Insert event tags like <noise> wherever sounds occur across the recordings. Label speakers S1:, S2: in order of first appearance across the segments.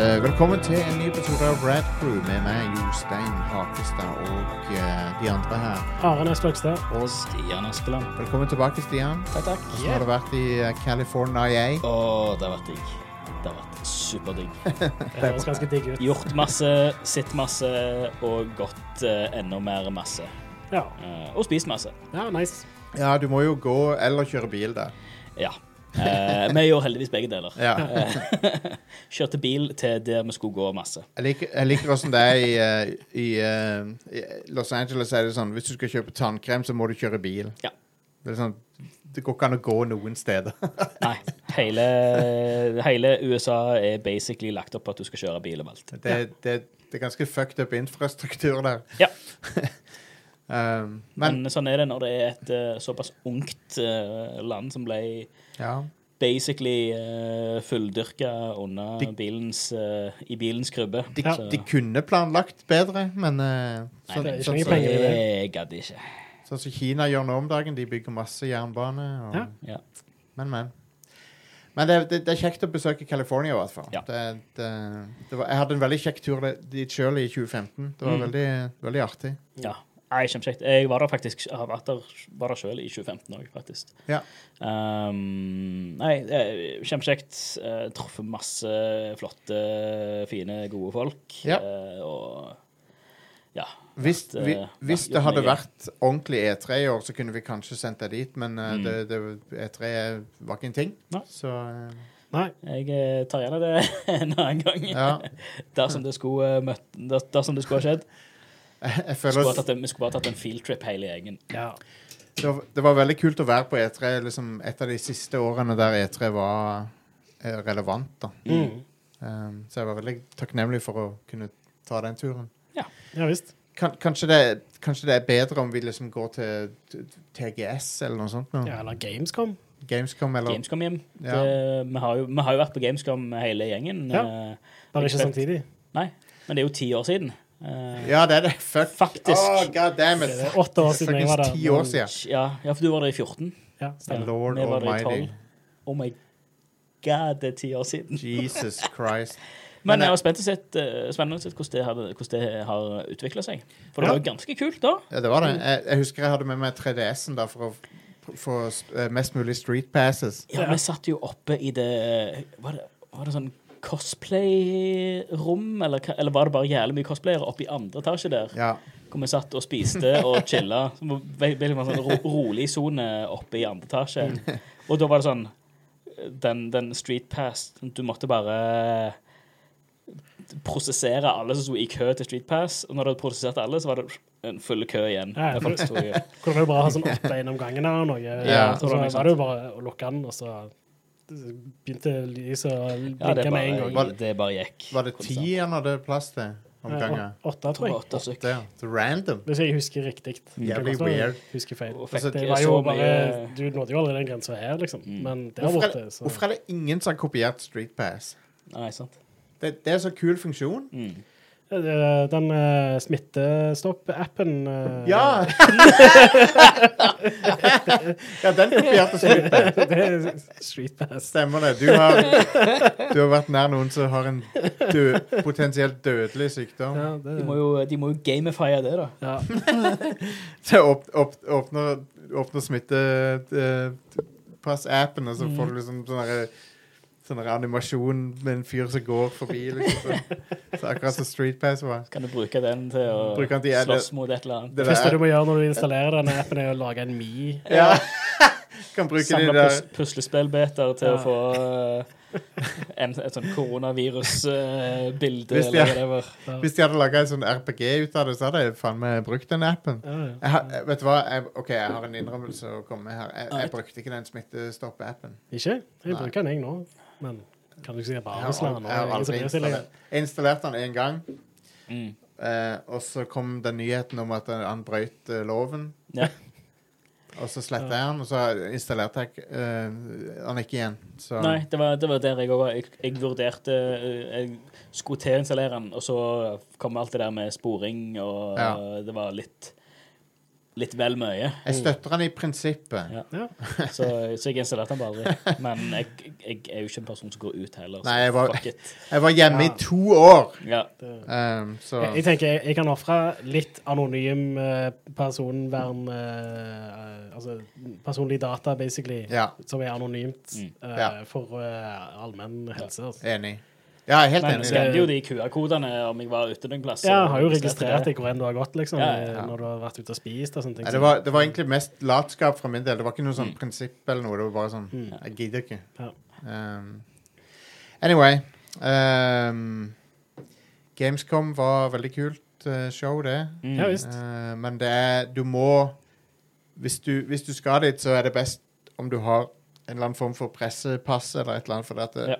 S1: Eh, Velkommen til en ny episode av Rad Crew med meg, Jostein Hakestad og eh, de andre her.
S2: Are Næss Bøgstad.
S3: Og Stian Askeland.
S1: Velkommen tilbake, Stian.
S3: Takk, takk.
S1: Hvordan har det vært i eh, California?
S3: Å, det har vært digg. Det har vært superdigg.
S2: Det høres ganske digg ut.
S3: Gjort masse, sett masse og gått eh, enda mer masse.
S2: Ja,
S3: Eh, og spist masse.
S2: ja nice.
S1: Ja, du må jo gå eller kjøre bil der.
S3: Ja. Eh, vi gjorde heldigvis begge deler.
S1: Ja.
S3: Kjørte bil til der vi skulle gå masse.
S1: Jeg liker, jeg liker hvordan det er i, eh, i, eh, i Los Angeles. er det sånn, Hvis du skal kjøpe tannkrem, så må du kjøre bil.
S3: Ja.
S1: Det, er sånn, det går ikke an å gå noen
S3: <laughs>
S1: steder.
S3: Nei, hele, hele USA er basically lagt opp på at du skal kjøre bil og alt.
S1: Det, det, det er ganske fucked up infrastruktur der.
S3: Ja.
S1: <laughs> Um, men
S3: Men sånn er det når det er et eh, såpass ungt eh, land som ble
S1: ja.
S3: basically uh, fulldyrka under
S1: De-
S3: bilens, eh, i bilens krybbe.
S1: De,
S2: Ja.
S1: de kunne planlagt bedre, men eh, sånn
S2: det er ikke
S1: sånn
S2: mye
S1: som
S2: penger. i det.
S3: Jeg gadd ikke.
S1: sånn som Kina gjør nå om dagen. De bygger masse jernbane. Og,
S2: Ja.
S3: Ja.
S1: Men, men. Men det, det, det er kjekt å besøke California, i hvert fall.
S3: Ja.
S1: Det, det, det var, jeg hadde en veldig kjekk tur det- dit sjøl i 2015. Det var
S3: Mm.
S1: veldig, veldig artig.
S3: ja. Nei, kjempekjekt. Jeg var der faktisk jeg har vært der, var der sjøl i 2015 òg, faktisk.
S1: Ja.
S3: Um, nei, eh, kjempekjekt. Eh, Truffet masse flotte, fine, gode folk.
S1: Ja.
S3: Eh, og ja.
S1: Hvis,
S3: Vært,
S1: vi,
S3: eh,
S1: hvis
S3: vært
S1: det hadde
S3: mye.
S1: vært ordentlig E3 i år, så kunne vi kanskje sendt deg dit, men eh,
S3: Mm.
S1: det, det, E3 var ikke en ting.
S3: Nei.
S1: Så eh,
S2: Nei,
S3: Jeg eh, tar gjerne det <laughs> en annen gang.
S1: ja. <laughs>
S3: Dersom det skulle, eh, møtt, der, dersom det skulle ha skjedd.
S1: Jeg, jeg
S3: Skulle
S1: føler
S3: bare tatt en, vi skulle bare tatt en fieldtrip hele gjengen.
S2: ja.
S1: det, var- det var veldig kult å være på E3 liksom et av de siste årene der E3 var eh, relevant. da.
S2: Mm.
S1: Um, så jeg var veldig takknemlig for å kunne ta den turen.
S2: ja visst.
S1: Kan, kanskje, det, kanskje det er bedre om vi liksom går til t- TGS eller noe sånt? nå?
S2: Ja, eller Gamescom.
S1: Gamescom eller
S3: Gamescom hjem.
S1: Ja.
S3: Det, vi, har jo, vi har jo vært på Gamescom hele gjengen.
S2: Ja.
S3: eh,
S2: Bare ikke
S3: Ikke sant.
S2: samtidig.
S3: Nei, men det er jo ti år siden. Eh,
S1: Ja, det er det. Fuck.
S3: Faktisk.
S1: Oh, God damn
S2: Det
S1: it.
S2: er åtte år siden jeg var der.
S1: Fuckings ti år
S2: men-
S1: siden.
S3: ja, ja, for du var der i 14.
S2: Ja,
S3: Ja.
S2: stemmer.
S1: Lord
S3: Vi var der i
S1: almighty.
S3: 12. Oh my god, det er ti år siden.
S1: Jesus Christ. Men,
S3: Men
S1: eh,
S3: jeg var spent å se eh, spennende å se hvordan det, hadde, hvordan det har utvikla seg. For det
S2: Ja.
S3: var jo ganske kult da.
S1: Ja, det var det. Jeg, jeg husker jeg hadde med meg 3DS-en da for å f- få eh, mest mulig street passes.
S3: Ja,
S2: Ja.
S3: vi satt jo oppe i det Var det, var det sånn cosplay-rom, eller, hva- eller var det bare jævlig mye cosplayere oppe i andre etasje der?
S1: Ja.
S3: Hvor vi satt og spiste og chilla. Så det var Veldig veldig sånn ro, rolig sone oppe i andre etasje.
S1: Mm.
S3: Og da var det sånn Den, den street pass Du måtte bare prosessere alle som sto i kø til street pass. Og når du hadde prosessert alle, så var det en full kø igjen.
S2: Ja, ja.
S3: Der folk sto i-
S2: Kunne det jo bare ha sånn åtte gjennom gangen eller noe.
S1: Ja,
S2: så
S3: tror jeg,
S2: var
S3: sant.
S2: det jo bare å lukke den, og så begynte lyset å
S3: Ja, det
S2: blinke med en gang.
S3: bare, det bare gikk.
S1: Var det ti han hadde plass til om gangen?
S2: Å- Åtte, tror
S3: Tror det var
S2: jeg.
S3: åtte stykk.
S1: Det, det er random.
S2: Hvis jeg husker riktig.
S1: Jævlig
S2: Det kan godt være jeg
S1: weird.
S2: Husker feil.
S3: Og fikk
S2: Altså, Det var
S3: så
S2: jo
S3: mye-
S2: bare, du nådde jo aldri den grensa her, liksom. Men der
S1: Hvorfor er,
S2: borte,
S1: det-
S2: så
S1: hvorfor er det ingen som har kopiert street pass?
S3: Nei, sant.
S1: Det, det er så kul funksjon.
S3: Mm.
S2: Eh, Den eh, smittestopp-appen eh, <laughs>
S1: Ja! ja, den kopierte street pass.
S2: det er Street Pass.
S1: Stemmer det. Du har, du har vært nær noen som har en død, potensielt dødelig sykdom.
S2: Ja, det,
S3: De må jo, de må jo gamifye det, da.
S2: ja.
S1: Så åp, åp, åpner, åpner smittepass-appen, og så
S2: Mm.
S1: får du liksom sånn derre- sånn derre animasjon med en fyr som går forbi. Liksom. Så, så akkurat som Street Pass var.
S3: Kan du bruke den til å
S1: Bruker den til- ja, det-
S3: slåss mot et eller annet?
S1: Det
S2: Det første
S1: der-
S2: du må gjøre når du installerer denne appen, er å lage en Mi.
S1: Ja. <laughs> Kan bruke de
S3: Samle
S1: der
S3: pus puslespillbeter til
S2: Ja.
S3: å få eh, en, et sånn koronavirusbilde
S1: Hvis de
S3: eller
S1: er-
S3: whatever.
S2: Ja.
S1: Hvis de hadde laga en sånn RPG ut av det, så hadde jeg faen meg brukt den appen.
S2: Ja, ja.
S1: Jeg har, jeg- vet du hva? Jeg, OK, jeg har en innrømmelse å komme med her. Jeg, jeg brukte ikke den smittestopp-appen.
S2: Ikke? Jeg
S1: Nei.
S2: bruker den, jeg, nå. Men kan du ikke si
S1: Jeg
S2: bare
S1: har
S2: avsløre
S1: aldri,
S2: den
S1: jeg har aldri
S2: nå?
S1: installert Jeg installerte den én gang,
S3: Mm.
S1: eh, og så kom den nyheten om at den- han brøt eh, loven.
S3: Ja.
S1: <laughs> Og så sletta jeg den, og så installerte jeg eh, den ikke igjen. Så
S3: Nei, det var, det var der jeg òg var. Jeg, jeg vurderte eh, Jeg skulle til å installere den, og så kom alt det der med sporing, og
S1: Ja.
S3: det var litt litt vel mye.
S1: Jeg støtter han i prinsippet.
S3: Ja.
S2: Ja.
S3: Så, så jeg installerte den bare aldri. Men jeg, jeg er jo ikke en person som går ut heller. Så
S1: Nei, jeg var-
S3: fuck it.
S1: Jeg var hjemme
S2: Ja.
S1: i to år,
S3: Ja.
S2: Det,
S1: um, så
S2: Jeg, jeg tenker jeg, jeg kan ofre litt anonym eh, personvern eh, Altså personlig data, basically,
S1: Ja.
S2: som er anonymt
S3: Mm.
S2: eh,
S1: Ja.
S2: for eh, allmenn helse. Altså.
S1: Enig. Ja, jeg er helt
S3: Men eh, jeg
S1: enig.
S3: skanner jo de QR-kodene om jeg var ute noen plass.
S2: Ja,
S3: og
S2: har jo
S3: registrerte
S2: registrert
S3: det.
S2: deg hvor enn du har gått, liksom,
S3: Ja, ja,
S1: ja.
S2: når du har vært ute og spist og sånne ting.
S1: Ja, det, var, det var egentlig mest latskap fra min del. Det var ikke noe sånn prinsipp eller noe. Det var bare sånn
S2: Mm.
S1: Jeg gidder ikke.
S2: Ja.
S1: Um, anyway um, Gamescom var veldig kult eh, show, det.
S3: Mm.
S2: Ja, visst.
S1: Eh, men det er Du må hvis du, hvis du skal dit, så er det best om du har en eller annen form for pressepass eller et eller annet. For at det-
S3: Ja.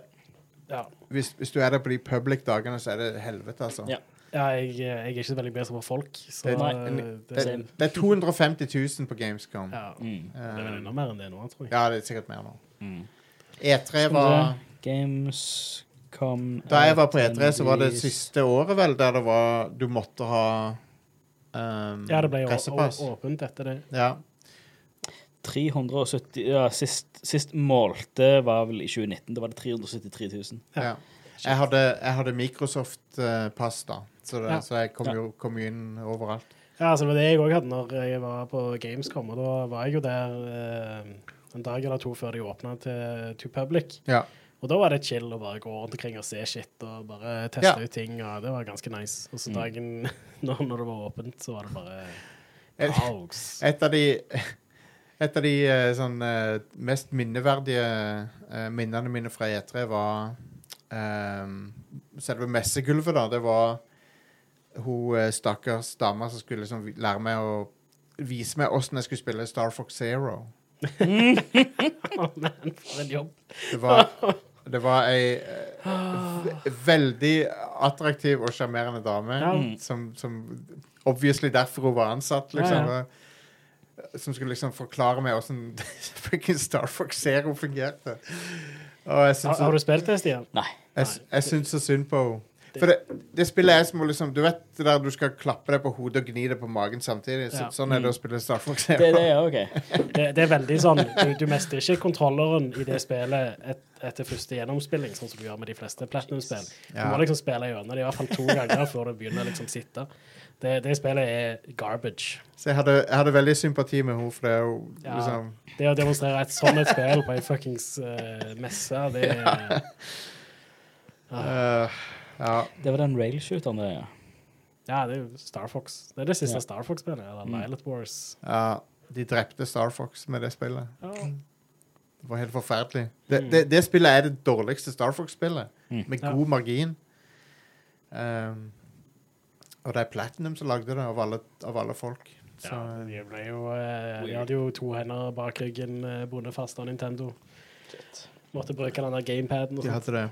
S2: Ja.
S1: hvis, hvis du er der på de public dagene, så er det helvete, altså.
S3: Ja.
S2: Ja, jeg, jeg er ikke så veldig bedt på folk, så
S1: Det-
S3: Nei,
S2: eh,
S1: en-
S2: det,
S3: Same.
S1: Det, det er 250 000 på Gamescom.
S2: ja, det
S3: Mm.
S2: er vel
S1: Eh,
S2: enda mer enn det nå, tror jeg.
S1: ja, det er sikkert mer nå.
S3: Mm.
S1: E3
S3: Skal vi
S1: E var
S3: Gamescom
S1: Da jeg var på E3, så var det siste året, vel, der det var Du måtte ha um,
S2: Ja, det ble jo å-
S1: pressepass.
S2: å- åpent etter det.
S1: Ja.
S3: 370 Ja, sist, sist målte var vel i 2019. Da var det 373 000.
S2: Ja.
S1: Ja. Jeg hadde, jeg hadde Microsoft-pass, da, så, det,
S2: Ja.
S1: så jeg kom
S3: Ja.
S1: jo kom jo inn overalt.
S2: Ja, altså det var det jeg òg hadde når jeg var på Gamescom. Og da var jeg jo der eh, en dag eller to før de åpna til To Public.
S1: Ja.
S2: Og da var det chill å bare gå rundt omkring og se shit og bare teste
S1: Ja.
S2: ut ting. og Det var ganske nice. Og så
S3: Mm.
S2: dagen <laughs> når, når det var åpent, så var det bare
S1: Et-
S2: kaos.
S1: Et av de <laughs> et av de eh, sånn, eh, mest minneverdige eh, minnene mine fra E3 var ehm, selve messegulvet. da. Det var hun eh, stakkars dama som skulle liksom vi- lære meg å vise meg åssen jeg skulle spille Star Fox Zero.
S2: Å, <laughs> men, for en jobb.
S1: Det var, det var ei eh, ve- veldig attraktiv og sjarmerende dame
S2: Ja.
S1: som, som Obviously derfor hun var ansatt, liksom.
S2: Ja,
S1: og- Som skulle liksom forklare meg åssen <laughs> fucking Star Fox Zero fungerte. Og jeg syns
S2: Har, har du spilt det, Stian?
S3: Nei.
S1: jeg, jeg syns så synd på henne. For det, det spillet er som å liksom Du vet det der du skal klappe deg på hodet og gni deg på magen samtidig? Så,
S2: Ja.
S1: Sånn er det å spille Star Fox
S3: Det
S1: Zero.
S3: er det, ja. OK.
S2: Det, det er veldig sånn Du, du mestrer ikke kontrolleren i det spillet et, etter første gjennomspilling, sånn som du gjør med de fleste Platinum-spill.
S1: <laughs>
S2: Du
S1: Ja.
S2: må liksom spille gjennom det i hvert fall to ganger før det begynner å liksom sitte. Det, det spillet er garbage.
S1: Så jeg hadde, jeg hadde veldig sympati med henne, for det er jo
S2: Ja.
S1: liksom
S2: Det å demonstrere et sånt et spill på ei fuckings eh, messe, det er
S1: øh, Ja.
S3: Det var den railshooteren, det, ja.
S2: Ja, det er jo Star Fox. Det er det siste
S3: Ja.
S2: Star Fox-spillet. Eller
S3: Mm.
S2: Violet Wars.
S1: Ja, de drepte Star Fox med det spillet.
S2: Ja.
S3: Mm.
S1: Det var helt forferdelig. Det, det, det spillet er det dårligste Star Fox-spillet,
S3: Mm.
S1: med
S2: Ja.
S1: god margin. Um, og det er Platinum som lagde det, av alle, av alle folk. Så,
S2: Ja, de ble jo eh, De
S3: Weird.
S2: hadde jo to hender bak ryggen eh, bundet fast av Nintendo. Måtte bruke den der gamepaden og
S1: eh, de
S2: sånt.
S1: hadde det.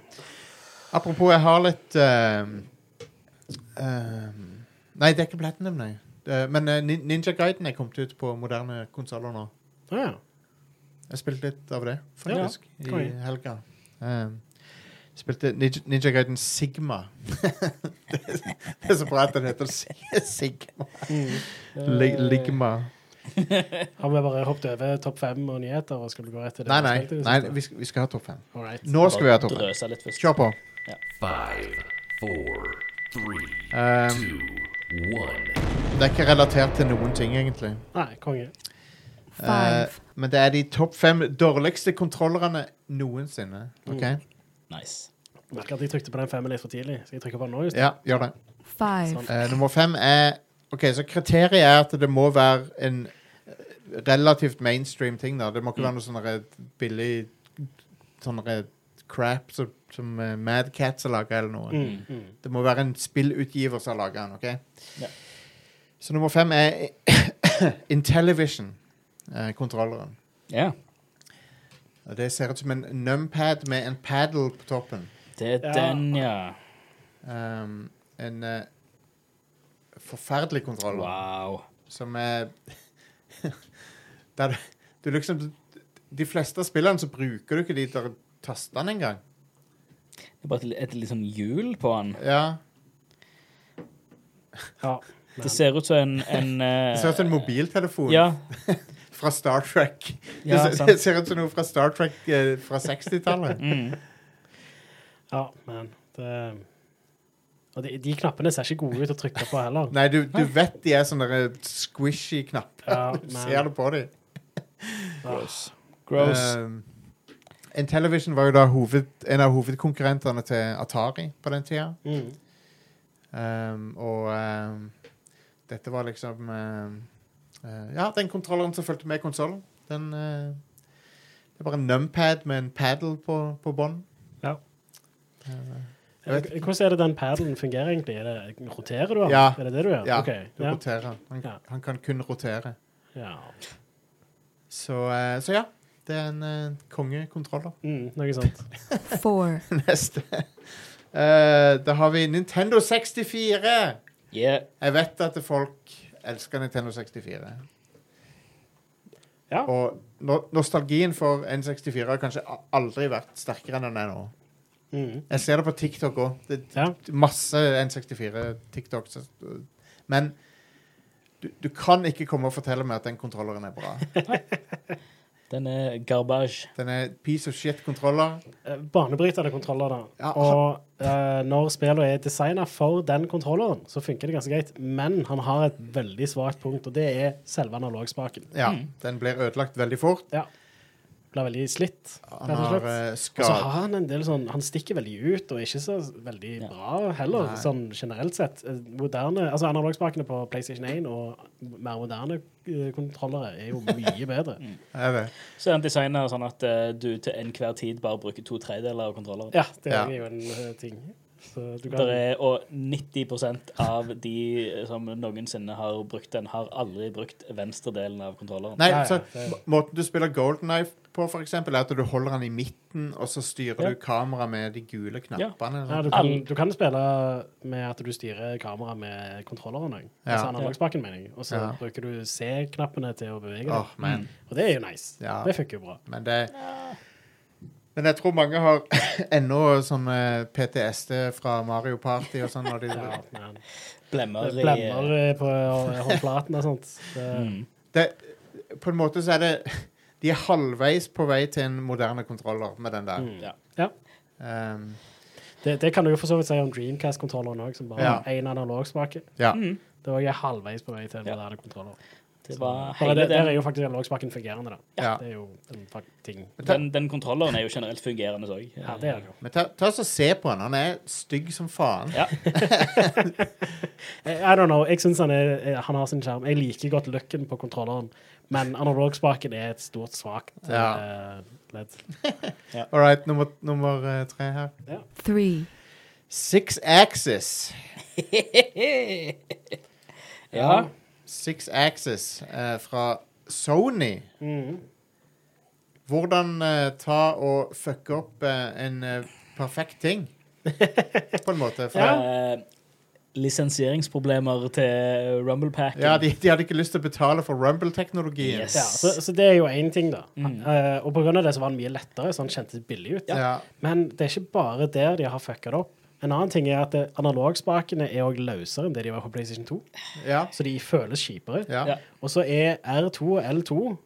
S1: Apropos, jeg har litt um, um, Nei, det er ikke Platinum, nei. Det, men eh, Nin- Ninja Guiden er kommet ut på moderne konsoller nå.
S2: Ah, ja.
S1: Jeg spilte litt av det, faktisk,
S2: Ja, konge.
S1: i helga. Um, spilte Ninja, Ninja Gaiden Sigma. <laughs> det, er, det er så bra at den heter Si- Sigma.
S2: Mm.
S1: Li- Ligma.
S2: Har vi bare hoppet over topp fem og nyheter og skulle gå rett til det?
S1: Nei,
S2: vi
S1: nei,
S2: spilte i det
S1: nei
S2: siste?
S1: vi, skal, vi skal ha topp fem.
S2: Alright.
S1: Nå skal vi ha topp fem.
S3: Drøsa litt først.
S1: Kjør på.
S4: Five, four, three,
S1: Um,
S4: two, one.
S1: det er ikke relatert til noen ting, egentlig.
S2: Nei, konge.
S1: Eh,
S5: Five.
S1: men det er de topp fem dårligste kontrollerne noensinne. Ok?
S2: Mm.
S3: Nice.
S2: Merker at jeg trykte på den femmen litt for tidlig. Skal jeg trykke på den nå? Just?
S1: Ja, gjør det.
S5: Five.
S1: Eh, nummer fem er Ok, så kriteriet er at det må være en eh, relativt mainstream ting. da. Det må ikke være noe sånn der billig sånn der crap som, som eh, Mad Cats har laga, eller noe.
S2: Mm, mm.
S1: Det må være en spillutgiver som har laga den. ok?
S3: Ja.
S1: Så nummer fem er <coughs> Intellivision-kontrolleren.
S3: Ja.
S1: det ser ut som en numpad med en paddle på toppen.
S3: Det er
S2: Ja.
S3: den, ja.
S1: Um, en eh, forferdelig kontroller.
S3: Wow.
S1: som er <laughs> der, du liksom De fleste av spillene så bruker du ikke de der tastene engang.
S3: Det er bare et, et litt sånn hjul på den.
S1: Ja.
S2: Ja.
S3: Det ser ut som en, en
S1: <laughs>
S3: eh,
S1: Det ser ut som en mobiltelefon
S3: Ja,
S1: fra Star Trek.
S3: ja
S1: det, ser,
S3: sant.
S1: det ser ut som noe fra Star Trek eh, fra 60-tallet.
S3: Mm.
S2: Ja, men det Og de, de knappene ser ikke gode ut å trykke på heller.
S1: Nei, du, du vet de er sånne der eh, squishy knapper. <laughs>
S2: Ja,
S1: Du ser
S2: men,
S1: det på dem.
S3: Gross. Gross.
S1: Um, Intellivision var jo da hoved, en av hovedkonkurrentene til Atari på den tida.
S2: mm,
S1: Um, og um, dette var liksom um, eh, Ja, den kontrolleren som fulgte med konsollen, den eh, Det var en numpad med en paddle på, på bånn.
S2: ja.
S1: Eh, Jeg vet
S2: Hvordan er det den padelen fungerer egentlig? Er det, roterer du den?
S1: Ja.
S2: Er det det du gjør?
S1: Ja,
S2: Ok,
S1: du
S2: ja.
S1: roterer. Han,
S2: Ja.
S1: han kan kun rotere.
S2: ja.
S1: Så, eh, så ja. Det er en eh, kongekontroller. <laughs>
S2: Mm, noe sånt.
S5: four,
S1: Neste. Eh, da har vi Nintendo 64.
S3: Yeah.
S1: Jeg vet at folk elsker Nintendo 64.
S2: Ja.
S1: Og no nostalgien for N64 har kanskje a- aldri vært sterkere enn den er nå.
S2: Mm,
S1: Jeg ser det på TikTok òg. Det
S2: ja.
S1: er masse N64-TikTok. Men du, du kan ikke komme og fortelle meg at den kontrolleren er
S2: <laughs>
S1: bra.
S3: Den er garbage.
S1: Den er piece of shit-kontroller.
S2: Eh, Banebrytende kontroller, da.
S1: Ja.
S2: Og eh, når spillene er designa for den kontrolleren, så funker det ganske greit. Men han har et veldig svakt punkt, og det er selve analogspaken.
S1: Ja, den blir ødelagt veldig fort.
S2: Ja. Blir veldig slitt,
S1: Han
S2: rett og
S1: har
S2: slett.
S1: eh,
S2: Og så
S1: skad...
S2: har han en del sånn Han stikker veldig ut, og er ikke så veldig
S3: Ja.
S2: bra heller,
S1: Nei.
S2: sånn generelt sett. Eh, Moderne, altså Analogspakene på PlayStation 1 og mer moderne eh, kontrollere er jo mye bedre.
S1: Jeg vet.
S3: Så er den designa sånn at eh, du til enhver tid bare bruker to tredjedeler av kontrolleren.
S2: Ja, det
S1: Ja.
S2: er jo en eh, ting. Så du
S3: Der
S2: kan
S3: er, og 90 av de eh, som noensinne har brukt den, har aldri brukt venstredelen av kontrolleren.
S1: Nei,
S2: Ja, ja,
S1: så
S2: det-
S1: må- måten du spiller Golden Knife på, for eksempel, er at du holder den i midten, og så styrer
S2: Ja.
S1: du kameraet med de gule knappene.
S2: Ja,
S1: sånn.
S2: du, kan, du kan spille med at du styrer kameraet med kontrolleren òg.
S1: Ja.
S2: Altså analogspaken, mener jeg. Og så
S1: Ja.
S2: bruker du C-knappene til å bevege
S1: Åh,
S2: deg.
S1: men,
S3: Mm.
S2: Og det er jo nice.
S1: Ja.
S2: Det funker jo bra.
S1: men det Men jeg tror mange har <laughs> ennå sånn eh, PTSD fra Mario Party og sånn. Når de,
S2: <laughs> Ja, men
S3: Blemmer, i-
S2: det blemmer eh, på håndflaten og sånt. Det,
S3: Mm.
S1: det, på en måte så er det <laughs> De er halvveis på vei til en moderne kontroller med den der.
S2: mm.
S3: Ja.
S2: Ja.
S1: Um,
S2: Det, det kan du jo for så vidt si om Dreamcast-kontrolleren òg, som bare
S1: Ja.
S2: har én analogspake.
S1: ja.
S2: Det var jeg halvveis på vei til en
S3: Ja.
S2: moderne kontroller.
S3: Mm. Det
S2: Bare
S3: var hele
S2: det, der er
S3: den,
S2: jo faktisk analogspaken fungerende, da.
S1: Ja.
S2: Det er jo en fak- ting.
S3: den, den kontrolleren er jo generelt fungerende òg.
S2: Ja, det er det jo.
S1: Men ta, ta oss og se på han. Han er stygg som faen. <laughs>
S3: Ja.
S2: I Eh, I don't know. Jeg syns han, er- er- han har sin skjerm. Jeg liker godt looken på kontrolleren, men analogspaken er et stort, svakt
S1: Ja.
S2: eh, ledd.
S1: All right, nummer, nummer eh, tre her.
S5: three,
S1: Six Axis.
S3: Ja.
S1: Six Axis eh, fra Sony.
S2: Mhm.
S1: Hvordan eh, ta og fucke opp eh, en eh, perfekt ting, på en måte. For, ja,
S3: Eh, lisensieringsproblemer til Rumble Pack.
S1: de, de hadde ikke lyst til å betale for Rumble-teknologien.
S3: Yes.
S2: Ja, så, så det er jo én ting, da. Eh, og på grunn av det så var han mye lettere, så han kjentes billig ut.
S1: Mm. Ja.
S2: Men det er ikke bare der de har fucka det opp. En annen ting er at eh, analogspakene er òg løsere enn det de var på PlayStation 2,
S1: Ja.
S2: så de føles kjipere.
S1: Ja.
S3: Ja.
S2: Og så er R2 og L2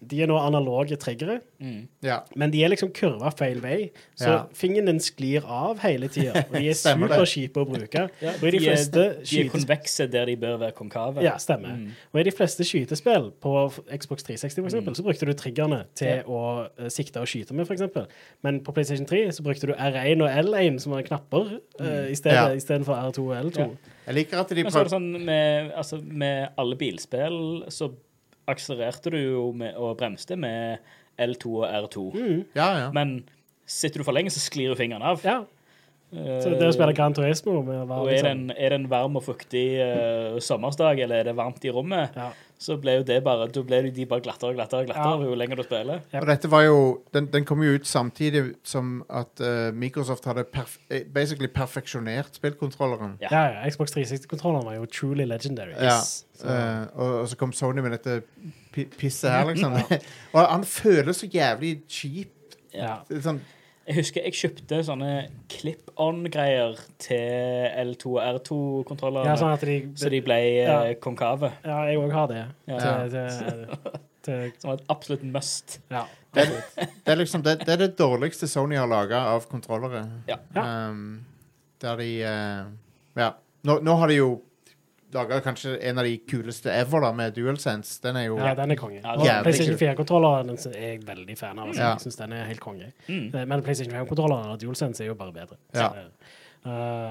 S2: De er nå analoge triggere.
S3: Mm.
S1: Ja.
S2: Men de er liksom kurva feil vei, så
S1: Ja.
S2: fingeren din sklir av hele tida. Og de er
S1: <laughs> Stemmer det.
S2: superkjipe å bruke.
S3: Ja,
S2: og i de, fleste
S3: er, Mm. de er
S2: skytes-
S3: konvekse der de bør være konkave.
S2: ja, stemmer. Og i de fleste skytespill, på f- Xbox 360 f.eks.,
S3: Mm.
S2: eksempel så brukte du triggerne til å eh, sikte og skyte med, f.eks. Men på PlayStation 3 så brukte du R1 og L1 som er knapper,
S3: Mm.
S2: eh,
S1: Ja.
S2: i stedet istedenfor R2 og L2.
S1: Jeg liker at de
S3: Men så er
S1: prøv-
S3: det sånn med, altså, med alle bilspill så akselererte du jo med, og bremste med L2 og R2.
S2: Mm.
S1: Ja, ja.
S3: sånn. Men sitter du for lenge, så sklir jo fingeren av.
S2: Ja. Så det å spille Gran Turismo med å
S3: og
S2: være
S3: er det,
S2: liksom,
S3: en, er det en varm og fuktig eh, sommersdag, eller er det varmt i rommet,
S2: Ja.
S3: så ble jo det bare, da ble jo de bare glattere og glattere og glattere
S2: Ja.
S3: jo lenger du spiller.
S2: Ja.
S1: Og dette var jo Den, den kom jo ut samtidig som at eh, Microsoft hadde perf eh, basically perfeksjonert spillkontrolleren.
S3: Ja.
S2: ja, ja, Xbox 360-kontrolleren var jo truly legendary.
S1: Ja.
S2: Så-
S1: Eh, og, og så kom Sony med dette
S3: <laughs>
S1: pi- pisset her, liksom. og han føles så jævlig cheap.
S2: ja.
S1: Det er Sånn,
S3: Jeg husker jeg kjøpte sånne clip-on-greier til L2 og R2-kontrollerne,
S2: Ja, sånn at de
S3: så de ble eh,
S2: Ja.
S3: konkave.
S2: Ja, jeg òg har det.
S3: Ja.
S2: Til, til, til,
S3: Som var et absolutt must.
S1: <laughs>
S2: ja.
S1: Det, er- det, er liksom, det, det er det dårligste Sony har laga av kontrollere.
S3: Ja.
S1: Um, der de eh, Ja. Nå, nå har de jo laga kanskje en av de kuleste ever, da, med DualSense. Den er jo
S2: ja, den er konge.
S3: Ja,
S2: Og
S1: jævlig
S2: PlayStation
S1: kul.
S2: 4-kontrolleren den er jeg veldig fan av. Altså.
S1: Ja.
S2: Jeg synes den er helt konge.
S3: Mm.
S2: Eh, Men PlayStation 5-kontrolleren og DualSense er jo bare bedre. Så,
S1: Ja.
S2: eh,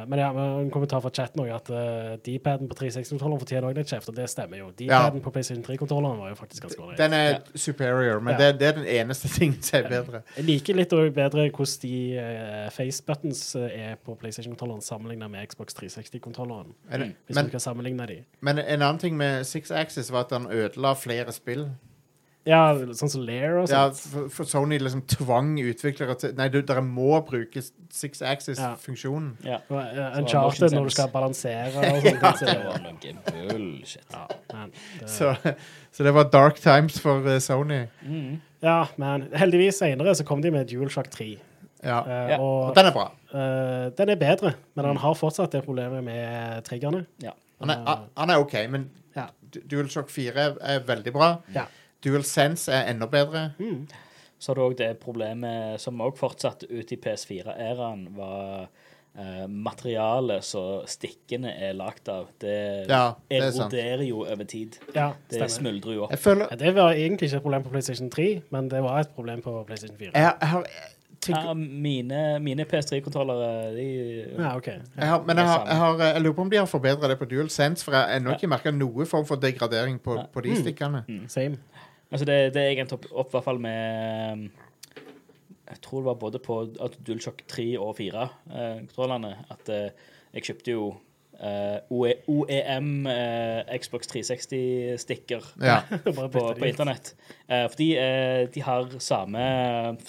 S2: men ja, men en kommentar fra chatten òg at eh, D-paden på 360-kontrolleren fortjener òg litt kjeft, og det stemmer jo.
S1: Ja.
S2: D-paden på PlayStation 3-kontrolleren var jo faktisk ganske ålreit.
S1: Den er superior, men
S2: Ja.
S1: det, det er den eneste <laughs> tingen som er bedre.
S2: Jeg liker litt også bedre hvordan de eh, face buttons eh, er på PlayStation-kontrolleren sammenlignet med Xbox 360-kontrolleren.
S1: Er det,
S2: Mm. Hvis
S1: men,
S2: du kan sammenligne de.
S1: men en annen ting med Six Axis var at han ødela flere spill.
S2: Ja, sånn som Lair og
S1: Ja,
S2: sånt.
S1: for, for Sony liksom tvang utviklere til Nei, du, dere må bruke Six Axis-funksjonen.
S3: Ja.
S2: Og, eh,
S3: Så
S2: Uncharted
S3: motion
S2: når du skal
S3: sense. <laughs>
S2: balansere og sånt. så,
S3: Det var noe bullshit.
S2: ja, man, det,
S1: Så, <laughs> så det var dark times for eh, Sony.
S3: Mm.
S2: ja, men heldigvis senere så kom de med DualShock 3.
S1: Ja.
S2: eh,
S3: Ja, Mm.
S1: Og
S2: Og
S1: den er bra.
S2: eh, den er bedre, men han har fortsatt det problemet med triggerne.
S3: Ja.
S1: Han er, a- han er OK, men
S2: Ja.
S1: Du- DualShock 4 er, er veldig bra.
S2: Ja.
S1: DualSense er enda bedre.
S3: Mm. Så har du òg det problemet som òg fortsatte ut i PS4-æraen, var eh, materialet som stikkene er lagd av. Det
S1: Ja, det er sant.
S3: eroderer jo over tid.
S2: Ja,
S3: Det
S2: stemmer.
S3: smuldrer jo opp.
S1: Jeg føler
S2: Ja, det var egentlig ikke et problem på PlayStation 3, men det var et problem på PlayStation 4.
S1: Jeg, jeg har tenk-
S3: Ja, mine mine PS3-kontrollere de
S2: Ja, ok.
S1: Jeg har, men jeg,
S3: Det
S1: har,
S3: samme.
S1: jeg, har, jeg lurer på om de har forbedra det på DualSense, for jeg har ennå ikke merka noe form for degradering på, på
S3: Mm.
S1: de stikkene.
S2: Same. <laughs>
S3: Altså, det, det er egentlig opp, opp i hvert fall med um, Jeg tror det var både på at DualShock 3 og 4-kontrollene at eh, jeg kjøpte jo eh, OE, OEM eh, Xbox 360-stikker.
S1: Ja.
S2: Bare bytte
S3: på, på
S2: de ut.
S3: internett. Eh, fordi eh, de har samme,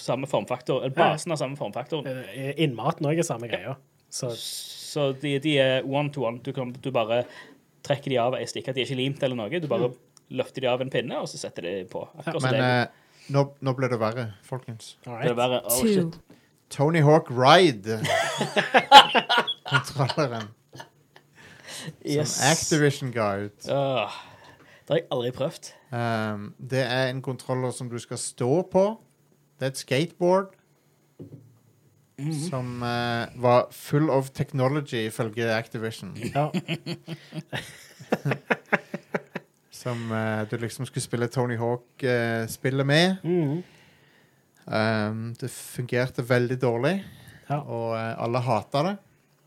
S3: samme formfaktor. eller Basen har samme formfaktor.
S2: Eh, Innmaten òg er samme greia. Så
S3: Så de, de er one-to-one. Du, kan- du bare trekker de av ei stikke. De er ikke limt eller noe. Du bare løfter de av en pinne, og så setter de på. Akkurat som
S1: Men
S3: det.
S1: eh, nå, nå ble det verre, folkens.
S2: all
S3: Det er
S2: right.
S3: bare, oh,
S5: two,
S3: shit.
S1: Tony Hawk
S3: <laughs>
S1: Ride. Kontrolleren
S3: Yes.
S1: som Activision ga ut.
S3: Åh, det har jeg aldri prøvd.
S1: Um, det er en kontroller som du skal stå på. Det er et skateboard. Som eh, var full of technology, ifølge Activision.
S2: Ja.
S1: Som eh, du liksom skulle spille Tony Hawk-spillet med.
S2: Mhm.
S1: Um, det fungerte veldig dårlig,
S2: Ja.
S1: og eh, alle hata det.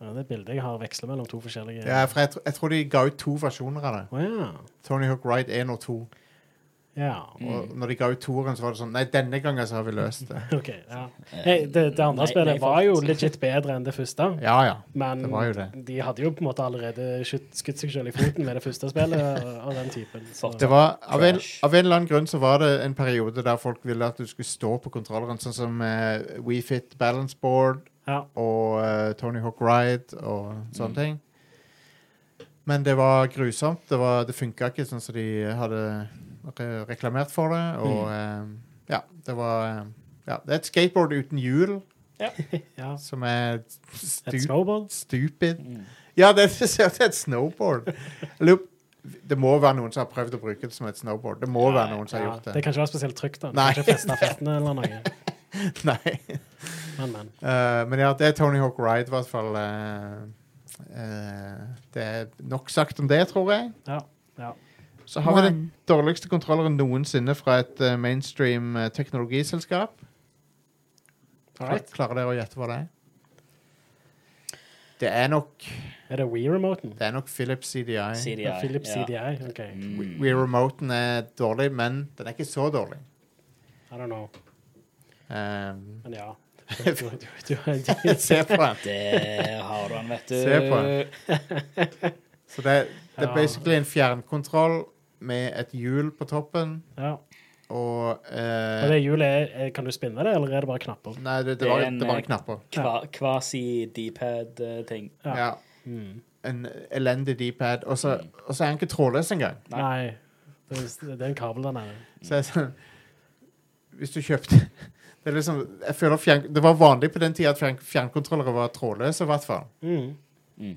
S2: ja, det bildet jeg har veksler mellom to forskjellige
S1: Ja, for jeg, tr jeg tror de ga ut to versjoner av det.
S2: Å ja.
S1: Tony Hawk Ride 1 og 2.
S2: ja.
S3: Mm.
S1: Og når de ga ut toeren, så var det sånn Nei, denne gangen så har vi løst det.
S2: OK. Ja. Hey, det, det andre
S3: Nei, nei,
S2: spillet var jo
S3: faktisk.
S2: legit bedre enn det første.
S1: Ja, ja.
S2: Men
S1: det var jo det.
S2: de hadde jo på en måte allerede skutt, skutt seg selv i foten med det første spillet. og, og den typen. Så.
S1: Det var, av, en,
S3: Trash.
S1: av en eller annen grunn så var det en periode der folk ville at du skulle stå på kontrolleren, sånn som eh, WeFit Balance Board
S2: Ja.
S1: og eh, Tony Hawk Ride og sånne ting. Men det var grusomt. Det, var- det funka ikke sånn som de hadde re reklamert for det. Og eh, ja, det var eh, ja, Det er et skateboard uten hjul
S2: ja.
S1: som er
S2: Et
S1: stu
S2: snowboard?
S1: stupid.
S2: Mm.
S1: Ja, det er, det er et snowboard. Jeg lurer- Det må være noen som har prøvd å bruke det som et snowboard. Det må være noen som har
S2: Ja,
S1: gjort
S2: det
S1: det.
S2: kan ikke være spesielt trygt. da. Du
S1: Nei.
S2: kan Ikke feste føttene eller noe.
S1: <laughs> Nei.
S2: Men, men.
S1: Eh, men ja, det er Tony Hawk Ride, i hvert fall. eh, eh, det er nok sagt om det, tror jeg.
S2: Ja. ja.
S1: Så har vi den
S5: One.
S1: dårligste kontrolleren noensinne fra et eh, mainstream eh, teknologiselskap.
S2: All right.
S1: Klarer dere å gjette hva det er? Det er nok,
S2: Er det Wii-remoten?
S1: det er nok Philips CDI.
S3: CDI.
S2: Ja, Philips
S3: ja.
S2: CDI? OK.
S1: We- Wii-remoten er dårlig, men den er ikke så dårlig.
S2: I don't know. <laughs>
S1: Um,
S2: Men
S1: <laughs>
S2: ja. Du, du, du, du,
S1: se på den.
S3: Det har du han, vet du.
S1: Se på den. Så det, det er
S2: Ja.
S1: basically en fjernkontroll med et hjul på toppen,
S2: ja.
S1: og eh,
S2: Og det hjulet, er- er- kan du spinne det, eller er det bare knapper?
S1: Nei, det, det,
S3: Det er
S1: var,
S3: en,
S1: det var
S3: eh,
S1: knapper.
S3: Kva, Kvasi-dpad-ting.
S1: Ja.
S2: Ja.
S1: En elendig D-pad. Og så og så er han ikke trådløs engang.
S2: Nei. Det, er, det er en kabel der nede.
S1: Så jeg, sånn, hvis du kjøpte <laughs> Det, er liksom, jeg føler fjern, det var vanlig på den tida at fjern, fjernkontrollere var trådløse, i hvert fall.
S2: Mm.
S3: Mm.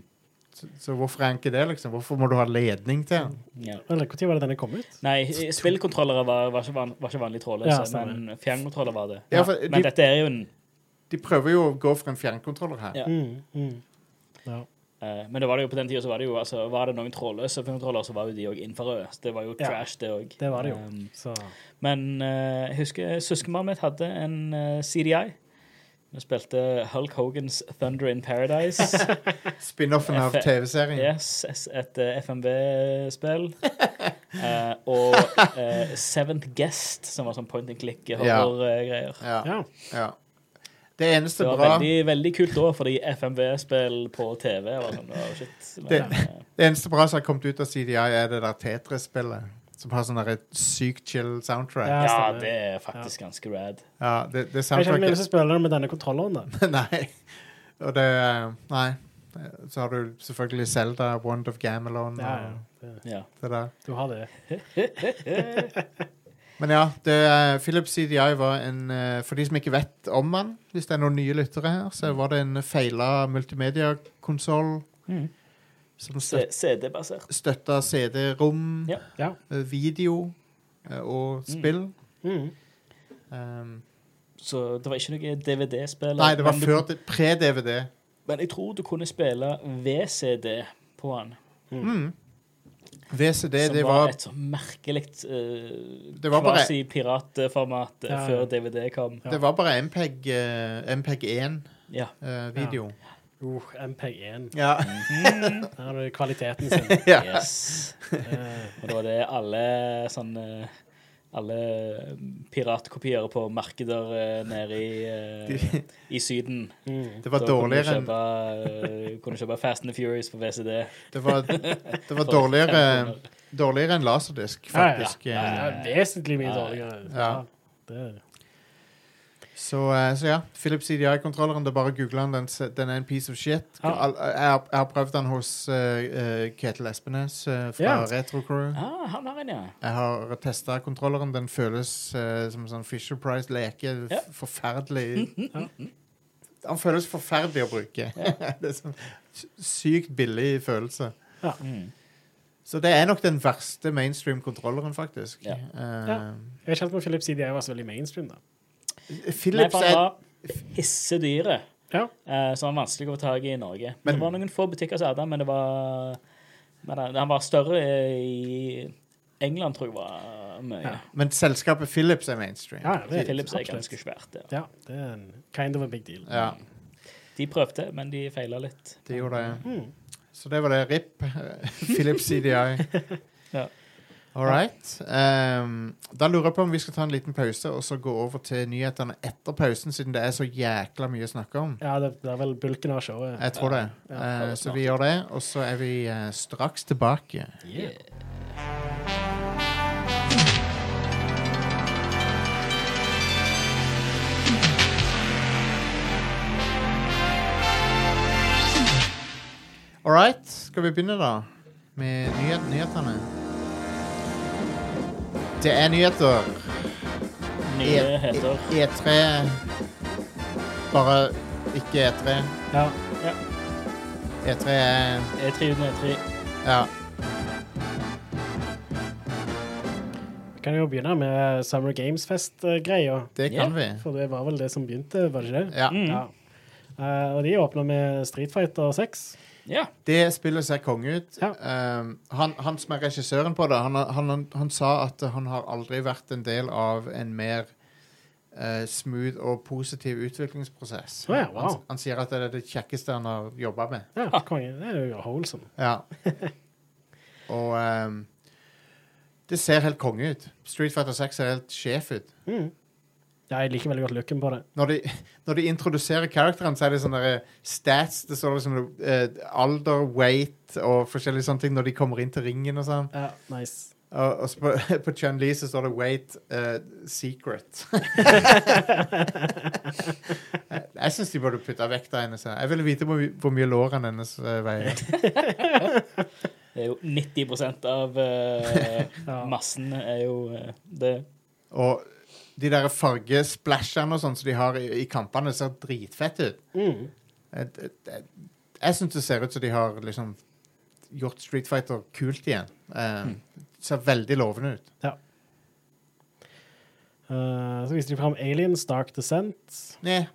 S1: Så, så hvorfor er den ikke det, liksom? Hvorfor må du ha ledning til den?
S3: Ja.
S2: Eller når var det denne kom ut?
S3: Nei, i- spillkontrollere var, var, ikke, van, var ikke vanlig trådløse,
S2: Ja, stemmer.
S3: men fjernkontroller var det.
S1: Ja, for de-
S3: men dette er jo en
S1: De prøver jo å gå for en fjernkontroller her.
S3: Ja.
S2: Mm. Mm. Ja.
S3: eh, Men det var det jo på den tida så var det jo altså, Var det noen trådløse fjernkontroller, så var jo de òg infrarøde. Så Det var jo
S2: Ja.
S3: trash, det òg.
S2: Det var det jo.
S3: Um,
S2: Så
S3: Men eh, jeg husker søskenbarnet mitt hadde en eh, CDI. Vi spilte Hulk Hogans Thunder in
S1: <laughs>
S3: Paradise.
S1: Spin-offen av
S3: F-
S1: TV-serien.
S3: Yes, s- et eh, FMV-spill. Eh, og eh, Seventh Guest, som var sånn point and click-horror-greier.
S1: Ja,
S2: ja.
S1: ja. Det eneste
S3: eh, Det var
S1: bra
S3: veldig, veldig kult da, fordi FMV-spill på TV var sånn, oh, shit. Men,
S1: Det-
S3: eh,
S1: Det eneste bra som har kommet ut av CDI, er det der Tetris-spillet. Som har sånn der et sykt chill soundtrack.
S2: Ja,
S3: ja,
S2: stemmer.
S3: det er faktisk ganske rad.
S1: Ja, det, det
S2: Jeg kjenner meg
S1: soundtracket
S2: lyst til å spille det med denne kontrolleren. da.
S1: <laughs> Nei. Og det Nei. Så har du selvfølgelig Zelda, Wand of Gamelon
S2: Ja, ja. Det-
S3: Ja.
S1: og det der.
S2: Du har det.
S1: Men ja, det, eh, Philips CDI var en eh, For de som ikke vet om han, hvis det er noen nye lyttere her, så var det en feila multimediakonsoll
S3: Mm.
S1: som støt,
S3: C- CD-basert.
S1: støtta CD-rom,
S3: Ja.
S2: Ja.
S1: eh, video eh, og spill.
S2: Mm.
S1: Um,
S3: Så det var ikke noe DVD-spill.
S1: nei, det var
S3: men du-
S1: før det- pre-DVD.
S3: Men jeg tror du kunne spille VCD på han.
S1: Mm. VCD,
S3: som
S1: det
S3: var,
S1: var
S3: et sånn merkelig uh,
S1: Det var bare-
S3: piratformat
S2: Ja, ja.
S3: før DVD kom.
S1: Det var bare MPEG, eh, MPEG-1-video.
S3: Ja.
S1: eh,
S2: Uh, MPG1.
S1: Ja.
S2: Der har du kvaliteten sin.
S1: <laughs> Ja.
S3: Yes.
S2: Eh,
S3: Og det var det alle sånn eh, alle piratkopiere på markeder eh, nede i, eh, i Syden.
S2: mm.
S1: Det var
S3: Da
S1: dårligere enn
S3: Kunne du kjøpe, eh, kunne kjøpe Fast and the Furious på VCD.
S1: <laughs> Det var, det var
S3: For
S1: dårligere,
S3: 500.
S1: dårligere enn laserdisk,
S2: Ja, ja.
S1: faktisk.
S2: Ja,
S1: eh.
S2: ja, vesentlig mye
S3: Ja, ja.
S2: dårligere.
S1: Ja.
S2: det,
S1: Så, eh, så ja, Philips CDI-kontrolleren, det er bare å google den. Den, se- den er en piece of shit.
S2: Ja.
S1: Al- Jeg, har- jeg har prøvd den hos eh, eh, Ketil Espenes eh, fra
S2: Ja.
S1: Retro Crew.
S3: Ah, han har en, ja.
S1: Jeg har testa kontrolleren. Den føles eh, som en sånn Fisher Price-leke. F-
S3: Ja. <laughs>
S1: Forferdelig. Den føles forferdelig å bruke. <laughs> det er sånn sy- sykt billig følelse.
S3: Mm.
S1: Så det er nok den verste mainstream-kontrolleren, faktisk.
S3: Ja.
S1: Eh,
S2: Ja. jeg kjente med Philip CDI var så veldig mainstream, da.
S3: Nei,
S1: Philips
S3: for
S1: er
S3: han var hissedyre.
S2: Ja.
S3: Eh, Så han var vanskelig å få tak i i Norge.
S1: Men-
S3: det var noen få butikker som hadde han, men det var men han- Han var større i England, tror jeg var mye.
S2: Ja.
S1: Men selskapet Philips er mainstream.
S2: Ja, ja, det
S3: Philips er
S2: absolutt.
S3: ganske svært. Ja.
S2: Ja, det er en kind of a big deal.
S1: Ja,
S3: De prøvde, men de feila litt.
S1: det gjorde det.
S2: Mm.
S1: Så det var det. RIP. <laughs> Philips CDI.
S3: Ja.
S1: All right. Ehm, da lurer jeg på om vi skal ta en liten pause og så gå over til nyhetene etter pausen, siden det er så jækla mye å snakke om.
S2: Ja, det, det er vel bulken av showet.
S1: Jeg tror det.
S2: Ja,
S1: Eh, så vi gjør det, og så er vi eh, straks tilbake.
S2: Yeah.
S1: All right. Skal vi begynne, da? Med nyhet, nyhetene. Det er nyheter.
S3: Nye heter
S1: E- E3 Bare ikke E E3.
S2: Ja.
S1: E3 er
S3: E3 uten E3.
S1: Ja.
S2: Vi kan jo begynne med Summer Games Fest-greia.
S1: Det kan
S3: Ja.
S1: vi.
S2: For det var vel det som begynte, var det ikke det?
S1: Ja.
S3: Mm.
S2: Ja. Eh, og de åpna med Street Fighter 6.
S3: Ja.
S1: Det spillet ser konge ut.
S2: Ja.
S1: Um, han, han som er regissøren på det, han, har- han, han, han sa at han har aldri vært en del av en mer eh, smooth og positiv utviklingsprosess.
S2: Å ja, wow.
S1: han, han sier at det er det kjekkeste han har jobba med.
S2: Ja, <laughs> konge. Det er jo wholesome. <laughs>
S1: Ja. og um, det ser helt konge ut. Street Fighter 6 ser helt sjef ut.
S2: Mm. Ja, jeg liker veldig godt looken på det.
S1: når de, når de introduserer karakteren, så er det sånne der eh, stats. Det står liksom eh, alder, weight og forskjellige sånne ting når de kommer inn til ringen og sånn.
S2: Ja, nice.
S1: Og, og så på, <laughs> på Chun-Li så står det weight eh, secret. jeg jeg syns de burde putte vekta hennes. her. Jeg ville vite hvor, my- hvor mye lårene hennes eh, veier.
S3: Det er jo 90 av eh,
S2: <laughs> Ja.
S3: massen er jo eh, det.
S1: Og de der fargesplashene og sånn som de har i, i kampene, ser dritfett ut.
S2: Mm.
S1: Jeg, jeg, jeg, jeg syns det ser ut som de har liksom gjort Street Fighter kult igjen. Eh, Ser veldig lovende ut.
S2: Eh, så viser de fram Aliens, Dark Descent.
S1: Nei,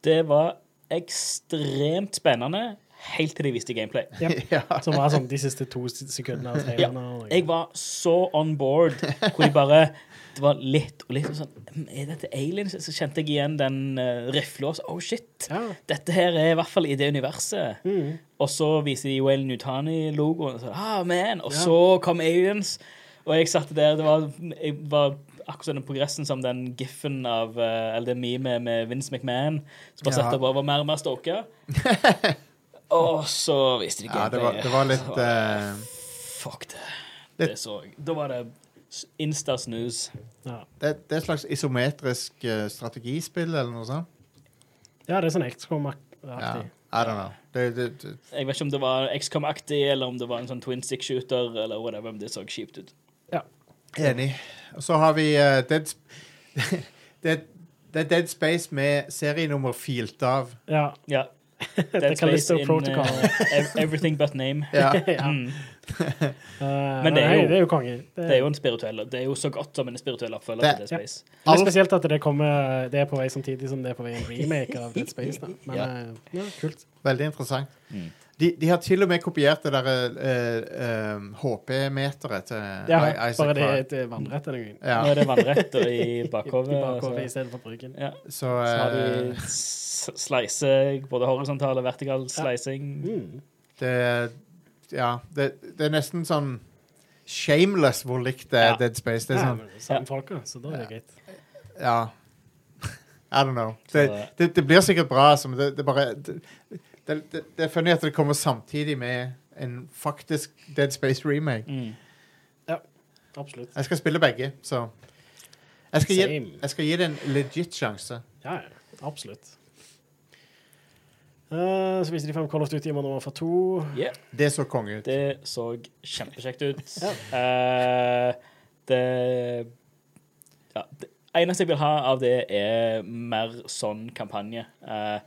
S3: Det var ekstremt spennende helt til de viste gameplay.
S2: <laughs>
S1: ja.
S2: Som var sånn de siste to s- sekundene av traileren. og-
S3: Jeg var så on board hvor de bare Det var litt og litt og sånn "Mm, Er dette aliens? Så kjente jeg igjen den uh, rifla. Oh shit!
S2: Ja.
S3: Dette her er i hvert fall i det universet.
S2: Mm.
S3: Og så viser de Wayne Nutani-logoen. Og, så, ah, man. og
S2: Ja.
S3: så kom aliens. Og jeg satt der Det var, jeg var akkurat sånn den progressen som den giffen av eh, Eller det memet med Vince McMahon. Som bare
S1: Ja.
S3: satt der og bare var mer og mer
S1: <laughs>
S3: stoka. og så viste de
S1: ja det, var,
S3: gameplay.
S1: det var
S3: <laughs>
S1: litt
S3: Så var det,
S1: eh,
S3: Fuck det.
S1: Det-
S3: Det så jeg. Da var det s- insta-snus.
S2: Ja.
S1: det, det er et slags isometrisk eh, strategispill eller noe sånt.
S2: ja, det er sånn XCOM-aktig.
S1: Ja. I don't know. Det, det, det,
S3: Jeg vet ikke om det var XCOM-aktig, eller om det var en sånn twin stick shooter, eller whatever, men det så kjipt ut.
S1: Enig. Og så har vi eh, Dead Sp <laughs> det, det er Dead Space med serienummer filt av.
S2: Ja.
S3: Ja.
S2: Det er Callisto Protocol.
S3: eh, ev- everything but name.
S1: Ja.
S2: ja.
S3: <laughs> Mm.
S2: Eh,
S3: Men det er
S2: nei,
S3: jo-
S2: det er jo konge. Det,
S3: Det er jo en spirituell Det er jo så godt som en spirituell oppfølger
S1: Det-
S3: til Dead Space.
S2: det er
S1: Alt-
S2: spesielt at det, kommer, det er på vei samtidig som det er på vei en remake av Dead Space. Da. Men
S1: Ja.
S2: eh, ja, kult.
S1: Veldig interessant.
S3: Mm.
S1: De, de har til og med kopiert det eh, derre HP-meteret eh, til
S2: Ja,
S1: I- Isaac
S2: bare det er
S1: Clarke.
S2: et eh, vannrett eller noe.
S3: Nå
S1: Ja,
S3: er det vannretter i
S2: <laughs> I
S3: bakhovet.
S2: bakhovet i
S3: altså.
S2: stedet for bruken.
S3: Ja.
S1: så,
S3: Så har
S1: eh,
S3: de s- slice, både horisontal og vertikal slicing.
S2: Mm.
S1: det Ja, det, det er nesten sånn shameless hvor likt det er
S3: Ja.
S1: Dead Space. Det er
S2: Ja,
S1: sånn,
S2: men samme folka, så da er det greit.
S1: ja <laughs> I don't know. Det,
S3: Så-
S1: det, det blir sikkert bra, altså, men det, det bare det, det, det, det er funny at det kommer samtidig med en faktisk Dead Space remake.
S3: Mm.
S2: Absolutt.
S1: Jeg skal spille begge, så jeg skal, gi,
S2: Same.
S1: jeg skal gi det en legit sjanse.
S2: Ja, ja. Absolutt. Eh, så viser de fram Call of Duty nummer for to.
S3: Yeah.
S1: Det så konge ut.
S3: Det så kjempekjekt ut. Eh, det ja, Det eneste jeg vil ha av det, er mer sånn kampanje. Eh,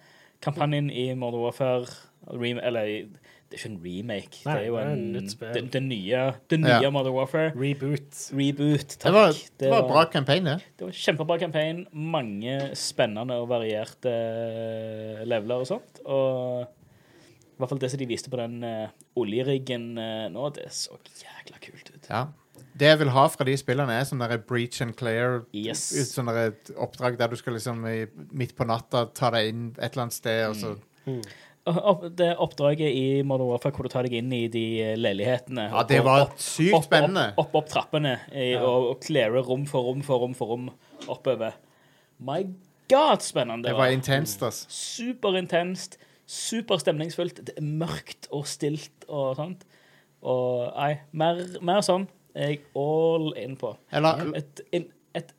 S3: kampanjen i Modern Warfare rem Eller i- det er ikke en remake.
S2: Nei,
S3: det er jo
S2: det er
S3: en,
S2: et nytt spill.
S3: det, det nye, det nye
S1: Ja.
S3: Modern Warfare.
S2: Reboot.
S3: Reboot. Takk.
S1: Det var, det var en bra campaign, det.
S3: Det var en kjempebra campaign. Mange spennende og varierte leveler og sånt. Og i hvert fall det som de viste på den eh, oljeriggen eh, nå, det så jækla kult ut.
S1: Ja. Det jeg vil ha fra de spillene, er sånne der Breach and Clear.
S3: Yes.
S1: Sånne der et oppdrag der du skal liksom i, midt på natta ta deg inn et eller annet sted, og så
S2: Mm.
S3: Og opp- Det oppdraget i Modern Warfare hvor du tar deg inn i de eh, leilighetene
S1: Ja, det
S3: og
S1: var
S3: opp,
S1: sykt
S3: opp, opp,
S1: spennende.
S3: opp, opp trappene eh, og, og cleare rom for rom for rom for rom oppover. My god, spennende
S1: Det
S3: det Mm.
S1: var intenst, ass.
S3: superintenst, superstemningsfullt. Det er mørkt og stilt og sånt. Og nei, mer, mer sånn er jeg all in på.
S1: Eller
S3: Et, en, et,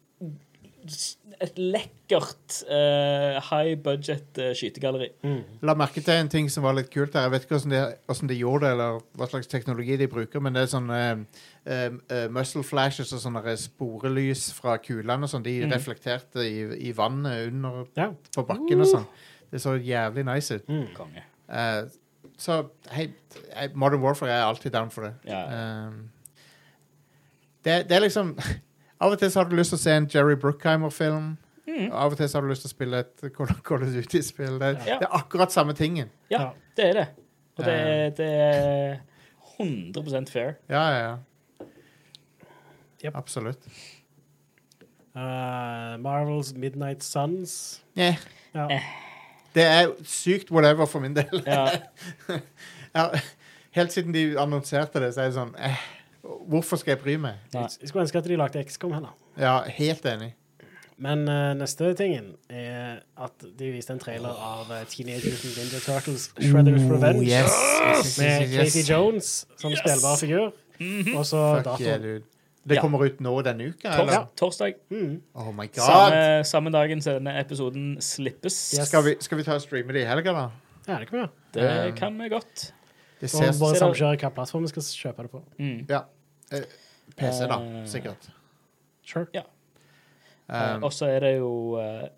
S3: et lekkert eh, high budget eh, skytegalleri.
S2: Mm.
S1: la merke til en ting som var litt kult her. Jeg vet ikke hvordan de, hvordan de gjorde det, eller hva slags teknologi de bruker, men det er sånne eh, eh, muscle flashes og sånne der sporelys fra kulene og sånn. De
S3: Mhm.
S1: reflekterte i, i vannet under
S2: Ja.
S1: på bakken og sånn. Det så jævlig nice ut.
S2: Mm.
S3: Konge.
S1: Eh, så hei, hei, Modern Warfare er alltid down for det.
S3: Ja.
S1: Um, det. Det er liksom <laughs> Av og til så har du lyst til å se en Jerry Bruckheimer-film.
S3: Mm.
S1: og Av og til så har du lyst til å spille et <laughs> Call of- Call of Duty-spill. Det,
S3: Ja.
S1: det er akkurat samme tingen.
S3: Ja,
S2: Ja.
S3: det er det. Og det,
S1: Eh.
S3: det er 100 fair.
S1: Ja, ja, ja.
S2: Yep.
S1: Absolutt.
S2: Eh, Marvels Midnight Suns.
S1: Yeah.
S2: Ja.
S3: Eh,
S1: Det er sykt whatever for min del.
S3: Ja,
S1: <laughs> Ja, Helt siden de annonserte det, så er det sånn eh, Hvorfor skal jeg bry meg?
S3: nei.
S2: Jeg skulle ønske at de lagde XCOM heller.
S1: Ja, helt enig.
S2: Men eh, neste tingen er at de viste en trailer av eh, Teenage Mutant Ninja Turtles Shredder's Revenge
S1: Yes, yes, yes,
S2: med
S1: yes, yes. Mhm.
S2: Casey Jones som spillbar figur. Og så
S1: Fuck yeah,
S2: datoen.
S1: dude. Det
S3: Ja.
S1: kommer ut nå denne uka,
S3: Tors,
S1: eller?
S3: Torsdag.
S2: Mm.
S1: Oh my god.
S3: Samme, samme dagen som denne episoden slippes.
S2: Yes.
S1: Skal, vi, skal vi ta og streame det i helga, da?
S2: Ja, det kan vi gjøre.
S3: Det kan vi godt.
S1: Det
S2: Og
S1: ser
S2: bare
S3: ser-
S2: samkjøre hvilken plattform vi skal kjøpe det på.
S3: Mm.
S1: Ja. Eh, PC, da.
S3: Eh,
S1: Sikkert.
S2: Sure.
S3: Ja. Eh,
S1: Um,
S3: og så er det jo eh,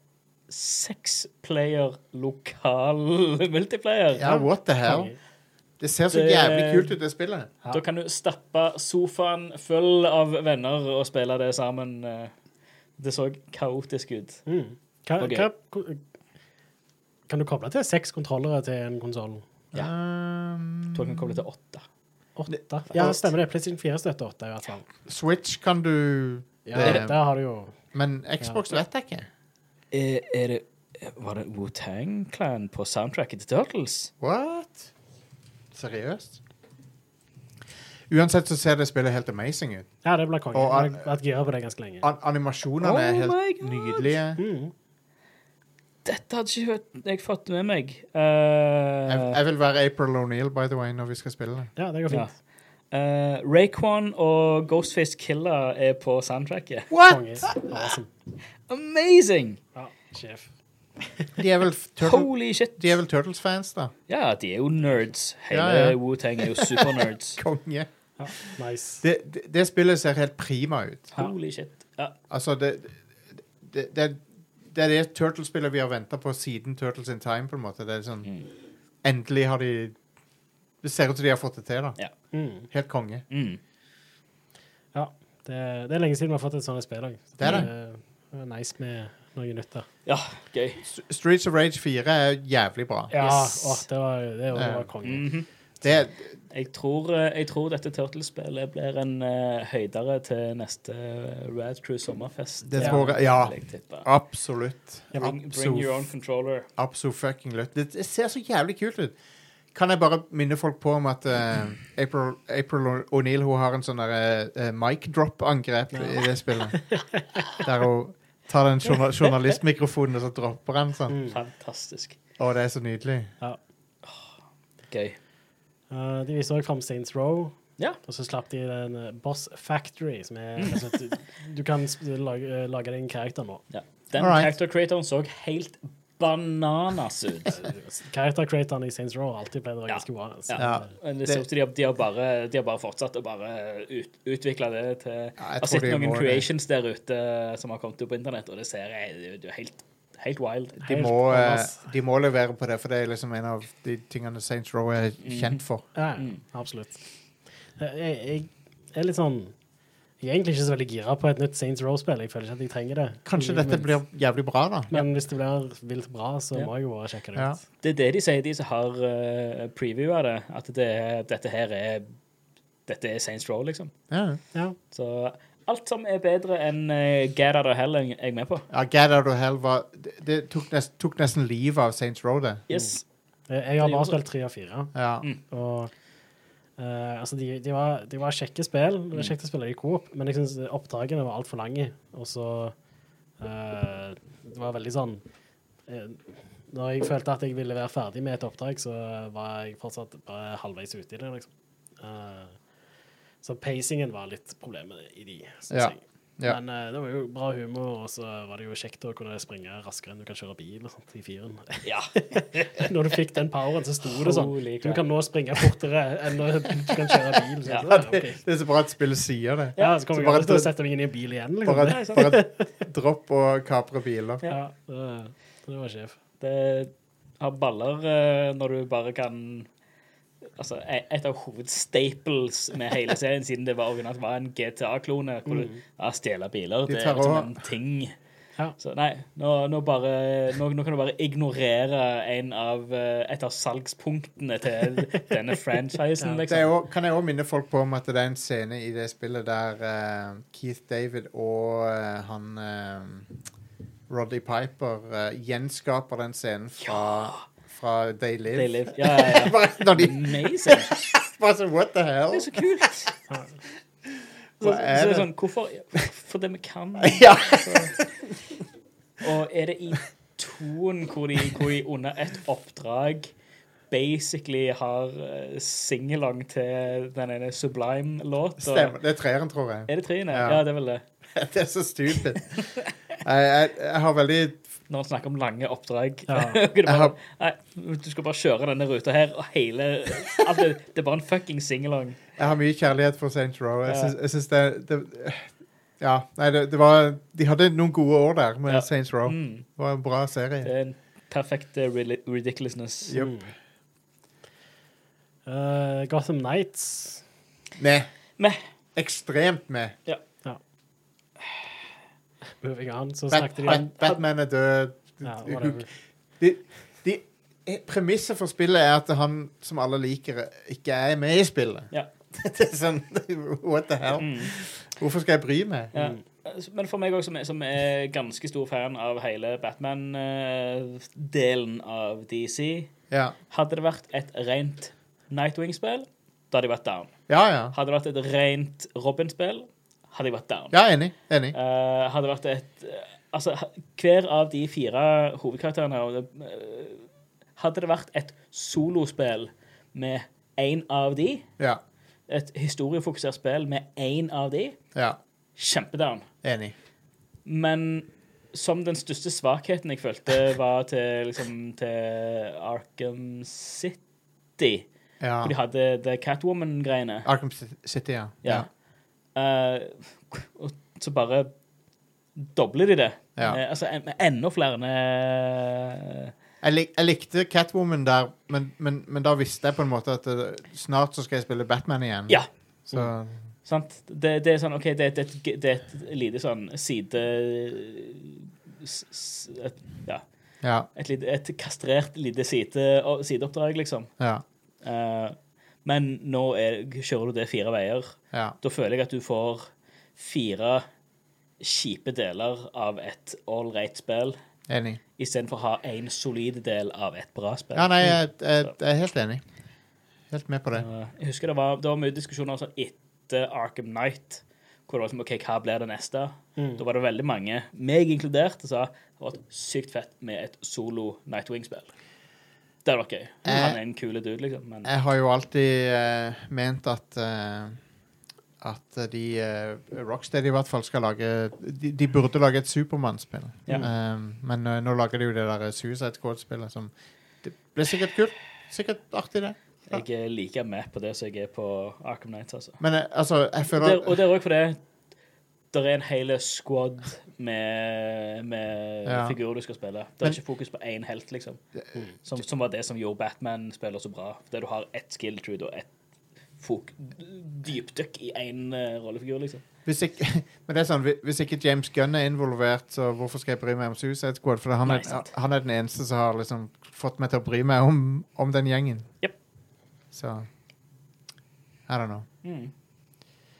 S3: seks player lokal <laughs> multiplayer.
S1: Ja, what the hell? Det ser så
S3: Det-
S1: jævlig kult ut, det spillet.
S2: Ja.
S3: Da kan du stappe sofaen full av venner og spille det sammen. eh. Det så kaotisk ut.
S2: Mm. Hva,
S3: Ok.
S2: hva, kan du koble til seks kontrollere til en konsoll?
S3: Ja.
S1: Um,
S3: Jeg tror jeg kan koble til åtte.
S2: Åtte? Ja, stemmer det. PlayStation 4 støtter åtte, i hvert fall.
S1: Switch kan du
S2: Ja,
S1: det,
S2: Der har du jo
S1: Men Xbox vet jeg ikke.
S3: Er, Eh, er det Var det Wu-Tang Clan på soundtracket til Turtles?
S1: What? Seriøst? Uansett så ser det spillet helt amazing ut.
S2: Ja, det blir konge.
S1: Og
S2: Jeg
S1: an-
S2: har vært gira på det ganske lenge.
S1: An animasjonene
S3: Oh
S1: er
S3: my
S1: helt
S3: God!
S1: nydelige.
S2: Mm.
S3: Dette hadde ikke hørt- jeg fått med meg. Eh,
S1: Jeg, jeg vil være April O'Neill, by the way, når vi skal spille det.
S2: Ja, det går fint.
S3: eh, Raekwon og Ghostface Killer er på soundtracket.
S2: Konge. Awesome.
S3: Amazing!
S2: Ja, sjef.
S1: De er vel f- turtle,
S3: Holy shit.
S1: de er vel Turtles-fans, da.
S3: Ja, de er jo nerds. Hele
S1: Ja, ja.
S3: Wu-Tang er jo
S1: <laughs>
S3: supernerds.
S1: Konge.
S2: Ja, nice.
S1: Det, det, det spillet ser helt prima ut.
S3: Holy shit. Ja.
S1: Altså, det Det, det, det er det Turtles-spillet vi har venta på siden Turtles in Time, på en måte. Det er sånn Endelig har de Det ser ut som de har fått det til, da.
S3: Ja.
S2: Mm.
S1: Helt konge.
S3: Mm.
S2: Ja, det, det er lenge siden vi har fått et sånt spill òg.
S1: Det er det.
S2: er nice med noe nytt der.
S3: ja, gøy.
S1: S- Streets of Rage 4 er jævlig bra.
S2: Ja,
S3: Yes.
S2: åh, det var, det var, det var konge.
S3: Mhm.
S1: Det er
S3: jeg, tror, eh, jeg tror dette Turtles-spillet blir en eh, høydere til neste eh, Rad Crew sommerfest.
S1: Det
S2: Ja.
S1: tror jeg Ja,
S3: vil jeg tippe.
S1: absolutt.
S3: Bring, bring your own controller.
S1: Abso fucking løtt. Det, det ser så jævlig kult ut. Kan jeg bare minne folk på om at eh, April, April O- O'Neill hun har en sånn der eh, eh, mic drop-angrep i det spillet. Der hun tar den journa- journalistmikrofonen og så dropper den sånn.
S2: Mm.
S3: Fantastisk.
S1: Å, det er så nydelig.
S3: Gøy.
S2: Eh, de viste òg fram Saints Row.
S3: Ja.
S2: Og så slapp de den eh, Boss Factory, som er altså, du, du kan sp- lage, eh, lage deg en karakter nå.
S3: ja. Den
S1: Alright.
S3: character creatoren så helt bananas
S1: <laughs>
S3: ut.
S2: Karakter-creatoren Eh, i Saints Row har alltid pleid å være ganske bra. altså.
S3: Ja.
S1: Ja.
S3: Men Det ser ut som de, har- de, har bare- de har bare fortsatt å bare ut, utvikle det til Jeg har
S1: tror
S3: sett
S1: de
S3: noen
S1: må det.
S3: creations der ute som har kommet ut på internett, og det ser jeg det er jo helt, helt wild.
S1: De
S2: Helt
S1: må, eh,
S2: bananas.
S1: de må levere på det, for det er liksom en av de tingene Saints Row er
S3: Mm.
S1: kjent for.
S2: Ja, ja, absolutt. Eh, Jeg, jeg, er litt sånn Jeg er egentlig ikke så veldig gira på et nytt Saints Row-spill. Jeg føler ikke at jeg trenger det.
S1: Kanskje
S2: Men-
S3: Mm.
S1: dette blir jævlig bra, da.
S2: Men hvis det blir vilt bra, så
S3: Ja.
S2: må jeg jo bare sjekke det
S1: Ja.
S2: ut.
S3: Det er det de sier, de som har uh, previewa det, at det, er- dette her er dette er Saints Row, liksom.
S1: Ja,
S2: Ja.
S3: Så alt som er bedre enn uh, Get Out of Hell, er jeg med på.
S1: ja Get Out of Hell var Det, det tok, nest, tok nesten livet av Saints Row, det.
S3: Yes.
S2: Eh, Jeg har
S3: Det gjorde
S2: bare spilt tre av fire.
S1: Ja.
S2: Og eh, altså, de, de, var, de var kjekke spill. Det var kjekt å spille i Coop, men jeg syns opptakene var altfor lange. Og så eh, Det var veldig sånn eh, Når jeg følte at jeg ville være ferdig med et oppdrag, så var jeg fortsatt bare halvveis ute i det, liksom. Eh, så pacingen var litt problemet i de, syns
S1: Ja.
S2: jeg.
S1: Ja.
S2: Men eh, det var jo bra humor, og så var det jo kjekt å kunne springe raskere enn du kan kjøre bil og sånt, i firen.
S3: Ja.
S2: <laughs> Når du fikk den poweren, så sto det sånn
S3: Holy
S2: Du
S3: crap.
S2: kan nå springe fortere enn når du kan kjøre bil. Så,
S3: Ja.
S2: ja, ok.
S1: Det er så bra at spillet sier det.
S2: ja, så kommer
S1: Så
S2: jeg
S1: bare
S2: aldri til å
S1: at-
S2: sette meg inn i en bil igjen. Liksom.
S1: Bare, bare dropp og kapre biler.
S2: ja, det- det var sjef.
S1: Mm.
S3: Det har baller eh, når du bare kan Altså, e- et av hovedstaples med hele serien, siden det var originalt, var en GTA-klone. Hvor du ja, stjeler biler.
S1: Mm. De
S3: Det
S1: tar
S3: er liksom
S1: over.
S3: en ting.
S2: Ja.
S3: Så nei, nå, nå bare nå, nå kan du bare ignorere en av, eh, et av salgspunktene til denne franchisen,
S1: Det er
S3: liksom.
S1: jo, kan jeg òg minne folk på om at det er en scene i det spillet der eh, Keith David og eh, han eh, Roddy Piper eh, gjenskaper den scenen fra, fra They Live.
S3: They live. Ja, ja, ja.
S1: <laughs> bare, når de,
S3: Amazing.
S1: bare sånn, What the hell?
S3: Det er så kult. Så, så, så
S1: Hva er
S3: er det
S1: det?
S3: sånn, hvorfor For det vi kan.
S1: <laughs> Ja.
S3: Og er det i toen hvor de, hvor de under et oppdrag basically har eh, singalong til den ene Sublime-låta?
S1: Stemmer. Det er treeren, tror jeg. <laughs>
S3: Er det treene?
S1: Ja.
S3: Ja. det er vel det.
S1: Det er så stupid. jeg, jeg, jeg har veldig
S3: Når man snakker om lange oppdrag. <laughs>
S2: Ja.
S3: Og det bare,
S1: Jeg har-
S3: nei, du skal bare kjøre denne ruta her, og hele alt det, det er bare en fucking singalong.
S1: Jeg har mye kjærlighet for Saints Row. Jeg
S3: Ja.
S1: syns, jeg syns det, det Ja, nei, det, det var De hadde noen gode år der med
S3: Ja.
S1: Saints Row.
S3: Mm.
S1: Det var en bra
S3: Det
S1: serie.
S3: er en perfekt eh, rili- ridiculousness.
S1: Yep.
S2: Mm. Eh, Gotham Nights.
S1: Med.
S3: Med.
S1: Ekstremt med.
S2: Moving on, så
S1: Bat
S2: snakket de om
S1: Bat Batman er død.
S2: ja,
S1: Who-
S2: whatever.
S1: de, de, eh, Premisset for spillet er at han som alle liker, ikke er med i spillet.
S3: Ja.
S1: <laughs> det er sånn What the hell?
S3: Mm.
S1: Hvorfor skal jeg bry meg?
S3: Ja.
S2: Mm.
S3: Men for meg òg, som, er- som er ganske stor fan av hele Batman-delen av DC
S1: Ja,
S3: Hadde det vært et rent Nightwing-spill, da hadde jeg vært down.
S1: ja. ja.
S3: Hadde det vært et rent Robin-spill, hadde jeg vært down.
S1: ja enig. enig.
S3: Eh, hadde vært et eh, Altså, ha- hver av de fire hovedkarakterene og det, eh, Hadde det vært et solospill med én av de,
S1: Ja.
S3: et historiefokusert spill med én av de,
S1: ja.
S3: kjempedown.
S1: Enig.
S3: Men som den største svakheten jeg følte, var til, liksom, til Arkham City.
S1: Ja.
S3: Hvor de hadde The Catwoman-greiene.
S1: Arkham City, ja.
S3: Ja. Eh, og så bare dobler de det.
S1: Ja.
S3: Eh, altså en, med enda flere eh,
S1: Jeg, lik, jeg likte Catwoman der, men, men, men da visste jeg på en måte at eh, snart så skal jeg spille Batman igjen.
S3: Ja.
S1: Så
S3: Sant? Det, det er sånn OK, det, det, er et g- det er et lite sånn side... s- s- Et, ja.
S1: ja.
S3: Et, lite- et kastrert lite side, sideoppdrag, liksom.
S1: Ja.
S3: Eh, men nå er, kjører du det fire veier.
S1: Ja.
S3: Da føler jeg at du får fire kjipe deler av et all right spill,
S1: Enig.
S3: istedenfor å ha én solid del av et bra spill.
S1: Ja, nei, jeg, jeg, jeg er helt enig. Helt med på det.
S3: Eh, jeg husker det var, det var mye diskusjoner sånn etter Arkham Knight, hvor det var som OK, hva blir det neste?
S2: Mm.
S3: Da var det veldig mange, meg inkludert, som sa det var sykt fett med et solo Nightwing-spill. Det hadde vært gøy.
S1: Eh,
S3: Han er en kul dude, liksom, men
S1: Jeg har jo alltid eh, ment at eh, at de eh, Rocksteady i hvert fall skal lage De, de burde lage et Supermann-spill.
S3: Ja.
S1: Um, men eh, nå lager de jo det der Suicide Squad-spillet som Det blir sikkert kult. Sikkert artig, det.
S3: jeg er like med på det som jeg er på Arkham Knight, altså.
S1: Men eh, altså, jeg føler
S3: Der, og det er òg fordi det er en hel squad med, med
S1: Ja.
S3: figurer du skal spille. Det er
S1: Men- Mm.
S3: ikke fokus på én helt, liksom. Som, som var det som gjorde Batman-spiller så bra. Der du har ett skill tree og ett fok- dypdykk i én eh, rollefigur, liksom.
S1: Hvis ikke, <laughs> men det er sånn, hvi- hvis ikke James Gunn er involvert, så hvorfor skal jeg bry meg om Suicide Squad? For han,
S3: Nei,
S1: er,
S3: sant.
S1: han er den eneste som har liksom fått meg til å bry meg om, om den gjengen.
S3: Jep.
S1: Så I don't know.
S3: Mm.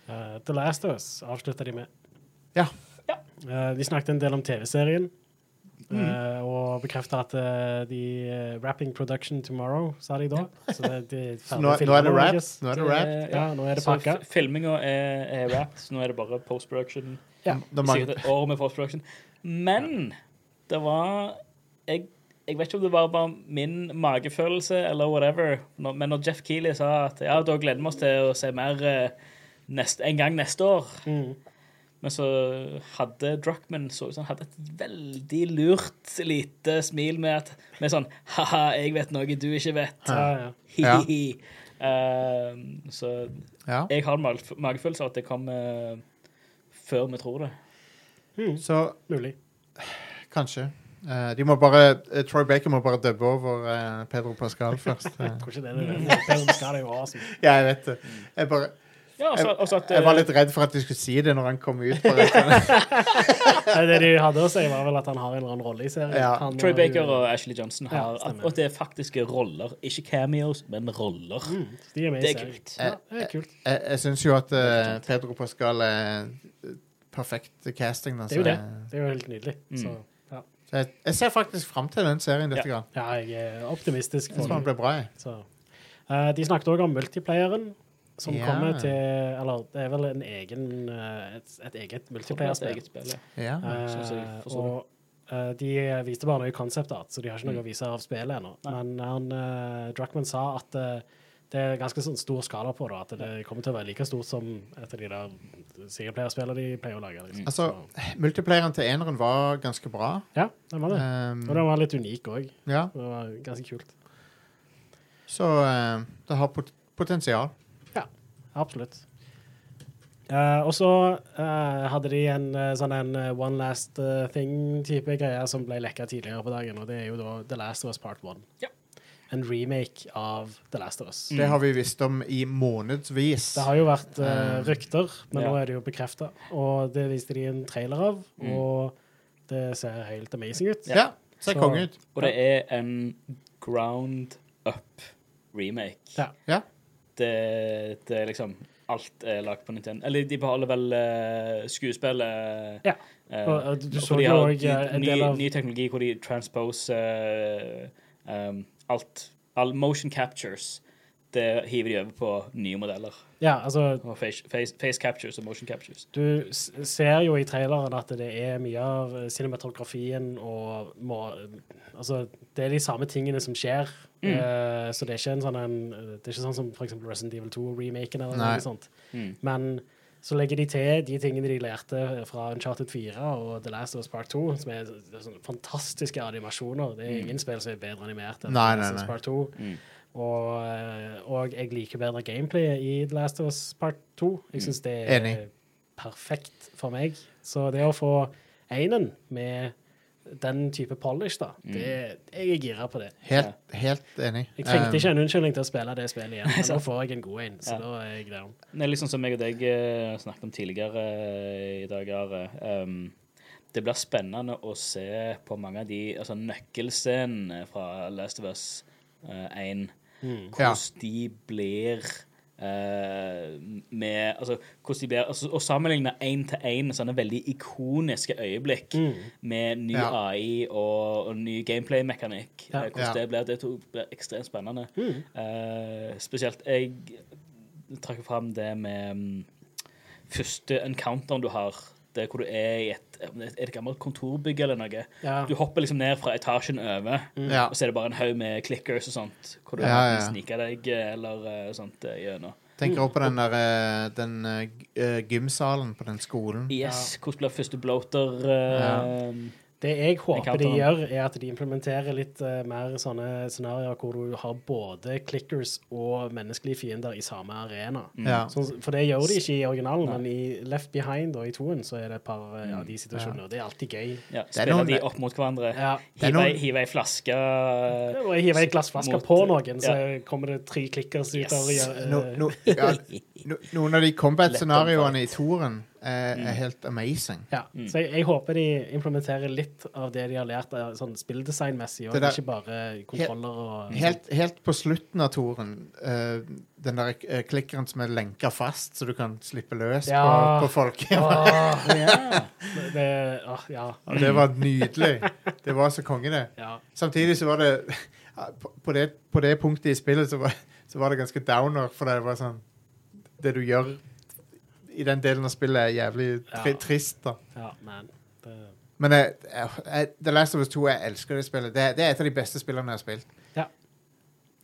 S2: Eh, The Last of Us avslutta de med.
S1: Ja.
S3: Ja.
S2: Eh, de snakket en del om TV-serien.
S1: Mm.
S2: eh, og bekrefta at eh, de eh, Wrapping production tomorrow, sa de da. Så det, de
S1: Så nå, nå er det rap. Nå er det rap.
S3: Eh,
S2: Ja, nå er det
S3: så
S2: pakka.
S3: f- Filminga er, er wrapped, så nå er det bare post-production.
S2: Ja.
S1: Det er
S3: Sikkert
S1: mange,
S3: et år med post-production. Men det var jeg, jeg vet ikke om det var bare min magefølelse eller whatever, når, men når Jeff Keeley sa at ja, da gleder vi oss til å se mer eh, nest, en gang neste år
S2: Mm.
S3: Men så hadde Druckman så ut som han hadde et veldig lurt lite smil med at med sånn Ha-ha, jeg vet noe du ikke vet.
S2: Ja, ja.
S3: Hi-hi-hi. Eh, så
S1: ja.
S3: jeg har en mag- magefølelse av at det kommer før vi tror det.
S2: Mm.
S1: Så
S2: Mulig.
S1: kanskje. Eh, de må bare, eh, Troy Baker må bare dubbe over eh, Pedro Pascal først.
S3: <laughs>
S1: eh.
S2: Tror ikke det er det. Film skal det jo være sånn.
S1: ja, jeg vet det. Jeg, bare,
S3: Ja,
S1: jeg,
S3: også, også at,
S1: jeg var
S3: eh,
S1: litt redd for at de skulle si det når han kom ut. Bare, sånn.
S2: Nei, Det de hadde å si, var vel at han har en eller annen rolle i serien.
S1: Ja.
S2: Han eh,
S3: Troy
S2: har jo-
S3: Baker og Ashley Johnson har
S2: Ja, stemmer.
S3: Og det er faktiske roller. Ikke cameos, men roller.
S2: Mm, så de er med i
S3: Det er
S2: serien.
S3: kult.
S2: Ja, det er kult.
S1: Jeg, jeg syns jo at eh, Pedro Pascal er eh, perfekt casting. Da,
S2: Det er jo
S1: så
S2: det.
S1: jeg-
S2: Det er jo helt nydelig.
S3: Mm.
S2: Så ja,
S1: Så jeg, jeg ser faktisk fram til den serien litt.
S3: Ja.
S1: Grann.
S2: ja jeg er optimistisk.
S1: Jeg tror
S2: For
S1: den
S2: det.
S1: blir bra. Jeg.
S2: Så. Eh, de snakket òg om multiplayeren, som
S1: Ja.
S2: kommer til Eller det er vel en egen, eh, et, et eget multiplayerspill.
S3: Eget spill, ja.
S1: Ja.
S2: Eh,
S3: sånn som jeg forstår Mm.
S2: og eh, de viste bare noe concept art, så de har ikke noe å vise av spillet ennå. Men han, eh, Druckmann sa at eh, det er ganske sånn stor skala på det, at det kommer til å være like stort som et av de der singleplayerspillene de pleier å lage. Liksom.
S1: Altså, multiplayeren til eneren var ganske bra.
S2: Så, ja, den var det.
S1: Ehm,
S2: Og den var litt unik òg.
S1: ja.
S2: Det var ganske kult. Mm.
S1: Så eh, det har pot potensial.
S2: Ja, absolutt. Eh, og så eh, hadde de en eh, sånn en eh, one last eh, thing-type greie som ble lekka tidligere på dagen, og det er jo da The Last of Us Part 1.
S3: Ja. Mm.
S2: En remake av The Last of Us.
S1: Det har vi visst om i månedsvis.
S2: Det har jo vært eh,
S1: Eh,
S2: rykter, men
S3: ja.
S2: nå er det jo bekrefta. Og det viste de en trailer av,
S3: Mm.
S2: og det ser helt amazing ut.
S1: Ja, ser
S2: Så-
S1: konge ut.
S3: Og det er en ground up remake.
S2: Ja.
S1: Ja.
S3: Det, det er liksom Alt er lagt på Nintendo. Eller de beholder vel eh, skuespillet
S2: Ja.
S3: eh,
S2: Og, eh, du så
S3: for de
S2: jo
S3: har
S2: også, eh, en
S3: ny,
S2: del av-
S3: ny teknologi hvor de transposer eh, um, alt. All motion captures. Det hiver de over på nye modeller.
S2: Ja, altså,
S3: Og face, face, face captures og motion captures.
S2: du s- ser jo i traileren at det er mye av eh, cinematografien og må, Altså, det er de samme tingene som skjer. Eh, så det er ikke en sånn en Det er ikke sånn som for eksempel Resident Evil 2-remaken eller
S1: Nei.
S2: noe sånt.
S3: Mm.
S2: Men så legger de til de tingene de lærte fra Uncharted 4 og The Last of Us Part 2, som er sånne fantastiske animasjoner. Det er ingen spill som er bedre animert enn
S1: Mm. Nei,
S2: The
S1: nei,
S2: Last of Us
S1: nei.
S2: Part 2. Og, eh, og jeg liker bedre gameplay i The Last of Us Part 2. Jeg syns det er
S1: Enig.
S2: perfekt for meg. Så det å få einen med den type polish, da, det, jeg er gira på det.
S1: Helt, helt enig.
S2: Jeg trengte
S1: Um,
S2: ikke en unnskyldning til å spille det
S1: <laughs>
S2: spillet igjen, men nå får jeg en god en, så
S3: Ja.
S2: da er jeg down.
S3: Det er liksom som jeg og deg eh, snakket om tidligere eh, i dag, Are. Um, det blir spennende å se på mange av de altså nøkkelscenene fra Last of Us eh, 1.
S1: Ja.
S3: Hvordan de blir eh, med altså, hvordan de blir, altså, Å sammenligne én til én sånne veldig ikoniske øyeblikk med ny
S1: Ja.
S3: AI og, og ny gameplay-mekanikk.
S2: Ja.
S3: eh, Hvordan
S1: Ja.
S3: det blir. Det tror jeg blir ekstremt spennende.
S2: Mm.
S3: Eh, spesielt jeg trakk fram det med mm, første encounteren du har. Det er hvor du er i et, om det er et gammelt kontorbygg eller noe.
S2: Ja.
S3: Du hopper liksom ned fra etasjen over,
S1: Ehm, Ja.
S3: og så er det bare en haug med clickers og sånt. Hvor du
S1: Ja,
S3: kan
S1: ja.
S3: snike deg eh, eller eh, sånt eh, gjennom.
S1: Tenker også på den der eh, den eh, g- eh, gymsalen på den skolen.
S3: Yes, hvordan blir første bloater? eh,
S2: Det jeg håper
S3: Encounter.
S2: de gjør, er at de implementerer litt eh, mer sånne scenarioer hvor du har både clickers og menneskelige fiender i samme arena.
S1: Ja.
S2: Sånn- for det gjør de ikke i originalen, men i Left Behind og i toen så er det et par eh, av de situasjoner. og Det er alltid gøy.
S3: Ja,
S1: Det er
S3: spiller
S1: noen-
S3: de opp mot hverandre.
S2: Ja.
S1: Det er
S3: Hive
S1: noen-
S3: ei- hive ei flaske eh,
S2: Og jeg hiver en glassflaske
S3: mot-
S2: på noen, så
S3: ja.
S2: kommer det tre clickers ut
S3: Yes.
S2: av eh,
S1: No, no, ja, no, noen av de combat-scenarioene i toren eh, er,
S2: Mm.
S1: er helt amazing.
S2: Ja, så jeg, jeg håper de implementerer litt av det de har lært av sånn spilldesignmessig, og
S1: Det der-
S2: ikke bare kontroller og
S1: Helt, helt på slutten av toren, eh, den der eh, klikkeren som er lenka fast, så du kan slippe løs
S2: Ja.
S1: på, på folk.
S2: Åh,
S3: ja.
S2: det, åh, ja,
S1: Og <laughs> det var nydelig. Det var så konge, det.
S2: ja.
S1: Samtidig så var det på- På det, på det punktet i spillet så var, så var det ganske downer, for det var sånn Det du gjør i den delen av spillet, er jævlig tri
S2: Ja.
S1: trist, da.
S2: Ja, man. Det,
S1: Men jeg, jeg, jeg- The Last of Us 2, jeg elsker det spillet. Det, er- det er et av de beste spillene jeg har spilt.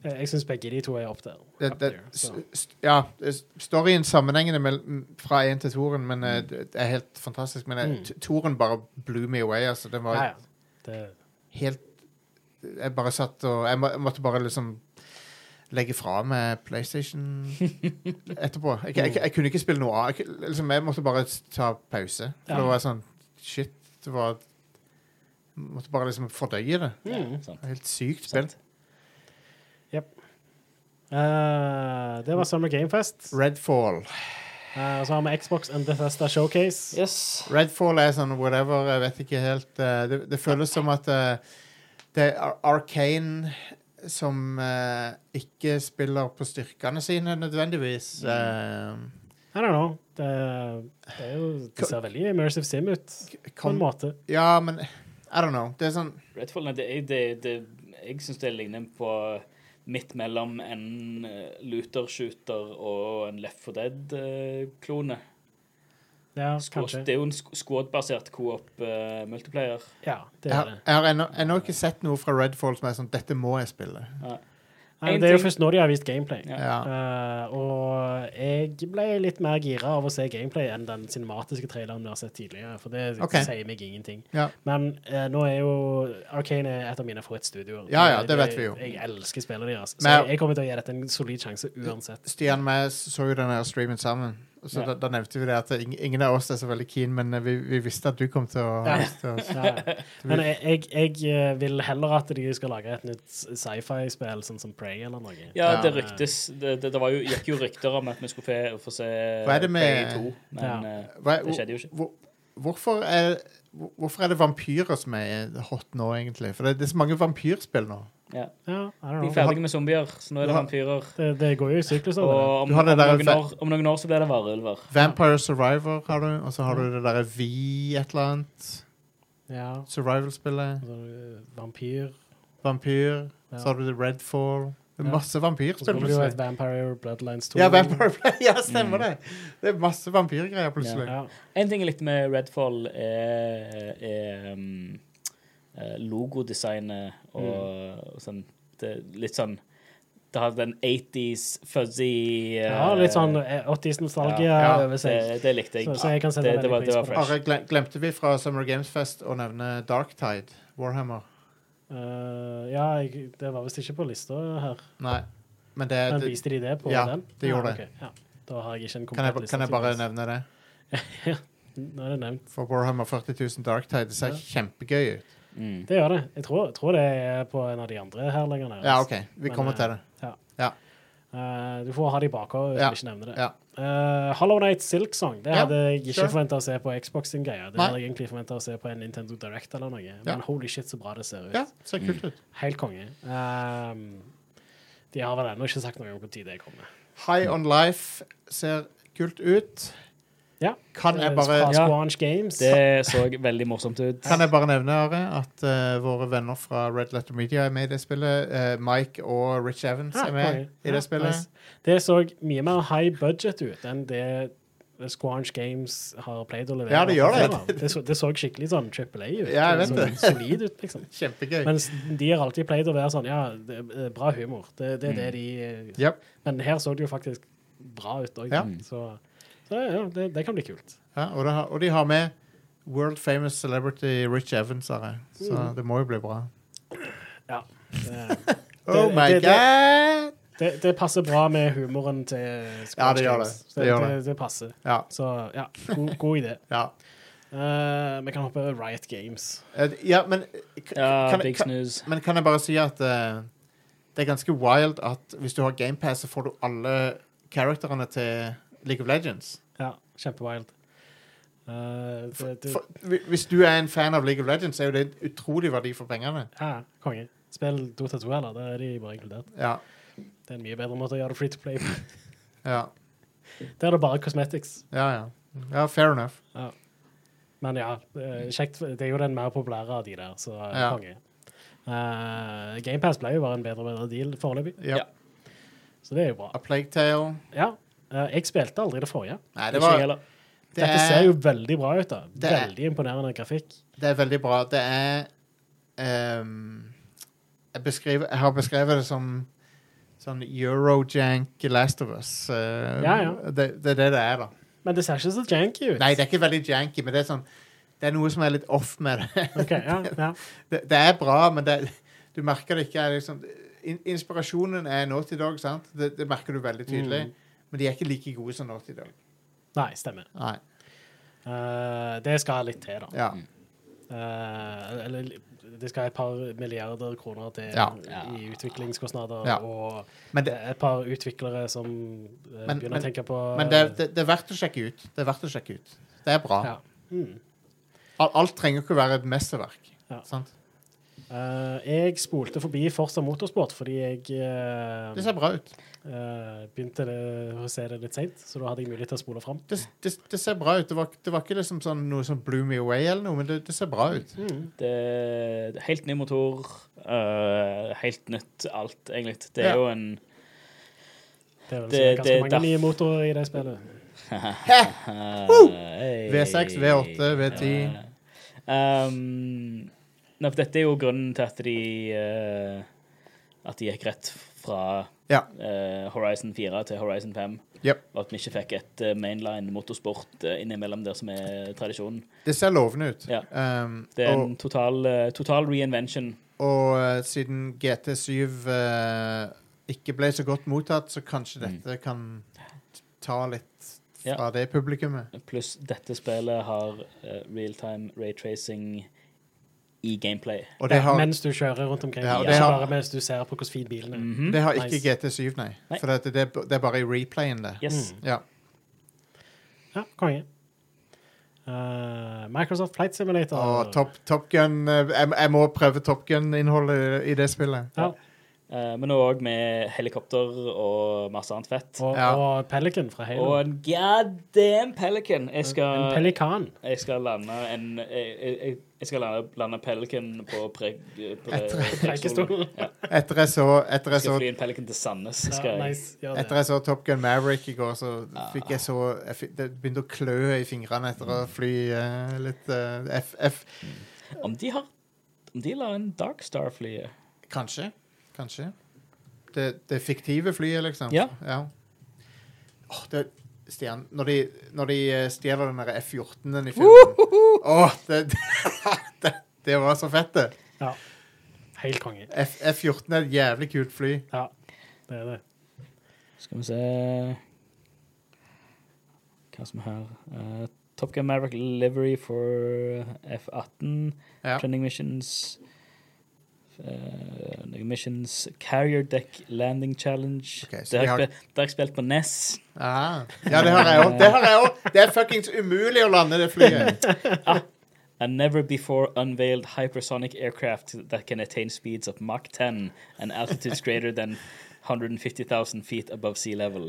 S2: jeg jeg syns begge de to er opp der.
S1: Det,
S2: Up
S1: det,
S2: there,
S1: s-
S2: så.
S1: s- ja, s- storyen sammenhengende mell- fra én til toren, men eh, det er helt fantastisk. Men eh,
S2: Mm.
S1: t- toren bare blew me away, altså. Den var
S2: Ja, ja. Det,
S1: helt Jeg bare satt og Jeg, må, jeg måtte bare liksom legge fra meg
S2: <laughs>
S1: PlayStation etterpå. Jeg, jeg, jeg kunne ikke spille noe av. Jeg, kunne- liksom, jeg måtte bare s- ta pause. For
S2: Ja.
S1: det var sånn Shit. Det var jeg Måtte bare liksom fordøye det. Det
S2: Mm.
S3: ja, sant.
S1: var Helt sykt spill.
S3: sant.
S2: Eh, det var Summer Gamefest.
S1: Redfall.
S2: Uh, så har vi Xbox and Bethesda Showcase.
S3: Yes.
S1: Redfall er sånn whatever, jeg vet ikke helt eh, det, det føles som at eh, det er Arcane som eh, ikke spiller på styrkene sine nødvendigvis.
S3: Mm.
S1: Eh,
S2: I don't know. Det, det, er jo, det ser veldig immersive sim ut, på
S1: eh,
S2: en
S1: kom,
S2: måte.
S1: Ja, men I don't know. Det er sånn
S3: Redfall, nei, det, er- det, det, jeg syns det ligner på midt mellom en eh, looter-shooter og en Left 4 Dead-klone.
S2: Ja, kanskje.
S3: Det er jo en sk- squad-basert eh, co-op-multiplayer.
S2: Ja, det
S1: Jeg
S2: er
S1: har,
S2: det.
S1: jeg har ennå, ennå ikke sett noe fra Redfall som er sånn Dette må jeg spille.
S2: Nei,
S3: En
S2: det er jo
S3: ting-
S2: først nå de har vist gameplay.
S3: Ja.
S1: Ja.
S2: Eh, og jeg ble litt mer gira av å se gameplay enn den cinematiske traileren vi har sett tidligere, for det
S1: Ok.
S2: sier meg ingenting.
S1: Ja.
S2: Men eh, nå er jo Arcane er et av mine favorittstudioer.
S1: Ja, ja, det vet vi jo.
S2: Jeg elsker spillene deres. Så
S1: Men-
S2: jeg, jeg kommer til å gi dette en solid sjanse uansett.
S1: Stian og jeg så jo den her streamen sammen, Så
S3: Ja.
S1: da, da nevnte vi det at ing- ingen av oss er så veldig keen, men eh, vi, vi visste at du kom til å
S2: Ja.
S1: lyst til å-
S2: Ja. Men jeg, jeg, jeg eh, vil heller at de skal lage et nytt sci-fi-spill, sånn som Prey eller noe.
S1: Ja.
S3: Ja, det ryktes Det, det, det var jo, gikk jo rykter om at vi skulle få, få se
S1: Hva er det med-
S3: Prey 2, men eh,
S1: Hva,
S3: det skjedde jo ikke.
S1: hvor- Hvorfor er, hvor- hvorfor er det vampyrer som er hot nå, egentlig? For det, det er så mange vampyrspill nå.
S3: ja.
S2: Ja, I
S3: De
S2: don't
S3: er
S2: know.
S3: ferdige med zombier, så nå er det
S1: Ja.
S3: vampyrer.
S2: Det, det går jo i sykluser.
S3: Og
S2: det.
S3: om,
S1: Du har
S3: om,
S1: det der-
S3: noen år, om noen år så blir det varulver.
S1: Vampire Survivor har du, og så har du det derre Vi et eller annet.
S2: Ja.
S1: Survival-spillet.
S2: Så, eh, Vampyr.
S1: Vampyr.
S2: Ja.
S1: Så har du The Redfall. Det er
S2: Ja.
S1: masse
S2: Og så
S1: vampyrspill.
S2: kommer det jo et
S1: plutselig.
S2: Vampire Bloodlines 2.
S1: Ja, Vampire Ja, stemmer det! Det er masse vampyrgreier plutselig.
S2: Mm. Ja.
S3: En ting jeg likte med Redfall, er, er um, eh, logodesignet og,
S2: Mm.
S3: og sånn det, er Litt sånn Det har den 80s fuzzy eh,
S2: ja, litt sånn eh, 80s-nostalgia
S1: Ja, ja,
S2: over
S3: det,
S2: seg.
S3: det likte jeg.
S2: Så- så jeg kan sette
S3: det,
S2: veldig
S3: det, var,
S2: pris
S3: det var
S2: på det.
S3: fresh.
S1: Are, glem- glemte vi fra Summer Games Fest å nevne Darktide? Warhammer?
S2: Eh, ja, jeg, det var visst ikke på lista her.
S1: Nei. Men det,
S2: Men
S1: det
S2: viste de det på
S1: ja,
S2: den?
S1: det gjorde
S2: ja,
S1: det.
S2: ok, Ja. Da har jeg ikke en
S1: kan,
S2: komplett
S1: jeg,
S2: liste.
S1: kan jeg bare nevne det?
S2: Nå er det nevnt.
S1: For Warhammer 40 000 Darktide det ser
S2: Ja.
S1: kjempegøy ut.
S3: Mm.
S2: Det gjør det. Jeg tror, tror det er på en av de andre her lenger nede.
S1: Ja, OK. Vi
S2: Men,
S1: kommer
S2: eh,
S1: til det.
S2: Eh, du får ha det i bakhodet hvis
S1: Ja,
S2: du ikke nevner det.
S1: ja.
S2: Eh, Hollow Night Silk Song det
S1: Ja,
S2: hadde jeg ikke
S1: sure.
S2: forventet forventa å se på Xbox sin greie. Det
S1: Nei.
S2: hadde jeg egentlig forventa å se på en Nintendo Direct eller noe. Men
S1: Ja.
S2: holy shit, så bra det ser ut.
S1: Ja, ser kult ut.
S2: Helt konge. Ehm, de har vel ennå ikke sagt noe om hvor tid det kommer.
S1: High on Life ser kult ut.
S2: Ja.
S1: Kan jeg
S2: Eh,
S1: bare
S2: Fra
S3: Ja.
S2: Squanch Games.
S3: Det så veldig morsomt ut.
S1: Kan jeg bare nevne Are, at eh, våre venner fra Red Letter Media er med i det spillet. Eh, Mike og Rich Evans
S2: Ja,
S1: er med
S2: konge.
S1: i
S2: Ah, Ja,
S1: det spillet.
S2: nice. Det så mye mer high budget ut enn det Squanch Games har pleid å levere.
S1: Ja, det gjør det.
S2: fra før av. Det så, det så skikkelig sånn Triple A ut.
S1: Ja, jeg vet
S2: så,
S1: det.
S2: Solid ut, liksom.
S1: Kjempegøy.
S2: Mens de har alltid pleid å være sånn Ja, det er bra humor. Det, det er det
S3: Mm.
S2: de
S1: Yep.
S2: Men her så det jo faktisk bra ut òg.
S1: Ja.
S2: Så, så det- ja, det, det kan bli kult.
S1: Ja, og, det har, og de har med world famous celebrity Rich Evans, Are. Så
S2: Mm.
S1: det må jo bli bra.
S2: Ja. Det,
S1: Oh
S2: det-
S1: my
S2: det-
S1: god!
S2: det, det passer bra med humoren til
S1: Ja, det gjør det.
S2: Squanch Games.
S1: Det gjør
S2: det,
S1: det.
S2: det passer.
S1: Ja.
S2: Så ja, god, god idé.
S1: ja.
S2: Eh, vi kan hoppe over Riot Games.
S1: Eh, ja men, k-
S3: Ja,
S1: kan,
S3: Big
S1: kan,
S3: Snooze.
S1: men kan jeg bare si at eh, det er ganske wild at hvis du har GamePass, så får du alle karakterene til League of Legends.
S2: Ja, kjempewild. Eh, det, det,
S1: For, hvi- hvis du er en fan av League of Legends, så er jo det en utrolig verdi for pengene.
S2: ja, konge. Spill Dota 2, eller? Da er de bare inkludert.
S1: Ja.
S2: Det er en mye bedre måte å gjøre det free to play på. <laughs>
S1: Ja,
S2: Der er det bare cosmetics.
S1: ja. ja. ja fair enough.
S2: Men ja, eh, kjekt. Det er jo den mer populære av de der, så eh,
S1: Ja.
S2: konge. Uh, GamePass ble jo bare en bedre og bedre deal foreløpig,
S1: Ja.
S3: Ja.
S2: så det er jo bra.
S1: A Plague Tale.
S2: Ja. Eh, jeg spilte aldri det forrige.
S1: Nei, det
S3: Ikke
S1: var
S3: jeg heller.
S1: det
S2: Dette
S1: er-
S2: ser jo veldig bra ut, da.
S1: Det er-
S2: Veldig imponerende grafikk.
S1: Det er veldig bra. Det er ehm, jeg, beskriver, jeg har beskrevet det som sånn Eurojank Last of Us. Eh,
S2: Ja, ja.
S1: Det, det er det det er, da.
S2: Men det ser ikke så janky ut.
S1: Nei, det er ikke veldig janky, men det er sånn Det er noe som er litt off med det.
S2: Ok, ja, ja.
S1: <laughs> Det, det er bra, men det, du merker det ikke. er Liksom, in, inspirasjonen er Naughty Dog, sant? Det, det merker du veldig tydelig.
S2: Mm.
S1: Men de er ikke like gode som Naughty Dog.
S2: Nei, stemmer.
S1: Nei.
S2: Eh, det skal litt til, da.
S1: Ja.
S2: Eh, eller det skal et par milliarder kroner til
S1: Ja.
S2: i utviklingskostnader.
S1: Ja.
S2: Og
S1: Men,
S2: det
S1: det,
S2: er et par utviklere som eh,
S1: Men- men-
S2: begynner å tenke på
S1: men det, det, det er verdt å sjekke ut. Det er verdt å sjekke ut. Det er bra.
S2: ja. mm.
S1: Al- Alt trenger ikke å være et mesterverk.
S2: Ja.
S1: Sant?
S2: Eh, jeg spolte forbi Forza Motorsport fordi jeg eh,
S1: Det ser bra ut.
S2: eh, begynte det, å se det litt seint, så da hadde jeg mulighet til å spole fram.
S1: Det, det, det ser bra ut. Det var, det var ikke liksom sånn, noe som blew me away, eller noe, men det, det ser bra ut.
S3: Det er helt ny motor. øh, helt nytt alt, egentlig. Det er
S1: Ja.
S3: jo en
S2: Det er vel
S3: Det-
S2: ganske
S3: det-
S2: mange
S3: derf-
S2: nye motorer i det spillet.
S3: Eh, Hey.
S1: V6, V8, V10.
S3: Ja. Um, nei, for dette er jo grunnen til at de øh, At de gikk rett fra
S1: Ja.
S3: øh, Horizon 4 til Horizon 5.
S1: Yep.
S3: Og at vi ikke fikk et øh, mainline motorsport øh, innimellom der som er tradisjonen.
S1: Det ser lovende ut.
S3: Ja.
S1: Um,
S3: Det er en
S1: og,
S3: total, øh, total reinvention.
S1: og eh, siden GT7 eh, ikke ble så godt mottatt, så kanskje dette kan ta litt
S3: Mm. Ja.
S1: fra det publikummet.
S3: Pluss dette spillet har eh, realtime raytracing i gameplay.
S1: Og det har,
S2: Mens du kjører rundt omkring.
S1: Ja, og det
S2: ikke
S1: har-
S2: bare mens du ser på hvordan fin bilen er.
S3: Mhm.
S1: det har ikke
S2: nice.
S1: GT7, nei.
S3: Nei.
S1: For det, det, det er bare i replayen, det.
S3: Yes.
S1: Ja.
S2: Ja, konge. Eh, Microsoft Flight Simulator.
S1: Og Top, top Gun eh, jeg, jeg må prøve Top Gun-innholdet i det spillet.
S2: Ja.
S3: Eh, men òg med helikopter og masse annet fett.
S2: Og,
S1: Ja.
S2: og Pelican fra Halo.
S3: Og en god damn pelican. Jeg
S2: En
S3: skal,
S2: pelikan.
S3: jeg skal lande en Jeg, jeg, jeg skal lande, lande pelican på preg...
S1: Jeg tror-
S3: Preikestolen. Ja.
S1: Etter jeg så, etter jeg
S3: Skal
S1: så,
S3: fly en pelican til Sandnes. Skal
S2: Ja,
S3: <laughs> jeg.
S2: nice. Gjør det.
S1: etter jeg så Top Gun Maverick i går, så
S3: Ah.
S1: fikk jeg så jeg fikk, Det begynte å klø i fingrene etter å
S3: Mm.
S1: fly eh, litt eh, F, F.
S3: Om de har Om de lar en Dark Star-fly
S1: Kanskje. Kanskje. Det, det fiktive flyet, liksom.
S3: Ja.
S1: Åh, det, Stian, når de, når de eh, stjeler den der F-14-en i filmen Åh, det, <laughs> det, det var så fett, det.
S2: Ja. Helt konge.
S1: F- F-14 er et jævlig kult fly.
S2: Ja, det er det.
S3: Skal vi se Hva som er her Eh, Top Gun Maverick Livery for eh, F-18.
S1: Ja.
S3: Trending missions. eh, noen missions Carrier Deck Landing Challenge.
S1: Ok, så
S3: det,
S1: de
S3: har
S1: har-
S3: jeg spilt, det har jeg spilt på E NES.
S1: Ah. Ja, det har jeg òg. Det har jeg også. Det er fuckings umulig å lande det flyet.
S3: A never before unveiled hypersonic aircraft that can attain speeds of Mach 10 and altitudes greater than 150,000 feet above sea level.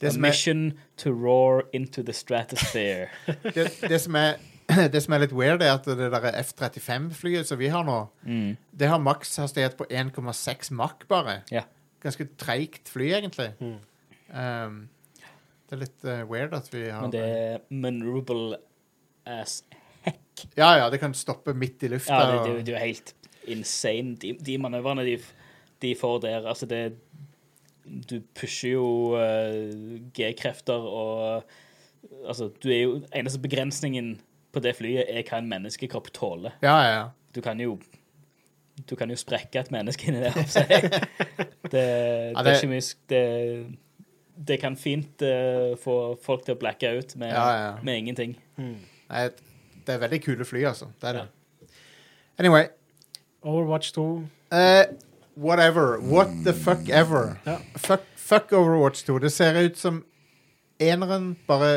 S1: Det
S3: A
S1: som er-
S3: mission to roar into the stratosphere.
S1: Det, det, som er, <clears throat> det som er litt weird, er at det der F-35-flyet som vi har nå,
S3: Mm.
S1: det har makshastighet på 1,6 Mach bare.
S3: Ja. Mm.
S1: Ganske treigt fly, egentlig. Um, det er litt eh, weird at vi har
S3: Men det er maneuverable as
S1: Ja, ja, det kan stoppe midt i lufta.
S3: Ja, det, det, er jo-
S1: og-
S3: det er jo helt insane. De, de manøvrene de, f- de får der, altså det Du pusher jo eh, G-krefter og Altså, du er jo Eneste begrensningen på det flyet er hva en menneskekropp tåler.
S1: ja, ja, ja.
S3: Du kan jo Du kan jo sprekke et menneske inni der, holdt jeg på å si. Det,
S1: Ja,
S3: det er
S1: det-
S3: ikke mye sk- det, det kan fint eh, få folk til å blacke ut med,
S1: Ja, ja.
S3: med ingenting.
S1: Nei, det er veldig kule fly, altså. Det er det. Anyway.
S2: Overwatch 2.
S1: Eh, whatever. What the fuck ever.
S2: Ja.
S1: Fuck, fuck Overwatch 2. Det ser ut som eneren bare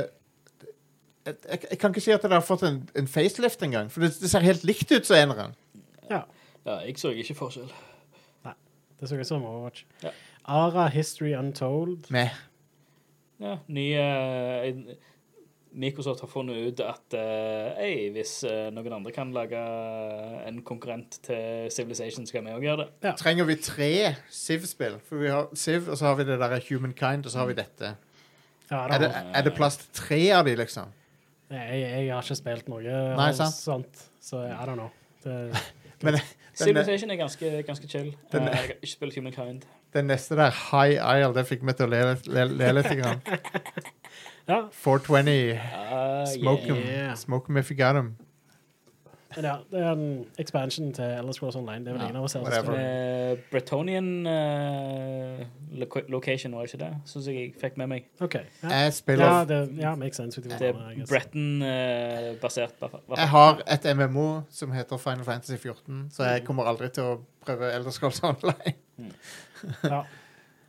S1: jeg, jeg, jeg kan ikke si at det har fått en, en facelift engang, for det, det ser helt likt ut som eneren.
S2: Ja.
S3: Ja, jeg så ikke forskjell.
S2: Det så ut som Overwatch.
S3: Ja.
S2: Ara History Untold.
S1: Meh.
S3: Ja, nye eh, Microsoft har funnet ut at eh, «Ei, hvis eh, noen andre kan lage eh, en konkurrent til Civilization, så kan vi òg gjøre det.
S1: Trenger vi tre Siv-spill? For vi har Siv, og så har vi det der Humankind, og så har vi dette.
S2: Ja,
S1: Er det,
S2: det,
S1: er det plass til tre av de, liksom?
S2: Nei, jeg, jeg har ikke spilt noe
S1: Nei,
S2: av
S1: sant.
S2: sånt, så I don't know. Det,
S1: Men den,
S3: Civilization er ganske, ganske chill.
S1: eh, Den-
S3: Eh, jeg har ikke spilt <laughs> Humankind.
S1: den neste der, High Isle, det fikk meg til å le, le, le litt.
S2: <laughs>
S1: grann.
S2: ja,
S1: 420.
S3: Uh,
S1: Smoke them.
S2: yeah.
S1: Smoke them if you got them.
S2: men ja, det er en expansion til Ellis Cross Online. Det er vel
S1: Ja,
S2: ingen av oss her som
S1: whatever.
S2: spiller.
S3: Bretonian eh, loca- location, var det ikke det? Syns jeg jeg fikk med meg.
S2: OK. Ja,
S1: Jeg spiller
S2: ja, det, ja makes sense. ut i
S3: Det
S2: hvordan, I
S3: er eh,
S2: guess.
S3: Bretton-basert.
S1: Jeg har et MMO som heter Final Fantasy 14, så jeg kommer aldri til å prøve Elder Scrolls <laughs> Online.
S2: Ja.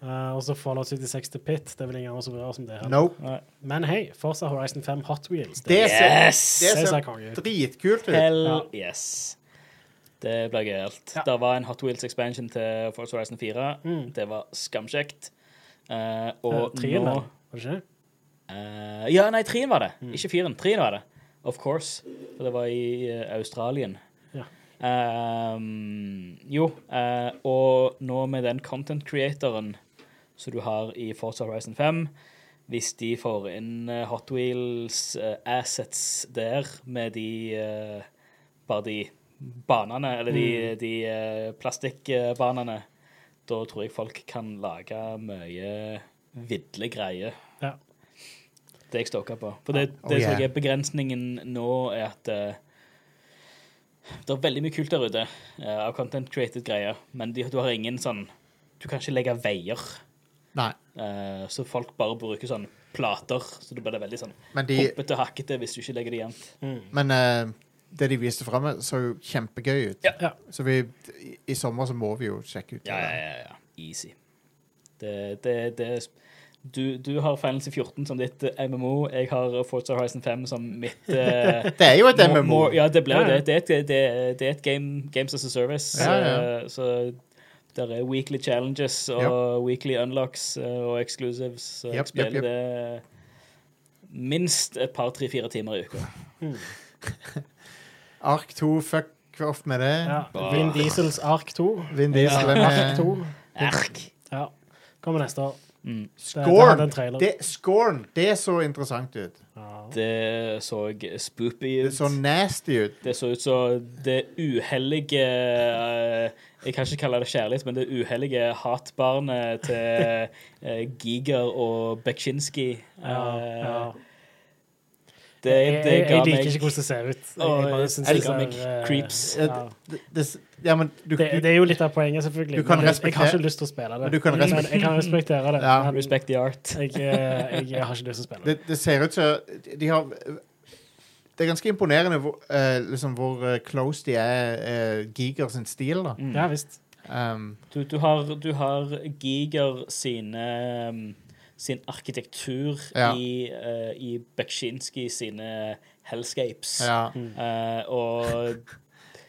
S2: Eh, og så Fallout 76 til Pit. Det er vel ingen av oss som rører som det her.
S1: Nope.
S2: Men hei, Forza Horizon 5 Hot Wheels.
S1: Det ser,
S3: Yes!
S1: det
S2: Det ser
S1: ser
S2: konge ut.
S1: dritkult ut.
S3: Hell yes. Det ble gøyalt.
S2: Ja.
S3: Det var en Hot Wheels expansion til Force Horizon 4.
S2: Mm.
S3: Det var skamkjekt. Eh,
S2: Og
S3: og
S2: Trien,
S3: nå
S2: var det ikke? det?
S3: eh, Ja, nei, trien var det. Ikke firen. Trien var det. Of course. For det var i eh, Australien.
S2: Ja.
S3: Ehm, jo, eh, og nå med den content creatoren som du har i Forza Horizon 5, hvis de får inn eh, Hot Wheels eh, assets der med de eh, bare de banene, eller de, de eh, plastikkbanene, da tror jeg folk kan lage mye vidle greier.
S2: Ja.
S3: Det er jeg stoker på. For det, det
S1: Oh,
S3: som
S1: yeah.
S3: er begrensningen nå, er at eh, det er veldig mye kult der ute eh, av content created greier, men de, du har ingen sånn Du kan ikke legge veier.
S1: Nei.
S3: Eh, så folk bare bruker sånn plater, så det blir veldig sånn
S1: Men, de,
S3: poppete og hakkete hvis du ikke legger det jevnt.
S1: men eh, det de viste fram, så jo kjempegøy ut.
S3: Ja.
S2: Ja.
S1: Så vi, i, i sommer så må vi jo sjekke ut.
S3: Ja,
S1: det
S3: ja,
S1: der.
S3: ja. ja. Easy. Det, det, det du, du har Final Fantasy 14 som ditt eh, MMO, jeg har Forza Horizon 5 som mitt eh,
S1: Det er jo et MMO.
S3: More- more- ja, det blir jo
S2: Ja, ja.
S3: det. Det er et, det, er- det er et game, Games as a Service.
S1: Ja, ja.
S3: eh, Så der er weekly challenges og weekly unlocks eh, og exclusives.
S1: Jep,
S3: Så jeg
S1: jep, jep.
S3: spiller det minst et par, tre, fire timer i uka.
S1: Ark 2, fuck off med det.
S2: Ja. Vin Diesels Ark 2.
S1: Vin Diesel eh, er
S2: Ark
S1: med.
S2: 2.
S3: Erk!
S2: Ja. Kommer neste år.
S3: Mm.
S2: Det, det hadde en
S1: Scorn!
S2: trailer.
S1: Det, Scorn! Det så interessant ut.
S2: Ja.
S3: Det så spoopy
S1: Det sånn-
S3: ut.
S1: så nasty ut.
S3: Det så ut som det uhellige eh, Jeg kan ikke kalle det kjærlighet, men det uhellige hatbarnet til eh, Giger og Eh, Bekshinski.
S2: Ja, ja.
S3: Det,
S2: jeg,
S3: det
S2: jeg,
S3: ga
S2: liker
S3: meg
S2: ikke hvordan det ser ut. Jeg,
S3: Åh,
S2: bare
S3: jeg
S2: synes
S3: elsker
S2: det ser,
S3: meg.
S2: eh,
S3: Creeps.
S2: Ja.
S1: Det, det, ja, men du,
S2: Det,
S1: du,
S2: det er jo litt av poenget, selvfølgelig.
S1: Du kan
S2: men jeg, jeg har
S1: respektere-
S2: ikke lyst til å spille det.
S1: Men du kan
S2: Men
S1: respektere-
S2: jeg kan respektere det.
S1: Ja.
S2: men
S3: Respect the art.
S2: Jeg, eh, jeg har ikke lyst til å spille det.
S1: det, det ser ut som De har Det er ganske imponerende hvor, eh, liksom hvor eh, close de er eh, Giger sin stil, da.
S2: Ja visst. Mm.
S1: Um,
S3: Du, du, har, du har Giger sine um, sin arkitektur
S1: Ja.
S3: i, uh, i Bekshinski sine hellscapes.
S1: ja.
S3: Eh,
S1: <laughs>
S3: og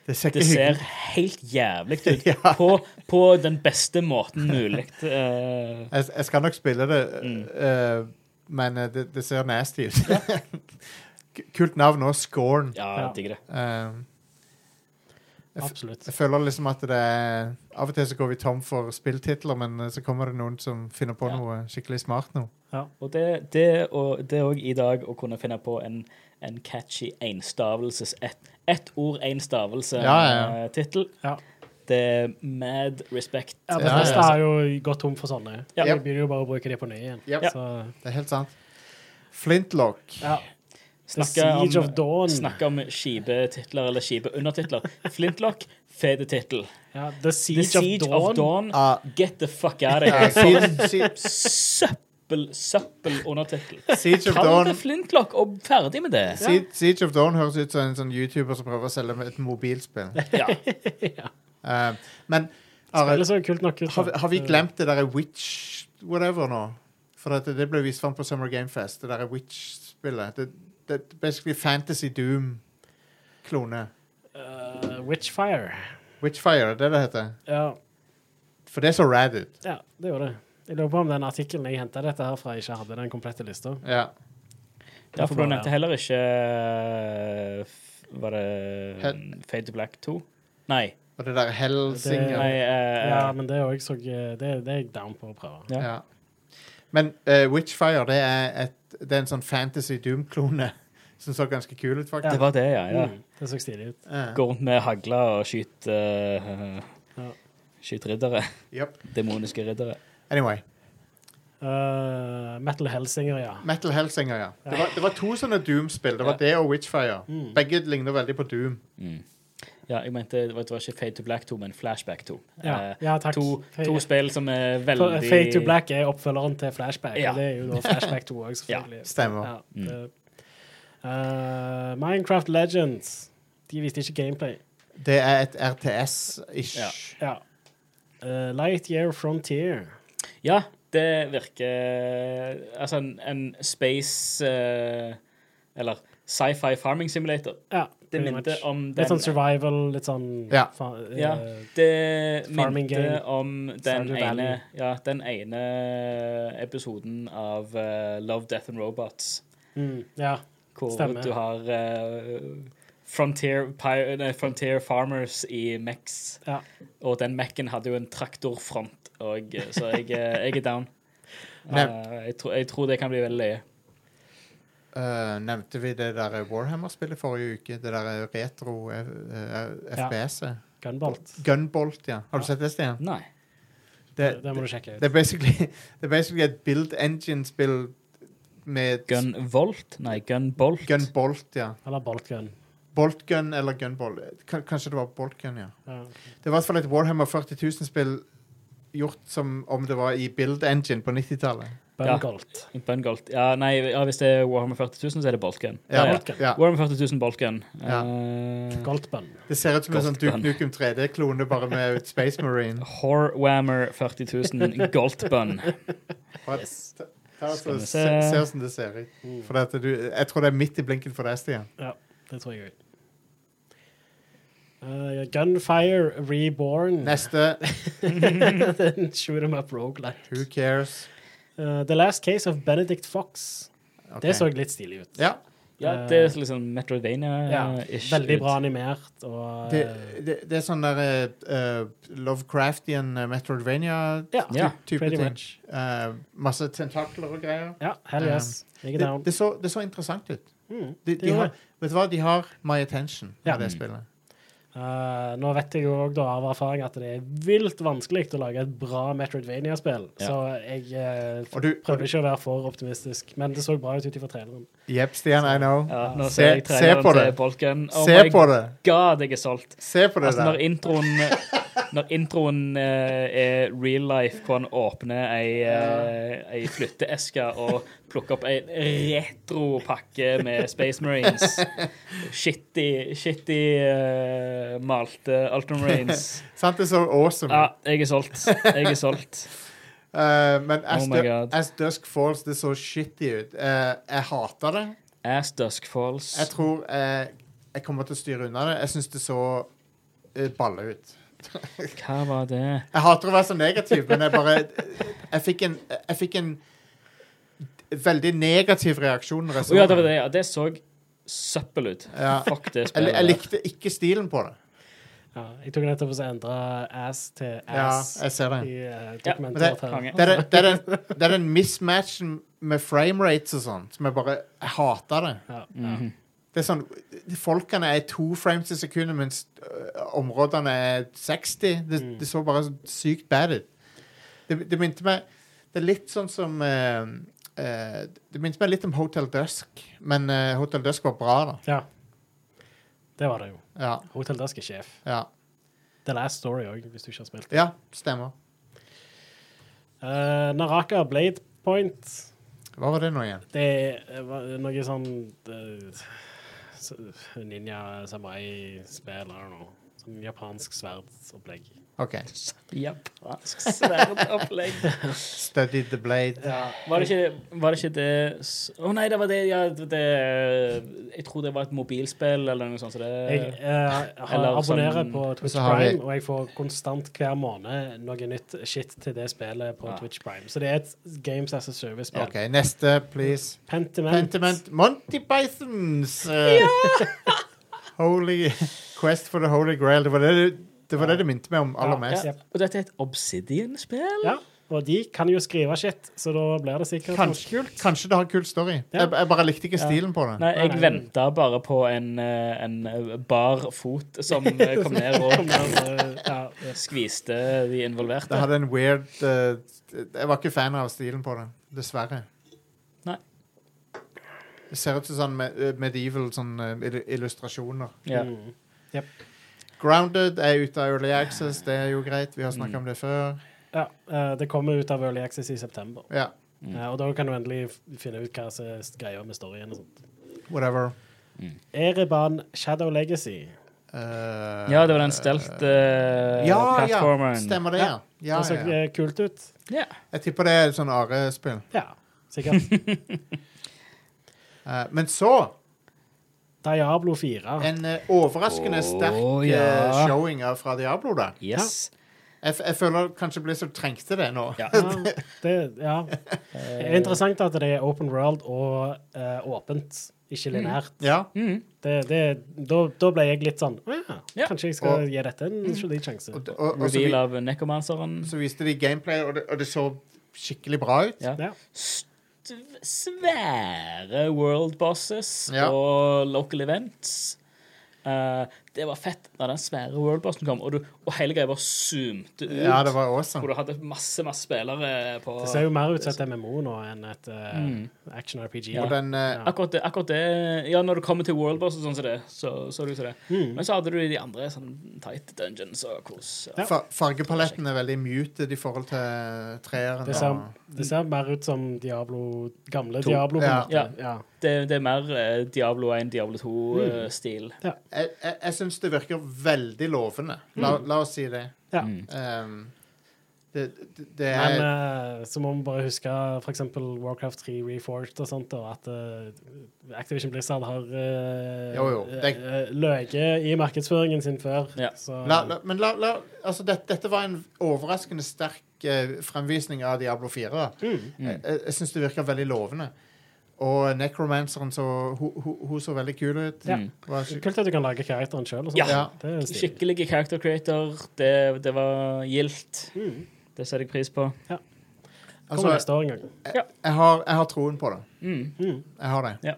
S1: Det ser ikke
S3: det ser
S1: hyggelig
S3: helt jævlig ut.
S1: Ja.
S3: På, på den beste måten mulig. Eh,
S1: jeg, jeg skal nok spille det,
S3: Mm.
S1: eh, men eh, det, det ser nasty <laughs> ut. Kult navn òg. Scorn.
S3: ja, jeg
S2: Ja.
S3: digger det.
S1: Um, Jeg f-
S2: Absolutt.
S1: jeg føler liksom at det er Av og til så går vi tom for spilltitler, men eh, så kommer det noen som finner på
S3: Ja.
S1: noe skikkelig smart nå.
S3: Og det, det, og, det er òg i dag å kunne finne på en, en catchy enstavelses Ett ett ord, én stavelse-tittel.
S1: Ja, ja,
S2: Ja.
S3: Det er mad respect.
S2: Ja,
S1: Ja, ja.
S2: Bethesda har jo gått tom for sånne.
S3: Ja.
S2: Jeg begynner jo bare å bruke de på ny igjen.
S1: Ja.
S2: Så,
S1: Det er helt sant. Flintlock.
S2: ja. The
S3: Snakke om-
S2: Siege of Dawn.
S3: Snakke om kjipe titler eller kjipe undertitler. Flintlock, fet tittel.
S2: Ja, The
S3: The
S2: Siege,
S3: Siege of Dawn,
S1: Ah,
S3: get the fuck out of
S1: ja,
S3: here.
S1: Siege, Siege-
S3: Søppel, søppel undertittel.
S1: Siege of
S3: Kall
S1: Dawn
S3: det Flintlock og ferdig med det.
S1: Siege, Siege of Dawn høres ut som en sånn YouTuber som prøver å selge med et mobilspill.
S3: Ja.
S1: Eh, men Are,
S2: Spillet så kult nok ut. da. Mm.
S1: har, vi- har vi glemt det derre Witch whatever nå? For at det, det ble vist fram på Summer Game Fest, det derre Witch-spillet. Det, det er basically Fantasy Doom-klone.
S2: Eh, Witchfire.
S1: Witchfire, det er det det heter.
S2: Ja,
S1: For det så rad ut.
S2: ja, det gjorde det. Jeg lurer på om den artikkelen jeg henta dette her fra, ikke hadde den komplette lista.
S1: Ja.
S3: Derfor du nevnte heller ikke eh, f- Var det
S1: Hel-
S3: um, Fade to Black 2? Nei.
S1: Og det der Hellsinger
S3: Nei eh,
S2: Ja, men det er jo jeg så eh, Det, det er jeg down på å prøve.
S3: Ja.
S1: ja. Men eh, Witchfire, det er, et, det er en sånn Fantasy Doom-klone <laughs> som så ganske kul ut,
S3: Det
S1: faktisk.
S3: var det, ja. ja.
S2: Mm, det så stilig ut.
S1: Ja.
S3: Gå rundt med hagla og skyte eh,
S2: Ja.
S3: Skyte riddere. <laughs>
S1: Yep.
S3: Demoniske riddere.
S1: Anyway.
S2: Eh, Metal Hellsinger, ja.
S1: Metal Hellsinger, ja. Det var, det var to sånne Doom-spill. Det var det og Witchfire. Begge ligner veldig på Doom.
S3: Mm. Ja, jeg mente det var, det var ikke Fade to Black 2, men Flashback 2.
S2: Ja,
S3: Eh,
S2: ja takk.
S3: to,
S2: Fade-
S3: to spill som er
S2: For,
S3: veldig
S2: Fade to Black er oppfølgeren til Flashback,
S3: Ja. Mm.
S2: og det er
S3: <laughs>
S2: jo da Flashback 2 òg, selvfølgelig.
S1: Stemmer.
S2: Ja, det- Eh, Minecraft Legends. De viste ikke gameplay.
S1: Det er et RTS-ish.
S3: Ja.
S2: Ja. Eh, Lightyear Frontier.
S3: Ja, det virker Altså en, en space eh, Eller sci-fi farming simulator.
S2: Ja,
S3: Det
S2: pretty
S3: minte
S2: much.
S3: om
S2: Litt
S3: den-
S2: sånn survival, litt sånn
S1: Ja.
S2: fa- eh,
S3: Ja, det
S2: Farming
S3: minte
S2: game.
S3: om den
S2: Stardew Valley.
S3: ene, ja, den ene episoden av eh, Love, Death and Robots,
S2: mm, ja.
S3: hvor
S2: Stemmer.
S3: du har eh, Frontier, pi- nei, Frontier Farmers i Mex,
S2: ja.
S3: og den Mekken hadde jo en traktorfront, og, eh, så jeg, eh, jeg er
S2: <laughs>
S3: down.
S1: Nev-
S3: Eh, jeg, tror, jeg tror det kan bli veldig løye.
S1: Eh, nevnte vi det der Warhammer-spillet forrige uke? Det der retro eh, eh,
S2: Ja.
S1: FPS-et?
S2: Gunbolt.
S1: Gunbolt, ja. Har du sett det, Stian?
S3: Nei.
S1: Det,
S2: Det må du sjekke ut.
S1: det, er, basically, <laughs> det er basically et build engine-spill med
S3: Gunvolt? Nei, Gunbolt.
S1: Gunbolt, ja.
S2: Eller Boltgun.
S1: Boltgun eller gunbolt. K kanskje det var boltgun, ja.
S2: Ja.
S1: Det er i hvert fall et Warhammer 40 000-spill gjort som om det var i Build Engine på 90-tallet.
S2: Bungolt.
S3: Bungolt. Ja, nei, ja, hvis det er Warhammer 40 000, så er det Boltgun.
S1: Ja,
S3: Ja, ja.
S2: Boltgun.
S1: ja.
S3: Warhammer 40 000 Boltgun.
S1: Ja. Mm.
S3: Eh,
S2: Goltbun.
S1: Det ser ut som en sånn Duke
S3: Goltgun.
S1: Nukem 3D-klone, bare med et Space Marine.
S3: Horwhammer 40 000 Goltbun.
S1: Og ta- ta og
S3: Skal vi
S1: se-
S3: se.
S1: Se hvordan det ser ut.
S2: Mm.
S1: For at du, jeg tror det er midt i blinken for deg, Stian.
S2: Ja, det tror jeg òg. Eh, Gunfire
S3: Mm.
S2: Reborn.
S3: <laughs>
S1: Neste.
S2: <laughs> Den shoot 'em up roguelike.
S1: Who cares?
S2: Eh, The Last Case of Benedict Fox.
S1: Ok.
S2: Det så litt stilig ut.
S1: Ja.
S3: <laughs> Ja, det er liksom Metroidvania-ish.
S2: Veldig bra animert og
S1: Det,
S2: eh,
S1: det, det er sånn der eh, eh, Lovecraftian eh, Metroidvania-type
S2: Ja,
S3: Ja,
S2: pretty
S1: ting.
S2: much.
S1: Eh, masse tentakler og greier.
S2: Ja, hell yes. Jeg er
S1: Det,
S2: down.
S1: det, så, det så interessant ut. De,
S2: Mm, det
S1: de
S2: gjorde
S1: har,
S2: jeg.
S1: vet du hva, de har my attention
S2: Ja.
S1: ja.
S3: Mm.
S1: det spillet.
S2: Eh, nå vet jeg jo òg av erfaring at det er vilt vanskelig å lage et bra Metroidvania-spill,
S3: Ja.
S2: så jeg eh,
S1: Og du- og
S2: prøvde
S1: du-
S2: ikke å være for optimistisk, men det så bra ut ut ifra traileren.
S1: Jepp, Stian, I know.
S3: Ja, nå
S1: Se-
S3: ser jeg
S1: se
S3: traileren
S1: på
S3: til
S1: det.
S3: Boltgun. Oh
S1: Se
S3: my
S1: på det!
S3: god, jeg er solgt.
S1: Se på det
S3: Altså, når
S1: der.
S3: introen
S1: <laughs>
S3: Når introen eh, er real life, hvor han åpner ei, eh, ei flytteeske og plukker opp ei retropakke med Space
S1: <laughs>
S3: Marines Shitty, shitty eh, malte Alton Marines.
S1: Sant, det er så awesome.
S3: Ja, jeg er solgt. Jeg er solgt. <laughs>
S1: Eh, men as,
S3: Oh my
S1: Du-
S3: God.
S1: as Dusk Falls, det så shitty ut. Eh, jeg hater det.
S3: Ass Dusk Falls.
S1: Jeg tror eh, jeg kommer til å styre unna det. Jeg syns det så eh, balle ut.
S3: Hva var det?
S1: Jeg hater å være så negativ, men jeg bare <laughs> Jeg fikk en, jeg fikk en veldig negativ reaksjon. når jeg
S3: Å
S1: så
S3: ja, det var
S1: det.
S3: det. Ja, det så søppel ut.
S1: Ja.
S3: Fuck det
S1: Jeg,
S3: spillet.
S1: jeg likte ikke stilen på det.
S2: Ja, jeg tok nettopp og så endra ass til
S1: Ja,
S2: ass
S1: jeg ser det.
S2: i eh,
S3: Ja,
S1: men det-
S2: dokumentet. her.
S3: Konge.
S1: Det er, det er, den, det er den mismatchen med framerates og sånn som jeg bare Jeg hater det.
S2: Ja.
S3: Mhm.
S1: Det er sånn, Folkene er to frames i sekundet, mens øh, områdene er 60. Det, det så bare så sykt bad ut. Det, det minte meg Det er litt sånn som øh, øh, Det minte meg litt om Hotel Dusk, men øh, Hotel Dusk var bra, da.
S2: ja. Det var det jo.
S1: Ja,
S2: Hotel Dusk er sjef.
S1: ja,
S2: The Last Story òg, hvis du ikke har spilt.
S1: ja stemmer.
S2: Eh, Naraka Blade Point.
S1: Hva var det nå igjen?
S2: Det er eh, noe sånn eh, s- ninja samurai-spill eller noe. Sånn japansk sverdsopplegg.
S1: OK.
S3: Japansk sverdopplegg.
S1: Studied the Blade.
S3: Var det ikke, var det, ikke det s- Å nei, det var det, ja, det, det eh, Jeg tror det var et mobilspill eller noe sånt. Så det,
S2: Jeg eh, har,
S3: Eller
S2: abonnerer
S3: sånn-
S2: på Twitch
S1: Så har vi-
S2: Prime, og jeg får konstant hver måned noe nytt shit til det spillet på
S3: Ja.
S2: Twitch Prime. Så det er et Games as a Service-spill.
S1: OK, neste, please.
S2: Pentiment.
S1: Pentiment Monty Pythons! eh, <laughs> Holy Quest for the Holy Grail. Det var det det, det, var det, det minte meg om aller mest.
S3: ja. Og dette er et Obsidian-spill?
S2: Ja, og de kan jo skrive shit, så da blir det sikkert noe
S1: Kanskje, kanskje det har en kul story.
S2: Ja.
S1: Jeg, jeg bare likte ikke stilen på det.
S3: Nei, jeg
S2: Nei.
S3: venta bare på en, eh, en bar fot som eh, kom
S2: <laughs>
S1: <laughs>
S3: ned
S2: Kom
S3: og
S2: der, eh, ja.
S3: skviste de involverte.
S1: Det hadde en weird eh, Jeg var ikke fan av stilen på det. Dessverre.
S3: Nei.
S1: Det ser ut som sånn me- eh, medieval sånn, eh, illu- illustrasjoner.
S3: Ja.
S2: Mm.
S1: Grounded er ute av Early Access, det er jo greit. Vi har snakka
S3: Mm.
S1: om det før.
S2: ja, eh, det kommer ut av Early Access i september.
S1: Ja,
S2: Eh, og da kan du endelig f- finne ut hva som er greia med storyen og sånt.
S1: whatever.
S2: Ereban Shadow Legacy.
S1: Eh,
S3: ja, det var den stelte eh,
S1: ja, ja,
S3: platformeren.
S1: stemmer det, ja. ja,
S3: Altså,
S2: det så
S1: ja, ja.
S2: eh, kult ut.
S3: Ja.
S1: Jeg tipper det er et sånn Are-spill.
S2: Ja,
S1: <laughs>
S2: sikkert.
S1: Eh, men så
S2: Diablo 4.
S1: en eh, overraskende
S3: Å,
S1: sterk eh,
S3: ja.
S1: showing av- fra Diablo, da.
S3: Yes.
S1: Jeg, f- jeg føler kanskje Blizzard trengte det nå.
S3: Ja.
S2: Ja, det, ja. det er interessant at det er open world og eh, åpent, ikke lineært.
S1: Ja.
S3: Mm.
S2: Det, det, da, da ble jeg litt sånn «Å ja,
S3: Ja.
S2: Kanskje jeg skal
S1: Og-
S2: gi dette en solid sjanse.
S1: Og, og, og så,
S3: Reveal
S1: vi,
S3: av Necromanceren.
S1: så viste de gameplay, og det, og det så skikkelig bra ut.
S3: Ja.
S2: Ja.
S3: st- svære world bosses
S1: Ja.
S3: og local events. Eh, Det var fett da den svære worldbusten kom, og, du, og hele greia bare zoomte ut.
S1: Ja, det var
S3: Hvor
S1: awesome.
S3: du hadde masse masse spillere på
S2: Det ser jo mer ut som et MMO nå enn et eh,
S3: Mm.
S2: action RPG.
S1: Og den eh,
S3: Akkurat det, akkurat det Ja, når du kommer til worldboss og sånn som det, så så det ut som det.
S2: Mm.
S3: Men så hadde du de andre sånn tight dungeons og kos.
S2: Ja.
S1: fa- fargepaletten er veldig muted i forhold til treeren.
S2: Det ser,
S1: og-
S2: det ser mer ut som Diablo, gamle
S3: To.
S2: Diablo. på en
S1: Ja.
S2: måte.
S3: Ja.
S2: Ja.
S3: Det, det er mer eh, Diablo 1, Diablo eh, 2-stil.
S1: Jeg, jeg, jeg syns det virker veldig lovende. La,
S3: Mm.
S1: la oss si det.
S2: Ja.
S1: Um, det, det, det er
S2: Men eh, så må vi bare huske f.eks. Warcraft 3 Reforged og sånt, og at eh, Activision Blizzard har eh,
S1: Jo, jo, det-
S2: eh, løyet i markedsføringen sin før.
S3: Ja.
S2: Så,
S1: la, la, Men la, la Altså, det, dette var en overraskende sterk eh, fremvisning av Diablo 4. Da.
S2: Hmm. Mm.
S1: Jeg, jeg- jeg syns det virker veldig lovende. Og Necromanceren så Hun hun- hun så veldig kul ut.
S2: Ja.
S1: Var skik-
S2: Kult at du kan lage karakteren sjøl.
S3: Ja.
S1: Ja.
S2: Det er stilig.
S3: Skikkelige character creator. Det, det var gildt. Det setter jeg pris på.
S2: Hmm. Kommer
S1: altså,
S2: neste år en gang. Hmm.
S1: jeg, har, jeg har troen på det.
S3: Mm.
S1: Jeg har det.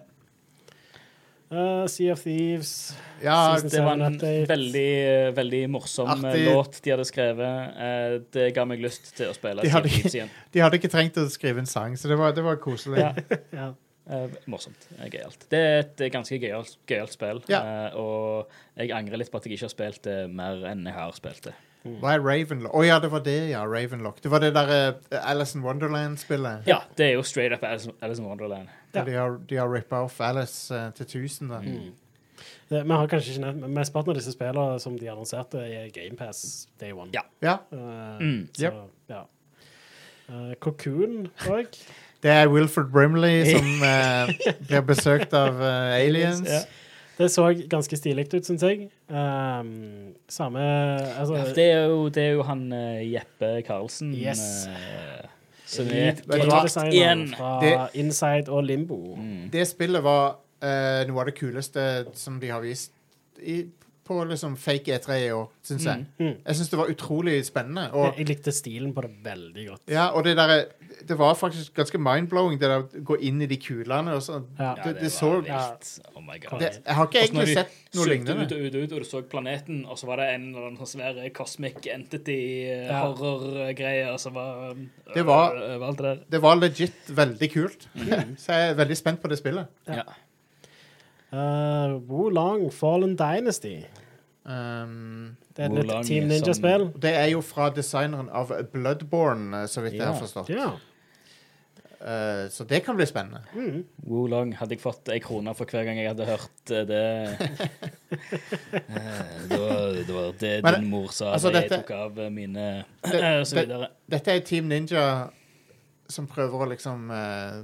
S2: Eh, sea of Thieves.
S1: Ja,
S2: Season
S3: Det var en
S2: Update.
S3: veldig, veldig morsom eh,
S1: Artig.
S3: låt de hadde skrevet. Eh, Det ga meg lyst til å spille
S1: De hadde-
S3: Sea of Thieves igjen.
S1: De hadde ikke trengt å skrive en sang, så det var, det var koselig.
S3: Ja.
S2: Ja.
S3: Eh, morsomt. Eh, Gøyalt. Det er et eh, ganske gøyalt, gøyalt spill.
S1: Ja.
S3: Eh, og jeg angrer litt på at jeg ikke har spilt det mer enn jeg har spilt det.
S2: Hmm.
S1: Hva er Ravenlock? Å ja, det var det, ja. Ravenlock. Det var det der eh, Alice in Wonderland-spillet.
S3: Ja, det er jo straight up Alice, Alice in Wonderland.
S1: Der de har, de har rippa off Alice eh, til 1000. Da.
S2: Mm. Hmm. Det, vi har kanskje ikke nevnt men Mesteparten av disse spillene som de annonserte, er GamePass Day One.
S3: Ja.
S1: Ja.
S2: Eh,
S3: Mm,
S2: så, ja. Eh, Cocoon òg.
S1: Det er Wilfred
S3: <laughs>
S1: Brimley som eh, blir besøkt av eh, aliens.
S3: Ja.
S2: Det så ganske stilig ut, syns jeg. Ehm, samme altså,
S3: Ja, Det er jo, det er jo han eh, Jeppe Karlsen
S2: Yes.
S3: eh, som er
S1: Vet du hva?
S3: dratt igjen. Mm.
S2: Lead-designeren fra
S1: Det-
S2: Inside og Limbo.
S1: Det spillet var eh, noe av det kuleste som de har vist i, på liksom fake E3 i år, syns jeg.
S3: Mm.
S1: Jeg syns det var utrolig spennende.
S2: Jeg,
S1: Og,
S2: jeg likte stilen på det veldig godt.
S1: ja, og det derre Det var faktisk ganske mind-blowing, det der å gå inn i de kulene og sånn.
S2: Ja.
S1: Det, det så
S3: var
S1: det,
S3: vilt. Oh my god.
S2: Det-
S1: Jeg har ikke
S3: Og så
S1: egentlig
S3: Altså, når de
S1: sett noe
S3: zoomte Ut
S1: lignende.
S3: og ut, og ut, og du så planeten, og så var det en eller annen sånn svær cosmic
S2: Ja.
S3: entity-horror-greie, og så var
S1: Det var-
S3: øh, var alt det der.
S1: Det var legit veldig kult.
S3: Mm.
S1: <laughs> Så jeg er veldig spent på det spillet.
S3: Ja.
S2: Uh, Wolong Fallen Dynasty.
S1: Um,
S2: Det er et
S3: Wolong
S2: nytt Team
S3: som-
S2: Ninja-spill.
S1: det er jo fra designeren av Bloodborne, eh, så vidt jeg
S3: Ja.
S1: har forstått.
S2: Ja.
S1: Eh, så det kan bli spennende.
S2: mm,
S3: Wolong hadde jeg fått ei krone for hver gang jeg hadde hørt eh, det.
S1: <laughs>
S3: Eh, det, var, det var det
S1: Men,
S3: din mor sa
S1: altså,
S3: da jeg
S1: dette-
S3: tok av eh, mine
S1: Det-
S3: og så
S1: det-
S3: videre.
S1: Dette er Team Ninja som prøver å liksom eh,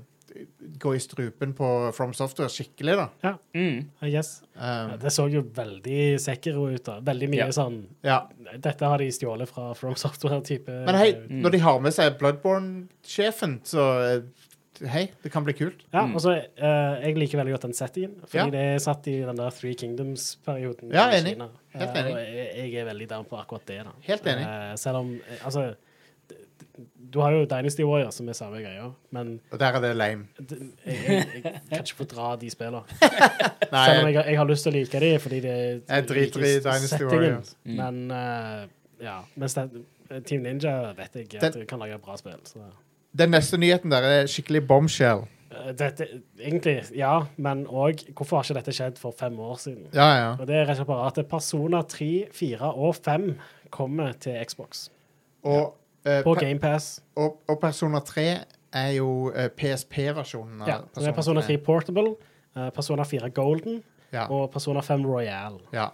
S1: gå i strupen på From Software skikkelig, da.
S3: Mm.
S2: I guess. Ja,
S1: Um,
S2: det så jo veldig Sekiro ut. da. Veldig mye
S3: Ja.
S2: sånn
S1: ja.
S2: Dette har de stjålet fra From Software-type.
S1: Men hei,
S2: Mm.
S1: når de har med seg Bloodborne-sjefen, så eh, Hei, det kan bli kult.
S2: Ja, og så eh, Jeg liker veldig godt den settingen,
S1: Mm. Ja.
S2: fordi det er satt i den der Three Kingdoms-perioden.
S1: Ja,
S2: i
S1: enig.
S2: Kina.
S1: Helt
S2: Eh,
S1: enig.
S2: og jeg, jeg er veldig down på akkurat det. da.
S1: Helt enig.
S2: Eh, selv om eh, Altså, d- d- du har jo Dynasty Warrior, som er samme greia, men
S1: Og der er det lame.
S2: d- jeg, jeg, jeg kan
S1: <laughs>
S2: ikke fordra de spillene.
S1: Nei,
S2: Selv om jeg, jeg har lyst til å like de, fordi det
S1: Jeg driter i Dynasty Warriors. Mm.
S2: Men eh, ja, mens det, Team Ninja vet jeg at
S1: Den-
S2: de kan lage bra spill. så...
S1: Den neste nyheten der er skikkelig bombshell.
S2: Eh, Dette, egentlig, ja, men òg Hvorfor har ikke dette skjedd for fem år siden?
S1: Ja, ja.
S2: Og det er rett og slett bare at Persona 3, 4 og 5 kommer til Xbox.
S1: Og, eh,
S2: På
S1: pe-
S2: GamePass.
S1: og, og Persona 3 er jo eh, PSP-versjonen av
S2: Ja, så det er Persona 3 Portable, eh, Persona 4 Golden
S1: Ja.
S2: og Persona 5 Royal.
S1: ja.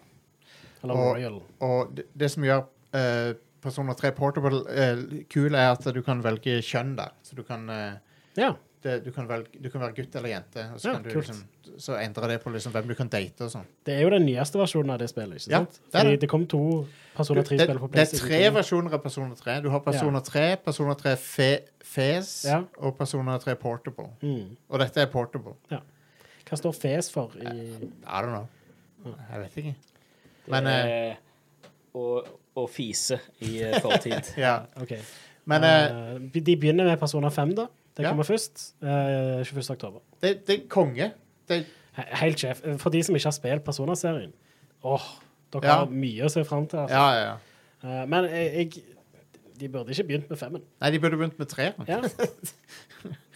S2: Eller
S1: Og-
S2: Royal.
S1: Og det, det som gjør eh, Persona 3 Portable eh, kul, er at du kan velge kjønn der. Så du kan, eh,
S2: Ja.
S1: det, du kan, velge, du kan være gutt eller jente, og så,
S2: Ja,
S1: kan du,
S2: kult.
S1: liksom, så endrer det på liksom, hvem du kan date og sånn.
S2: Det er jo den nyeste versjonen av det spillet, ikke
S1: Ja,
S2: sant?
S1: det er
S2: Fordi
S1: det.
S2: det kom to Persona
S1: Det, det
S2: 3-spill på
S1: er
S2: PlayStation.
S1: tre versjoner av Persona 3. Du har Persona 3, Persona 3 Fe, Fes
S2: Ja.
S1: og Persona 3 Portable.
S2: Mm.
S1: Og dette er Portable.
S2: Hva står FES for i
S1: I don't know. Jeg vet ikke.
S3: Det
S1: Men, eh,
S3: er- og, og Eh, fise i eh, fortid.
S1: <laughs> Ja.
S2: OK.
S1: Men eh,
S2: Eh, de begynner med Persona 5, da. Det
S1: ja.
S2: kommer først. eh, 21. oktober.
S1: det, det er konge. Det,
S2: He- Helt sjef. For de som ikke har spilt Persona-serien, åh, Dere
S1: Ja.
S2: har mye å se fram til. Altså.
S1: Ja, ja, ja.
S2: Eh, men jeg, jeg De burde ikke begynt med femmen.
S1: Nei, de burde begynt med treeren.
S2: Ja.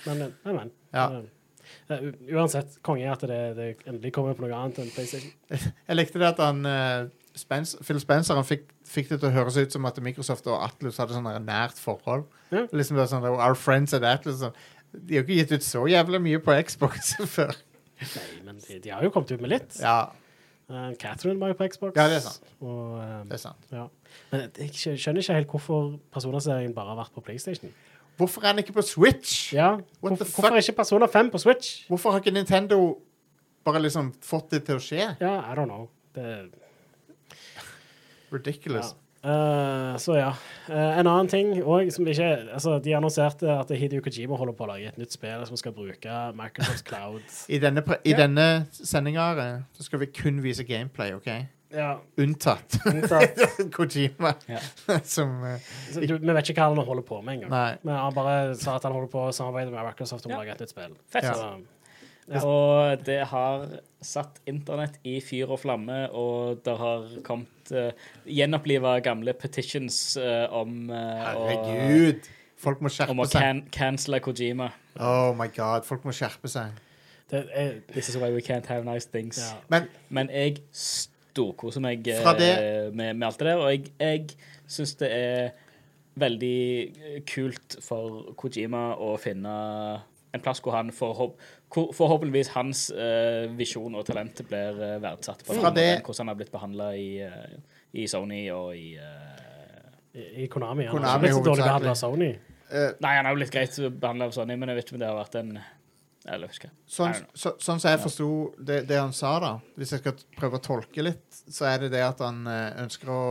S2: Men, men, men.
S1: Ja.
S2: Eh, u- uansett, konge at det, det endelig kommer på noe annet enn PlayStation.
S1: Jeg likte det at han eh, Spence, Phil Spencer han fikk, fikk det til å høres ut som at Microsoft og Atlus hadde sånn her nært forhold.
S2: Ja.
S1: Liksom det var sånn, Our friends at Atlus. Sånn. De har jo ikke gitt ut så jævlig mye på Xbox <laughs> før.
S2: Nei, men de, de har jo kommet ut med litt.
S1: Ja,
S2: Eh, Catherine var jo på Xbox.
S1: Ja, det er sant.
S2: Og, eh,
S1: det er sant.
S2: ja. Men jeg skjø- skjønner ikke helt hvorfor personserien bare har vært på PlayStation.
S1: Hvorfor er han ikke på Switch?
S2: Ja,
S1: What
S2: hvorf-
S1: the fuck?
S2: Hvorfor er ikke Persona 5 på Switch?
S1: Hvorfor har ikke Nintendo bare liksom fått det til å skje?
S2: Ja, I don't know. Det, ja.
S1: Ridiculous.
S2: Eh, så ja. Eh, en annen ting òg som ikke altså, De annonserte at Hideo Kojima holder på å lage et nytt spill som skal bruke Microsoft Cloud.
S1: <laughs> I denne, pre- i
S2: Ja.
S1: denne sendinga eh, så skal vi kun vise gameplay, OK?
S2: Ja,
S1: Unntatt <laughs>
S2: unntatt-
S1: Kojima,
S3: Ja.
S1: <laughs> som eh,
S2: så du, Vi vet ikke hva han holder på med engang.
S1: Nei.
S2: Men han bare sa at han holder på å samarbeide med Microsoft om
S3: Ja.
S2: å lage et nytt spill.
S3: Fett.
S2: Så, Ja.
S3: Og det har satt internett i fyr og flamme, og det har kommet uh, Gjenoppliva gamle petitions eh, om eh, å-
S1: Herregud! Folk må
S3: Om
S1: skjerpe
S3: å
S1: seg.
S3: can cancele Kojima.
S1: Oh my god, folk må skjerpe seg.
S2: det er,
S3: This is why we can't have nice things.
S2: ja.
S1: Men
S3: Men jeg storkoser meg eh,
S1: Fra det-
S3: med, med alt det der, og jeg, jeg syns det er veldig eh, kult for Kojima å finne en plass hvor han forhåp hvor forhåpentligvis hans eh, visjon og talent blir eh, verdsatt. På den
S1: Fra
S3: måten
S1: det-
S3: enn hvordan han har blitt behandla i, eh, i Sony og i eh,
S2: I, I Konami. Han
S1: Konami
S2: har blitt så dårlig
S1: hovedsakelig.
S2: behandla av Sony.
S1: eh,
S3: Nei, han har jo blitt greit behandla av Sony, men jeg vet ikke om det har vært en Eller jeg husker.
S1: sånn,
S3: I don't
S1: så, sånn som jeg forsto det, det han sa, da Hvis jeg skal prøve å tolke litt, så er det det at han eh, ønsker å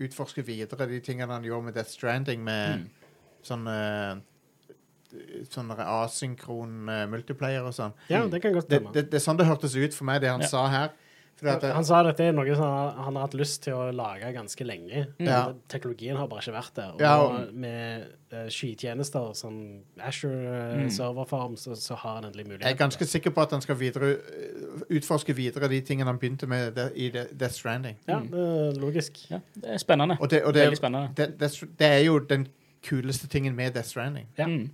S1: utforske videre de tingene han gjorde med Death Stranding, med sånn eh, Sånn der asynkron eh, multiplayer og sånn.
S2: Ja, det kan godt
S1: Det,
S2: stemme.
S1: det, det er sånn det hørtes ut for meg, det han
S3: Ja.
S1: sa her. Fordi at det,
S2: Han sa at dette er noe som han, han har hatt lyst til å lage ganske lenge.
S1: Mm. Ja.
S2: Men Teknologien har bare ikke vært der. Og
S1: Ja,
S2: nå med eh, skytjenester som Asher serverfarm, så, så har han endelig mulighet.
S1: eh, jeg Mm. er ganske sikker på at han skal videre, eh, utforske videre de tingene han begynte med det, i det- Death Stranding.
S2: Ja, det er logisk.
S3: Ja, det er spennende.
S1: Og det, og det,
S3: Veldig spennende.
S1: Det, det, det er jo den kuleste tingen med Death Stranding.
S2: Ja.
S3: Mm.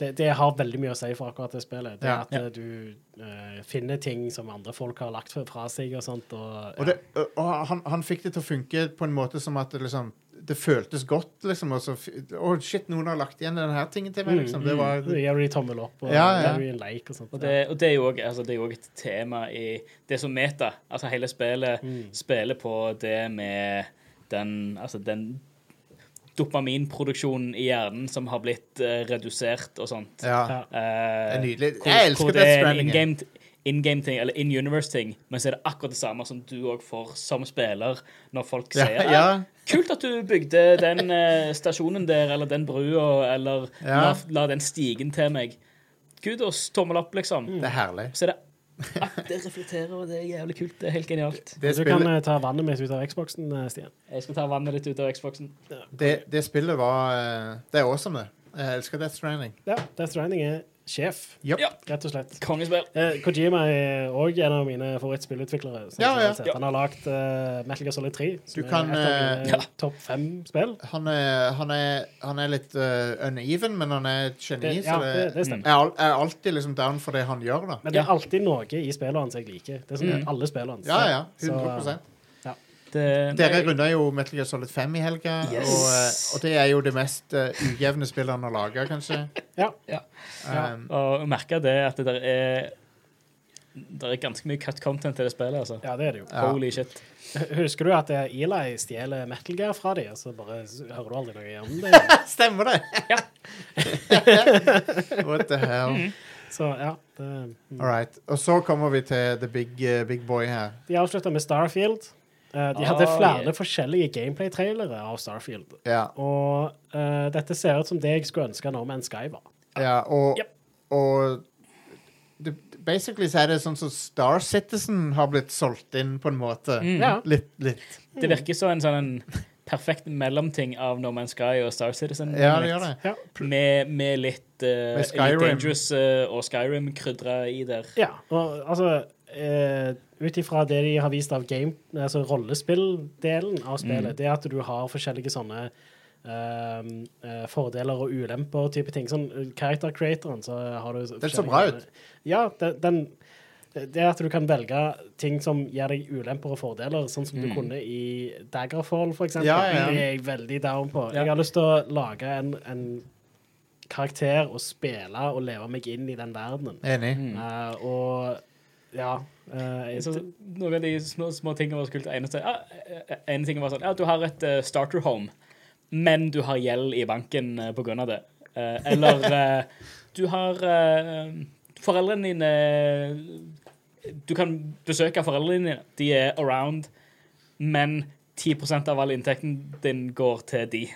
S2: Det, det har veldig mye å si for akkurat det spillet. Det
S1: Ja.
S2: at eh, du eh, finner ting som andre folk har lagt fra- fra seg og sånt. Og,
S1: Og, det, og- og han, han fikk det til å funke på en måte som at det, liksom, det føltes godt. liksom. og så f- Å, shit, noen har lagt igjen denne her tingen til meg. liksom. Det var,
S2: ja.
S3: Mm,
S2: Så gir du de tommel opp og
S1: Ja, ja.
S2: gir du en like og sånt.
S3: Og det, og det er jo òg altså, det er jo også et tema i Det er som meta. Altså hele spillet
S2: Mm.
S3: spiller på det med den Altså den dopaminproduksjonen i hjernen som har blitt eh, redusert og sånt.
S1: ja,
S2: Ja.
S3: Eh,
S1: Det er nydelig.
S3: hvor-
S1: Jeg elsker
S3: hvor
S1: Death
S3: det er en
S1: Stranding.
S3: in-game- In-game-ting, eller in universe-ting, men så er det akkurat det samme som du òg får som spiller når folk
S1: Ja,
S3: sier «Ah,
S1: ja.
S3: Kult at du bygde den eh, stasjonen der, eller den brua, eller
S1: Ja.
S3: la, la den stigen til meg. Gud, og s- tommel opp, liksom.
S1: Det er herlig.
S3: Så er det ah, Det reflekterer, og det er jævlig kult. Det er helt genialt.
S1: Det
S2: du kan
S1: spillet,
S2: eh, ta vannet mitt ut av Xboxen, eh, Stian.
S3: Jeg skal ta vannet ditt ut av Xboxen.
S1: det, det spillet var eh, Det er awesome, det. Jeg elsker Death Stranding.
S2: Ja, Death Stranding er sjef,
S1: Yep.
S3: Ja.
S2: rett og slett.
S3: Kongespill.
S2: Eh, Kojima er òg en av mine favorittspillutviklere. sånn som
S1: Ja,
S2: jeg
S1: ja.
S2: har sett. Han har lagd eh, Metal Gear Solid 3, som
S1: Du kan,
S2: er et av
S1: eh,
S2: mine
S3: ja.
S2: topp fem spill.
S1: Han, er, han, er, han er litt eh, uneven, men han er et geni.
S2: Det-
S1: så
S2: ja, det- det stemmer.
S1: jeg er al- jeg er alltid liksom down for det han gjør, da.
S2: Men det er alltid noe i spillene hans jeg liker. Det er sånn alle spillene hans.
S1: Mm. Ja, ja.
S2: Så,
S1: 100
S2: ja.
S3: Det,
S1: Dere runda jo Metal Gear Solid 5 i helga,
S3: Yes.
S1: og, eh, og det er jo det mest eh, ujevne spillet han har laga, kanskje.
S2: ja.
S3: ja.
S1: Um,
S3: Og merke det at det der er Det er ganske mye cut content til det spillet, altså.
S2: ja, det er det jo.
S1: Ja.
S3: Holy shit.
S2: Husker du at eh, Eli stjeler Metal Gear fra dem, og så bare s- hører du aldri noe om det?
S1: <laughs> Stemmer det? What the hell.
S2: Så ja. Det, mm.
S1: All right. Og så kommer vi til the big, eh, big boy her.
S2: de avslutta med Starfield. Eh, De hadde
S3: Ah,
S2: flere
S3: yeah.
S2: forskjellige gameplay-trailere av Starfield.
S1: Ja,
S2: Og eh, dette ser ut som det jeg skulle ønske No Man's Sky var.
S1: ja og,
S2: Yep.
S1: og det, Basically så er det sånn som Star Citizen har blitt solgt inn, på en måte.
S3: Mm.
S2: Ja.
S1: Litt, litt.
S3: Det virker som en sånn en perfekt mellomting av No Man's Sky og Star Citizen.
S1: Ja, det gjør det.
S2: Ja.
S3: Med, med litt,
S1: Med
S3: eh, litt
S1: Skyrim.
S3: Dangerous eh, og Skyrim krydra i der.
S2: ja. Og altså, eh, ut ifra det de har vist av game, altså rollespilldelen av
S1: Mm.
S2: spillet, det er at du har forskjellige sånne ehm, eh, fordeler og ulemper type ting. Sånn eh, character creatoren, så har du
S1: Den så
S2: forskjellige-
S1: bra ut.
S2: Ja, den, den det er at du kan velge ting som gir deg ulemper og fordeler, sånn som du kunne i Daggerfall, for
S1: Mm.
S2: eksempel.
S1: Ja, ja, ja.
S2: Det er jeg veldig down på.
S3: Ja.
S2: Jeg har lyst til å lage en, en karakter og spille og leve meg inn i den verdenen.
S1: Enig.
S2: Eh, og ja eh,
S3: Så, noen av de små, små tingene var så kult. Eneste, ja, eh, ene tingen var sånn Ja, du har et eh, starter home, men du har gjeld i banken eh, på grunn av det. Eh,
S2: <laughs>
S3: eller eh, du har eh, Foreldrene dine Du kan besøke foreldrene dine. De er around, men 10 av all inntekten din går til de.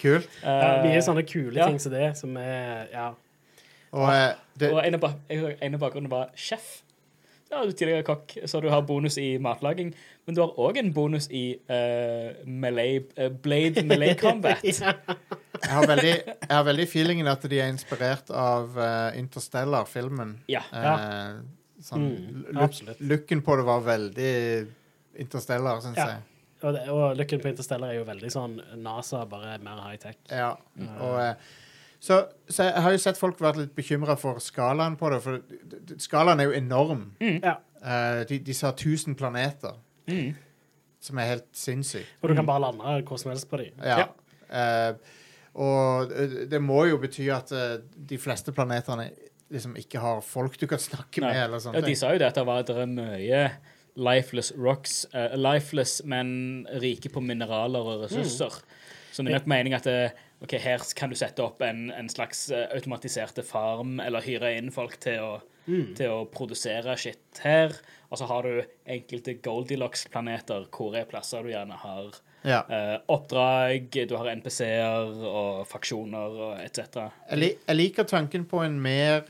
S1: Kult.
S2: ja,
S3: Eh,
S2: Mye sånne kule
S3: ja.
S2: ting som det, som er Ja.
S1: Og eh, det,
S3: Og en av, bak- jeg- en av bakgrunnene var sjef. Ja, du er tidligere kokk, så du har bonus i matlaging. Men du har òg en bonus i eh, melee, eh, Blade
S2: <laughs>
S3: Melee Combat.
S2: Mm.
S1: jeg, har veldig, jeg har veldig feelingen at de er inspirert av eh, Interstellar-filmen.
S3: Ja.
S1: Eh, sånn,
S2: Mm,
S1: look-
S2: absolutt.
S1: looken på det var veldig Interstellar, syns
S2: Ja.
S1: jeg.
S2: Og, det, og lykken på Interstellar er jo veldig sånn NASA, bare mer high-tech.
S1: Ja. Og, eh, så, så jeg har jo sett folk vært litt bekymra for skalaen på det, for d- d- skalaen er jo enorm.
S2: Ja.
S1: Eh, de, de sa 1000 planeter,
S3: Mm.
S1: som er helt sinnssykt.
S2: Og du kan bare lande hvor som helst på dem.
S1: Ja. Eh, og eh, det må jo bety at eh, de fleste planetene liksom ikke har folk du kan snakke
S3: Nei.
S1: med, eller sånne
S3: Ja, de
S1: ting.
S3: sa jo det at det var at det er mye lifeless rocks. eh, lifeless, men rike på mineraler og ressurser. Så det er nok mening at eh, ok, her kan du sette opp en, en slags eh, automatiserte farm, eller hyre inn folk til å,
S2: Mm.
S3: til å produsere shit her. Og så har du enkelte Goldilocks-planeter, hvor er plasser du gjerne har
S1: Ja.
S3: eh, oppdrag, du har NPC-er og faksjoner og etc.
S1: Jeg, li jeg liker tanken på en mer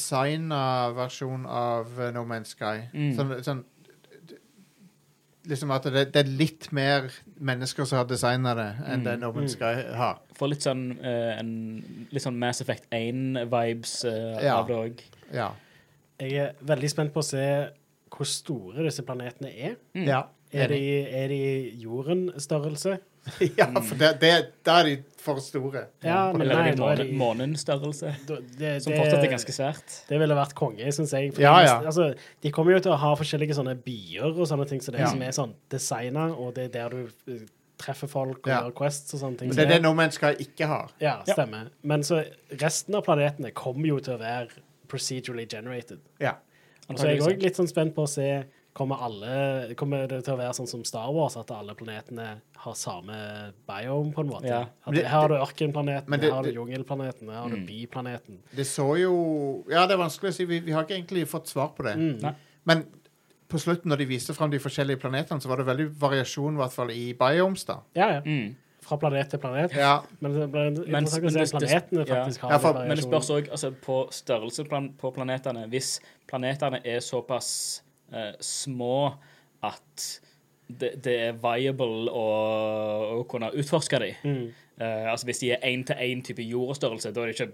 S1: designa versjon av eh, No Man's Sky.
S3: Mm.
S1: Sånn, sånn d- Liksom at det, det er litt mer mennesker som har designa det, enn det No Man's Sky har.
S3: Får litt sånn, eh, en, litt sånn Mass Effect 1-vibes eh,
S1: Ja.
S3: av det òg.
S1: Ja.
S2: Jeg er veldig spent på å se hvor store disse planetene er.
S1: ja.
S2: Er de,
S1: Enig.
S2: er de jorden-størrelse?
S1: <laughs> ja, for det, det, da er de for store.
S2: Ja, men
S3: Eller
S2: nei,
S3: er det
S2: nå er
S3: måne,
S2: de
S3: månenstørrelse,
S2: da- det,
S3: som
S2: det-
S3: fortsatt er ganske svært.
S2: Det ville vært konge, syns jeg. For
S1: Ja, ja.
S2: Altså, de kommer jo til å ha forskjellige sånne byer og sånne ting, så det
S1: Ja.
S2: som er sånn designa, og det er der du eh, treffer folk og
S1: Ja.
S2: gjør quests og sånne ting.
S1: Men
S2: så
S1: det er det No Man's Sky ikke har.
S2: ja, stemmer. Men så resten av planetene kommer jo til å være procedurally generated.
S1: Ja.
S2: Og så er jeg
S3: Antageligvis.
S2: òg litt sånn spent på å se Kommer, alle, kommer det til å være sånn som Star Wars, at alle planetene har samme biome, på en måte?
S3: Ja.
S2: At her har du ørkenplaneten,
S1: Men det-
S2: her har du
S1: det- Mm.
S2: jungelplaneten, her har du byplaneten.
S1: Det så jo Ja, det er vanskelig å si. Vi, vi har ikke egentlig fått svar på det.
S2: Mm.
S3: Nei.
S1: Men på slutten, når de viste fram de forskjellige planetene, så var det veldig variasjon i hvert fall i biomes, da.
S2: Ja, ja.
S3: Mm.
S2: Fra planet til planet.
S1: Ja.
S2: Men det blir
S3: Men-
S2: interessant
S3: men
S2: å
S3: det-
S2: se planetene
S3: ja.
S2: faktisk har
S1: Ja, for-
S2: litt
S3: Men det
S2: variasjon.
S3: spørs òg altså, på størrelse plan- på planetene. Hvis planetene er såpass eh, små at det, det er viable å, å kunne utforske dem
S2: Mm.
S3: altså Hvis de er én-til-én type jordstørrelse, da er det ikke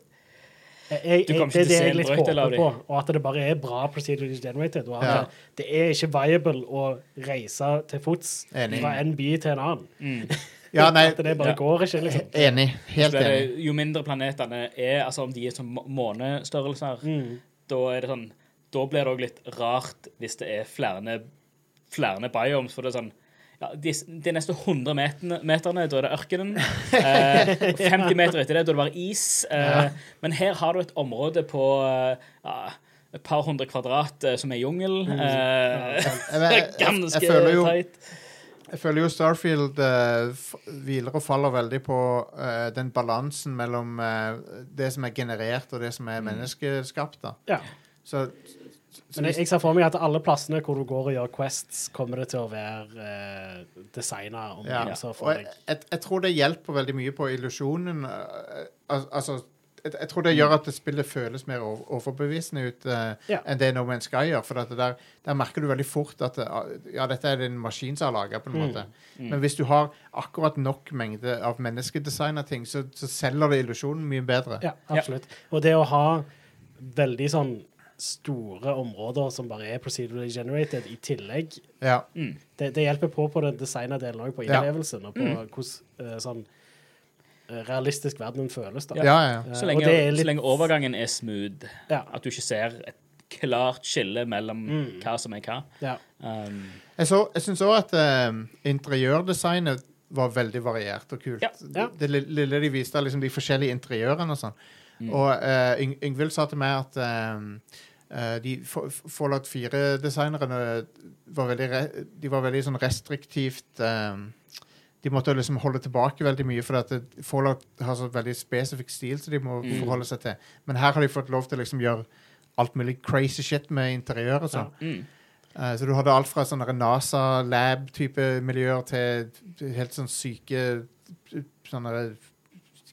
S2: Jeg, jeg,
S3: Du kommer
S2: det
S3: ikke
S2: er
S3: til
S2: det
S3: å se
S2: jeg
S3: en
S2: litt
S3: brøyte,
S2: håper
S3: Lauri.
S2: på, og at det bare er bra procedurally generated. Og at
S1: Ja.
S2: det, det er ikke viable å reise til fots
S1: Enig.
S2: fra en by til en annen.
S1: ja, nei,
S2: At det bare
S3: Ja.
S2: går ikke, liksom.
S1: enig. Helt
S3: så er
S1: enig.
S3: det, Jo mindre planetene er, altså om de er som må- månestørrelser,
S2: Mm.
S3: da er det sånn Da blir det òg litt rart hvis det er flere, flere biomes, for det er sånn ja, de, de neste 100 meterne, meterne, da er det ørkenen.
S1: <laughs>
S3: Eh, og 50 meter etter det, da er det bare is. Eh, Men her har du et område på eh, ja, et par hundre kvadrat eh, som er jungel. Eh,
S1: Jeg, jeg, Mm. jeg,
S3: <laughs> ganske
S1: jeg, føler jo,
S3: teit.
S1: jeg føler jo Starfield eh, f- hviler og faller veldig på eh, den balansen mellom eh, det som er generert, og det som
S2: Mm.
S1: er menneskeskapt. da.
S2: Ja.
S1: Så, så
S2: Men jeg, jeg ser for meg at alle plassene hvor du går og gjør quests, kommer det til å være eh, designa
S1: ja.
S2: omgivelser
S1: Og
S2: for
S1: jeg,
S2: deg.
S1: jeg, jeg tror det hjelper veldig mye på illusjonen. eh, al- altså, jeg, jeg tror det gjør at det spillet føles mer ov- overbevisende ut eh,
S2: Ja.
S1: enn det No Man's Sky gjør. For at det der, der merker du veldig fort at det, ja, dette er det en maskin som har laga.
S3: Mm.
S1: Men hvis du har akkurat nok mengde av menneskedesigna ting, så, så selger det illusjonen mye bedre.
S2: Ja, absolutt. Og det å ha veldig sånn store områder som bare er procedurally generated i tillegg.
S1: Ja.
S3: Mm.
S2: Det, det hjelper på på den designerdelen òg, på
S1: Ja.
S2: innlevelsen og på hvordan eh, sånn eh, realistisk verdenen føles. da.
S1: Ja, ja.
S2: Eh,
S1: ja.
S3: Så
S2: og
S3: lenge,
S2: det er
S3: så lenge overgangen er smooth,
S2: Ja.
S3: at du ikke ser et klart skille mellom
S1: Mm.
S3: hva som er hva.
S2: ja.
S3: Um,
S1: Jeg, så- jeg syns òg at eh, interiørdesignet var veldig variert og kult.
S3: Ja,
S2: ja.
S1: Det, li- lille de viste, er liksom de forskjellige interiørene og sånn. Og eh, Yng Yngvild sa til meg at eh, eh, de Fa- Fallout 4-designerne var veldig, re de var veldig sånn restriktivt eh, De måtte liksom holde tilbake veldig mye, for at det- Fallout har så veldig spesifikk stil som de må forholde seg til. Men her har de fått lov til å liksom gjøre alt mulig crazy shit med interiør og sånn.
S3: mm.
S1: Eh, Så du hadde alt fra sånne NASA-lab-type miljøer til helt sånn syke sånne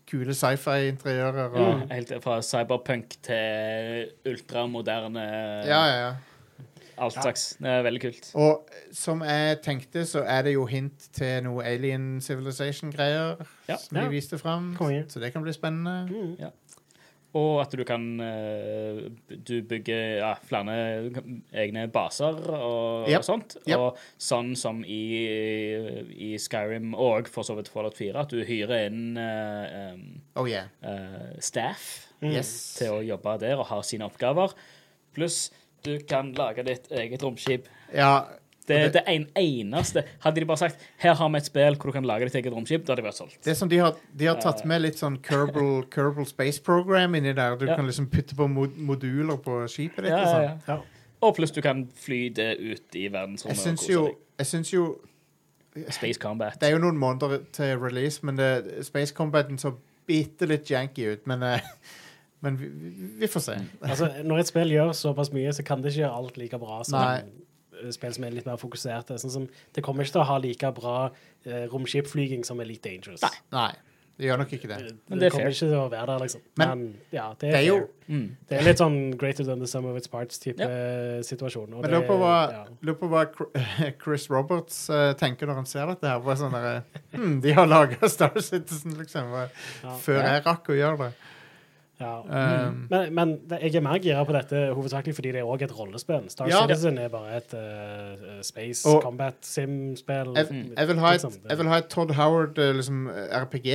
S1: kule sci-fi-interiører.
S3: ja,
S1: Og...
S3: helt fra cyberpunk til ultramoderne
S1: Ja, ja, ja.
S3: alt slags. Det er veldig kult.
S1: Og som jeg tenkte, så er det jo hint til noe Alien Civilization-greier
S3: Ja.
S1: som de
S2: Ja.
S1: viste fram.
S2: Konge.
S1: Så det kan bli spennende.
S2: Mm.
S3: Og at du kan eh, Du bygger ja, flere egne baser og,
S1: Yep.
S3: og sånt.
S1: Yep.
S3: Og sånn som i, i Skyrim og for så vidt Fallout 4, at du hyrer inn eh, em,
S1: Oh yeah.
S3: eh, staff
S1: Mm. Yes.
S3: til å jobbe der og har sine oppgaver. Pluss du kan lage ditt eget romskip.
S1: Ja,
S3: Det er
S1: Og
S3: det en eneste. Hadde de bare sagt her har vi et spill hvor du kan lage ditt eget romskip, da hadde jeg vært solgt.
S1: det er som de har, de har tatt med litt sånn Kerbal, Kerbal Space Program inni der. Du
S3: Ja.
S1: kan liksom putte på mod moduler på skipet ditt.
S3: Ja,
S1: og
S3: ja,
S1: sånn.
S3: ja.
S2: Ja.
S3: Og pluss du kan fly det ut i
S1: Jeg
S3: verdensrommet. og
S1: syns
S3: kose
S1: jo,
S3: deg.
S1: jeg syns jo
S3: Space Combat.
S1: Det er jo noen måneder til release, men det, Space Combaten så bitte litt janky ut. Men, eh, men vi, vi- vi får se.
S2: Altså, når et spill gjør såpass mye, så kan det ikke gjøre alt like bra som
S1: Nei.
S2: eh, spill som er litt mer fokuserte. Sånn som, det kommer ikke til å ha like bra eh, romskipflyging som Elite Dangerous.
S1: Nei, det gjør nok ikke det.
S2: Det,
S3: Men det er
S2: kommer ikke til å være der, liksom.
S1: Men-
S2: Men, ja, det er,
S1: Det er jo
S2: fair.
S3: Mm.
S2: Det er litt sånn greater than the sum of its parts-type
S3: Ja.
S2: situasjon. og
S1: Men
S2: det-
S1: lurer på hva,
S2: ja.
S1: lurer på hva Chr- <laughs> Chris Roberts eh, tenker når han ser dette her. Bare sånn der, eh, hm, De har laga Star Citizen, liksom. hva-
S2: Ja.
S1: Før
S3: Ja.
S1: jeg rakk å gjøre det.
S2: Ja.
S1: Um,
S2: Men, men det- jeg er mer gira på dette hovedsakelig fordi det er òg et rollespill. Star
S1: Ja.
S2: Citizen er bare et eh, space
S1: Og-
S2: combat sim-spill.
S1: jeg, jeg, vil ha et,
S2: liksom. Det-
S1: jeg vil ha et Todd Howard eh, liksom, eh, RPG.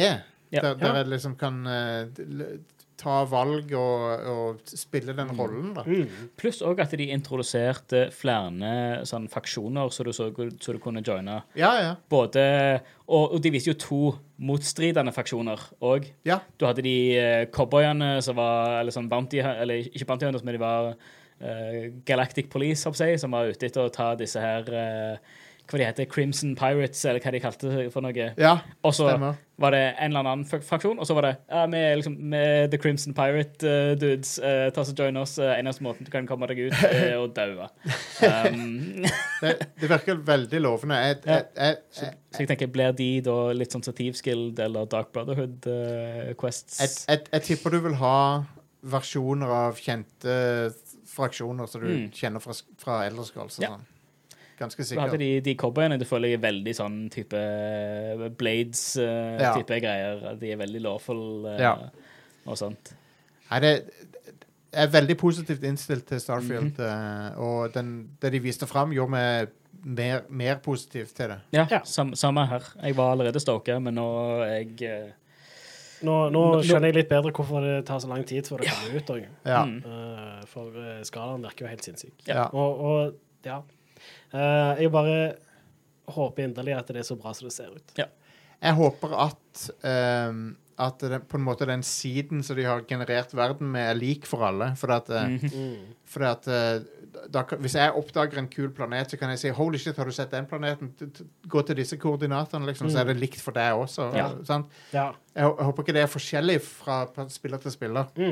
S3: Ja.
S1: Der, der
S2: Ja.
S1: jeg liksom kan eh, l- ta valg og, og spille den rollen, da.
S2: Mm.
S3: Pluss òg at de introduserte flere sånn, faksjoner som så du, så, så du kunne joine.
S1: Ja, ja.
S3: Både, og, og de viste jo to motstridende faksjoner òg.
S1: ja.
S3: Du hadde de eh, cowboyene som var Eller sånn bounty Eller ikke bounty hunters, men de var eh, Galactic Police, hopp jeg, som var ute etter å ta disse her eh, Hva de heter Crimson Pirates, eller hva de kalte det for noe.
S1: ja.
S3: Og så
S1: Stemmer.
S3: var det en eller annen fak- fraksjon, og så var det ja, vi er liksom med The Crimson Pirate eh, dudes. eh, ta oss og join oss. Uh, eneste måten du kan komme deg ut, eh, er å daue.
S1: <laughs>
S3: Um,
S1: det, det virker veldig lovende. Jeg, jeg, jeg, jeg,
S3: så jeg tenker, blir de da litt sånn som Thieves Guild eller Dark Brotherhood eh, quests?
S1: jeg, jeg, jeg tipper du vil ha versjoner av kjente fraksjoner som du
S3: Mm.
S1: kjenner fra, fra Elder Scrolls og
S3: Ja.
S1: Sånn. Ganske
S3: Så hadde
S1: sikkert.
S3: de, de cowboyene det føler jeg er veldig sånn type eh,
S1: Ja.
S3: Blades-type greier. De er veldig lawful eh,
S1: Ja.
S3: og sånt.
S1: Nei, det, jeg er veldig positivt innstilt til Starfield,
S3: Mhm.
S1: eh, og den, det de viste fram, gjorde meg mer, mer positiv til det.
S3: Ja,
S2: Ja.
S3: Sam, samme her. Jeg var allerede stoka, men nå er jeg eh,
S2: Nå, nå
S3: Nå- nå-
S2: skjønner jeg litt bedre hvorfor det tar så lang tid før det kommer ut. Og,
S1: Ja.
S3: Mm.
S2: eh, for eh, skalaen virker jo helt sinnssyk.
S1: Ja.
S2: Og, og ja. Eh, jeg bare håper inderlig at det er så bra som det
S1: <laughs>
S2: ser ut.
S1: Jeg håper at, ehm, at den, på en måte den siden som de har generert verden med, er lik for alle. For at eh,
S3: mhm.
S2: Mm.
S1: Fordi at eh, da, kan- Hvis jeg oppdager en kul planet, så kan jeg si Holy shit, har du sett den planeten? T- t- Gå til disse koordinatene, liksom, så er det likt for deg også.
S3: Ja.
S1: Sant?
S2: Ja.
S1: Jeg, hå- jeg håper ikke det er forskjellig fra pla- spiller til spiller.
S2: Mm.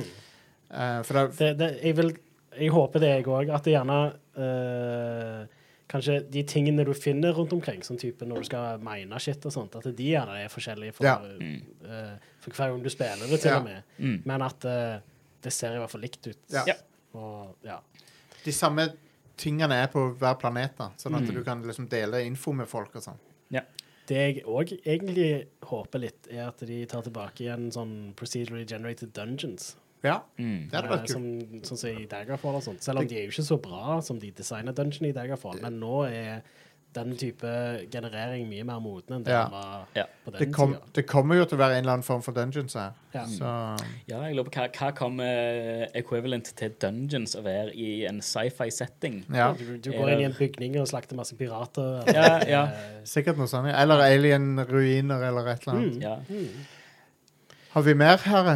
S1: Eh, for det,
S2: Det, det, jeg, vil, jeg håper det, jeg òg. At det gjerne eh, Kanskje de tingene du finner rundt omkring, som type når du skal mine shit og sånt, at de gjerne er forskjellige for,
S1: Ja.
S2: eh, for hver gang du spiller det, til
S1: Ja.
S2: og med.
S3: Mm.
S2: Men at eh, det ser i hvert fall likt ut.
S1: Ja.
S3: Ja.
S2: Og, ja.
S1: de samme tingene er på hver planet, da, sånn at
S3: Mm.
S1: du kan liksom dele info med folk og sånn.
S2: Det jeg òg egentlig håper litt, er at de tar tilbake igjen sånn procedurally generated dungeons.
S1: Ja,
S3: Mm.
S1: det hadde vært
S2: Eh,
S1: kult.
S2: Som, sånn som i Daggerfall og sånt. Selv om de er jo ikke så bra som de designer dungeon i Daggerfall, men nå er den type generering mye mer moden enn det
S1: Ja.
S2: den var
S3: Ja.
S2: på den Mm.
S1: Det, kom,
S2: tida.
S1: det kommer jo til å være en eller annen form for dungeons her.
S2: Ja.
S1: Så
S3: Ja, jeg lurer på hva, hva kommer equivalent til dungeons å være i en sci-fi setting?
S1: ja.
S2: Du, du går inn i en bygning og slakter masse pirater. eller-
S3: Ja, ja.
S2: eh,
S1: Sikkert noe sånt. ja. Eller alien-ruiner eller et eller annet.
S2: Mm.
S3: Ja.
S1: Har vi mer her?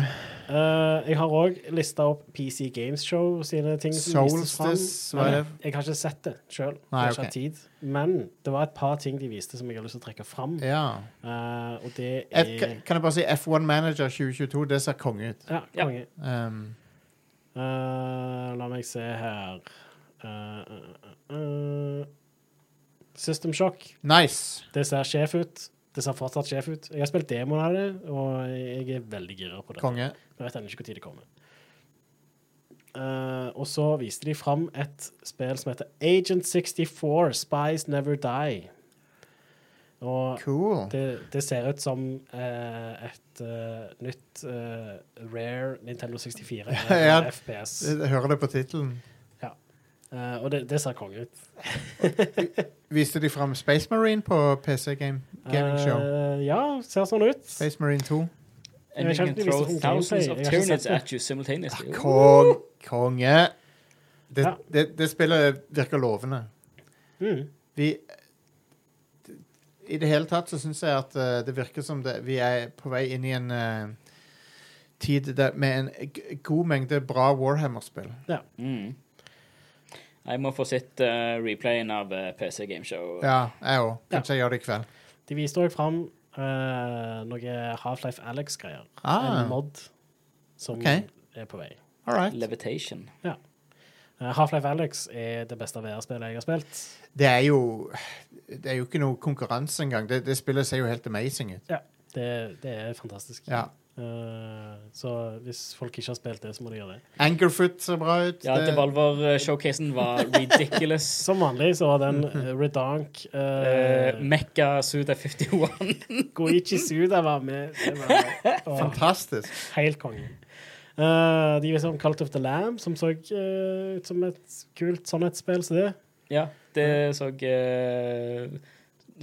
S2: Eh, jeg har òg lista opp PC Games Show sine ting. som vistes fram.
S1: Solstice, hva er det?
S2: Jeg har ikke sett det sjøl.
S1: Nei, ok.
S2: Men det var et par ting de viste som jeg har lyst til å trekke fram.
S1: Ja.
S2: Eh, og det er
S1: Et, kan- kan jeg bare si F1 Manager 2022? Det ser konge ut.
S2: Ja,
S3: Ja.
S2: konge.
S1: Um,
S2: Eh, la meg se her Eh, eh, eh, eh. System Shock.
S1: nice.
S2: Det ser sjef ut. Det ser fortsatt sjef ut. Jeg har spilt demoen av det, og jeg er veldig gira på det.
S1: Konge.
S2: Jeg vet ennå ikke når det kommer. Eh, og så viste de fram et spill som heter Agent 64 Spies Never Die. Og
S1: Cool.
S2: det, det ser ut som eh, et eh, nytt eh, rare Nintendo 64 eh,
S1: <laughs> Ja.
S2: FPS.
S1: Jeg hører det på tittelen.
S2: Eh, og det, det ser konge ut.
S1: Viste de fram Space Marine på PC Game Gaming Show?
S2: Eh, ja, ser sånn ut.
S1: Space Marine 2.
S3: And you
S2: Jeg har
S3: can
S2: ikke
S3: throw
S2: vist det på
S3: thousands
S2: gameplay.
S3: of
S2: Jeg har ikke
S3: turnips
S2: sett det.
S3: at you simultaneously.
S1: Kong, konge. Det,
S2: Ja.
S1: det, det spillet virker lovende.
S2: Mm.
S1: Vi I det hele tatt så syns jeg at eh, det virker som det, vi er på vei inn i en eh, tid der, med en g god mengde bra Warhammer-spill.
S3: Mm. Jeg må få sett eh, replayen av eh, PC Gameshow.
S1: Ja, jeg òg. Kanskje jeg gjør det i kveld.
S2: De viste òg fram eh, noe Half-Life Alex-greier.
S1: Ah.
S2: En mod som
S1: Ok.
S2: er på vei.
S1: All right.
S3: Levitation.
S2: Eh, Half-Life Alex er det beste VR-spillet jeg har spilt.
S1: Det er jo Det er jo ikke noe konkurranse engang. Det, det spillet ser jo helt amazing ut.
S2: Det, det er fantastisk.
S1: Ja.
S2: Eh, så hvis folk ikke har spilt det, så må de gjøre det.
S1: Angerfoot ser bra ut.
S3: Ja,
S1: Det-
S3: Devolver-showcasen eh,
S1: <laughs>
S3: var ridiculous.
S2: Som vanlig så var den
S1: Mhm.
S2: eh, Redank eh,
S3: Eh, Mekka Suda 51.
S2: Goichi Suda var med. Det var
S1: <laughs>
S2: åh,
S1: Fantastisk.
S2: helt konge. Eh, de viste om Cult of the Lamb, som så eh, ut som et kult sannhetsspill som det.
S3: <laughs> ja, det så eh,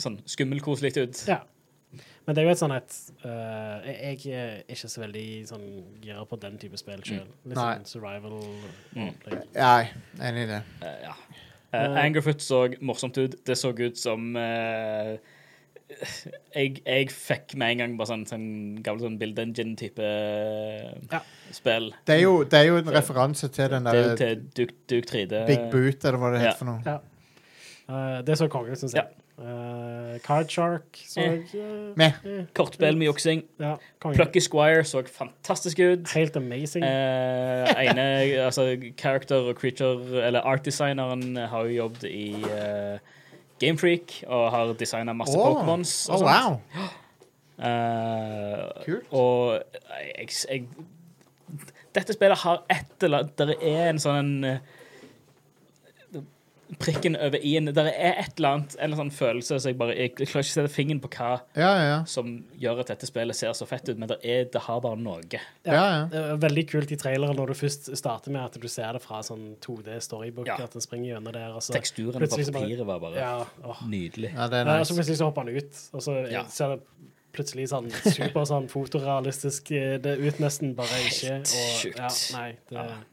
S3: sånn skummelkoselig ut.
S2: Ja. Men det er jo et sånn et eh, Jeg jeg er ikke så veldig sånn gira på den type spill sjøl. Litt
S1: Mm. Nei.
S2: sånn survival.
S3: Mm.
S2: roleplay.
S1: Nei, enig i det.
S3: Eh, ja.
S2: Eh,
S3: Eh, Angerfoot så morsomt ut. Det så ut som eh, jeg, jeg fikk med en gang bare sånn, sånn gammel sånn Build Engine-type
S2: Ja.
S3: spill.
S1: Det er jo, det er jo en referanse til den
S3: Det er jo
S1: der
S3: til Duke, Duke 3D.
S1: Big Boot, eller hva det
S3: Ja.
S1: heter for noe.
S2: Ja. Eh, det så konge ut, syns jeg. Eh, Card Shark så
S3: Eh.
S2: eh,
S1: Meh.
S2: eh,
S3: Kortspill med juksing.
S2: Ja, konge.
S3: Plucky Squire så fantastisk ut.
S2: Helt amazing.
S3: Eh, ene, altså character og creature, eller art-designeren, har jo jobbet i eh, Game Freak og har designa masse
S1: Åh.
S3: Pokémons. og
S1: Å,
S3: sånt.
S1: wow!
S3: Eh,
S1: Kult.
S3: Og jeg, jeg, Dette spillet har et eller Der er en sånn eh, Prikken over i-en. Der er et eller annet, en eller annen sånn følelse så jeg, bare, jeg, jeg klarer ikke å sette fingeren på hva
S1: Ja, ja.
S3: som gjør at dette spillet ser så fett ut, men det, er, det har bare noe.
S1: ja, ja.
S2: Det er veldig kult i traileren når du først starter med at du ser det fra sånn 2D storybook,
S3: Ja.
S2: at den springer gjennom der. Og så,
S3: Teksturen på
S2: plutselig så bare-
S3: papiret var bare
S2: ja, åh.
S3: nydelig.
S1: ja det er
S2: Eh, og så
S1: nice.
S2: plutselig så hopper han ut, og så
S3: Ja.
S2: ser det plutselig sånn super sånn fotorealistisk eh, det ut, nesten bare ikke.
S3: Helt
S2: Og,
S3: sjukt.
S2: ja, nei, det
S3: Ja.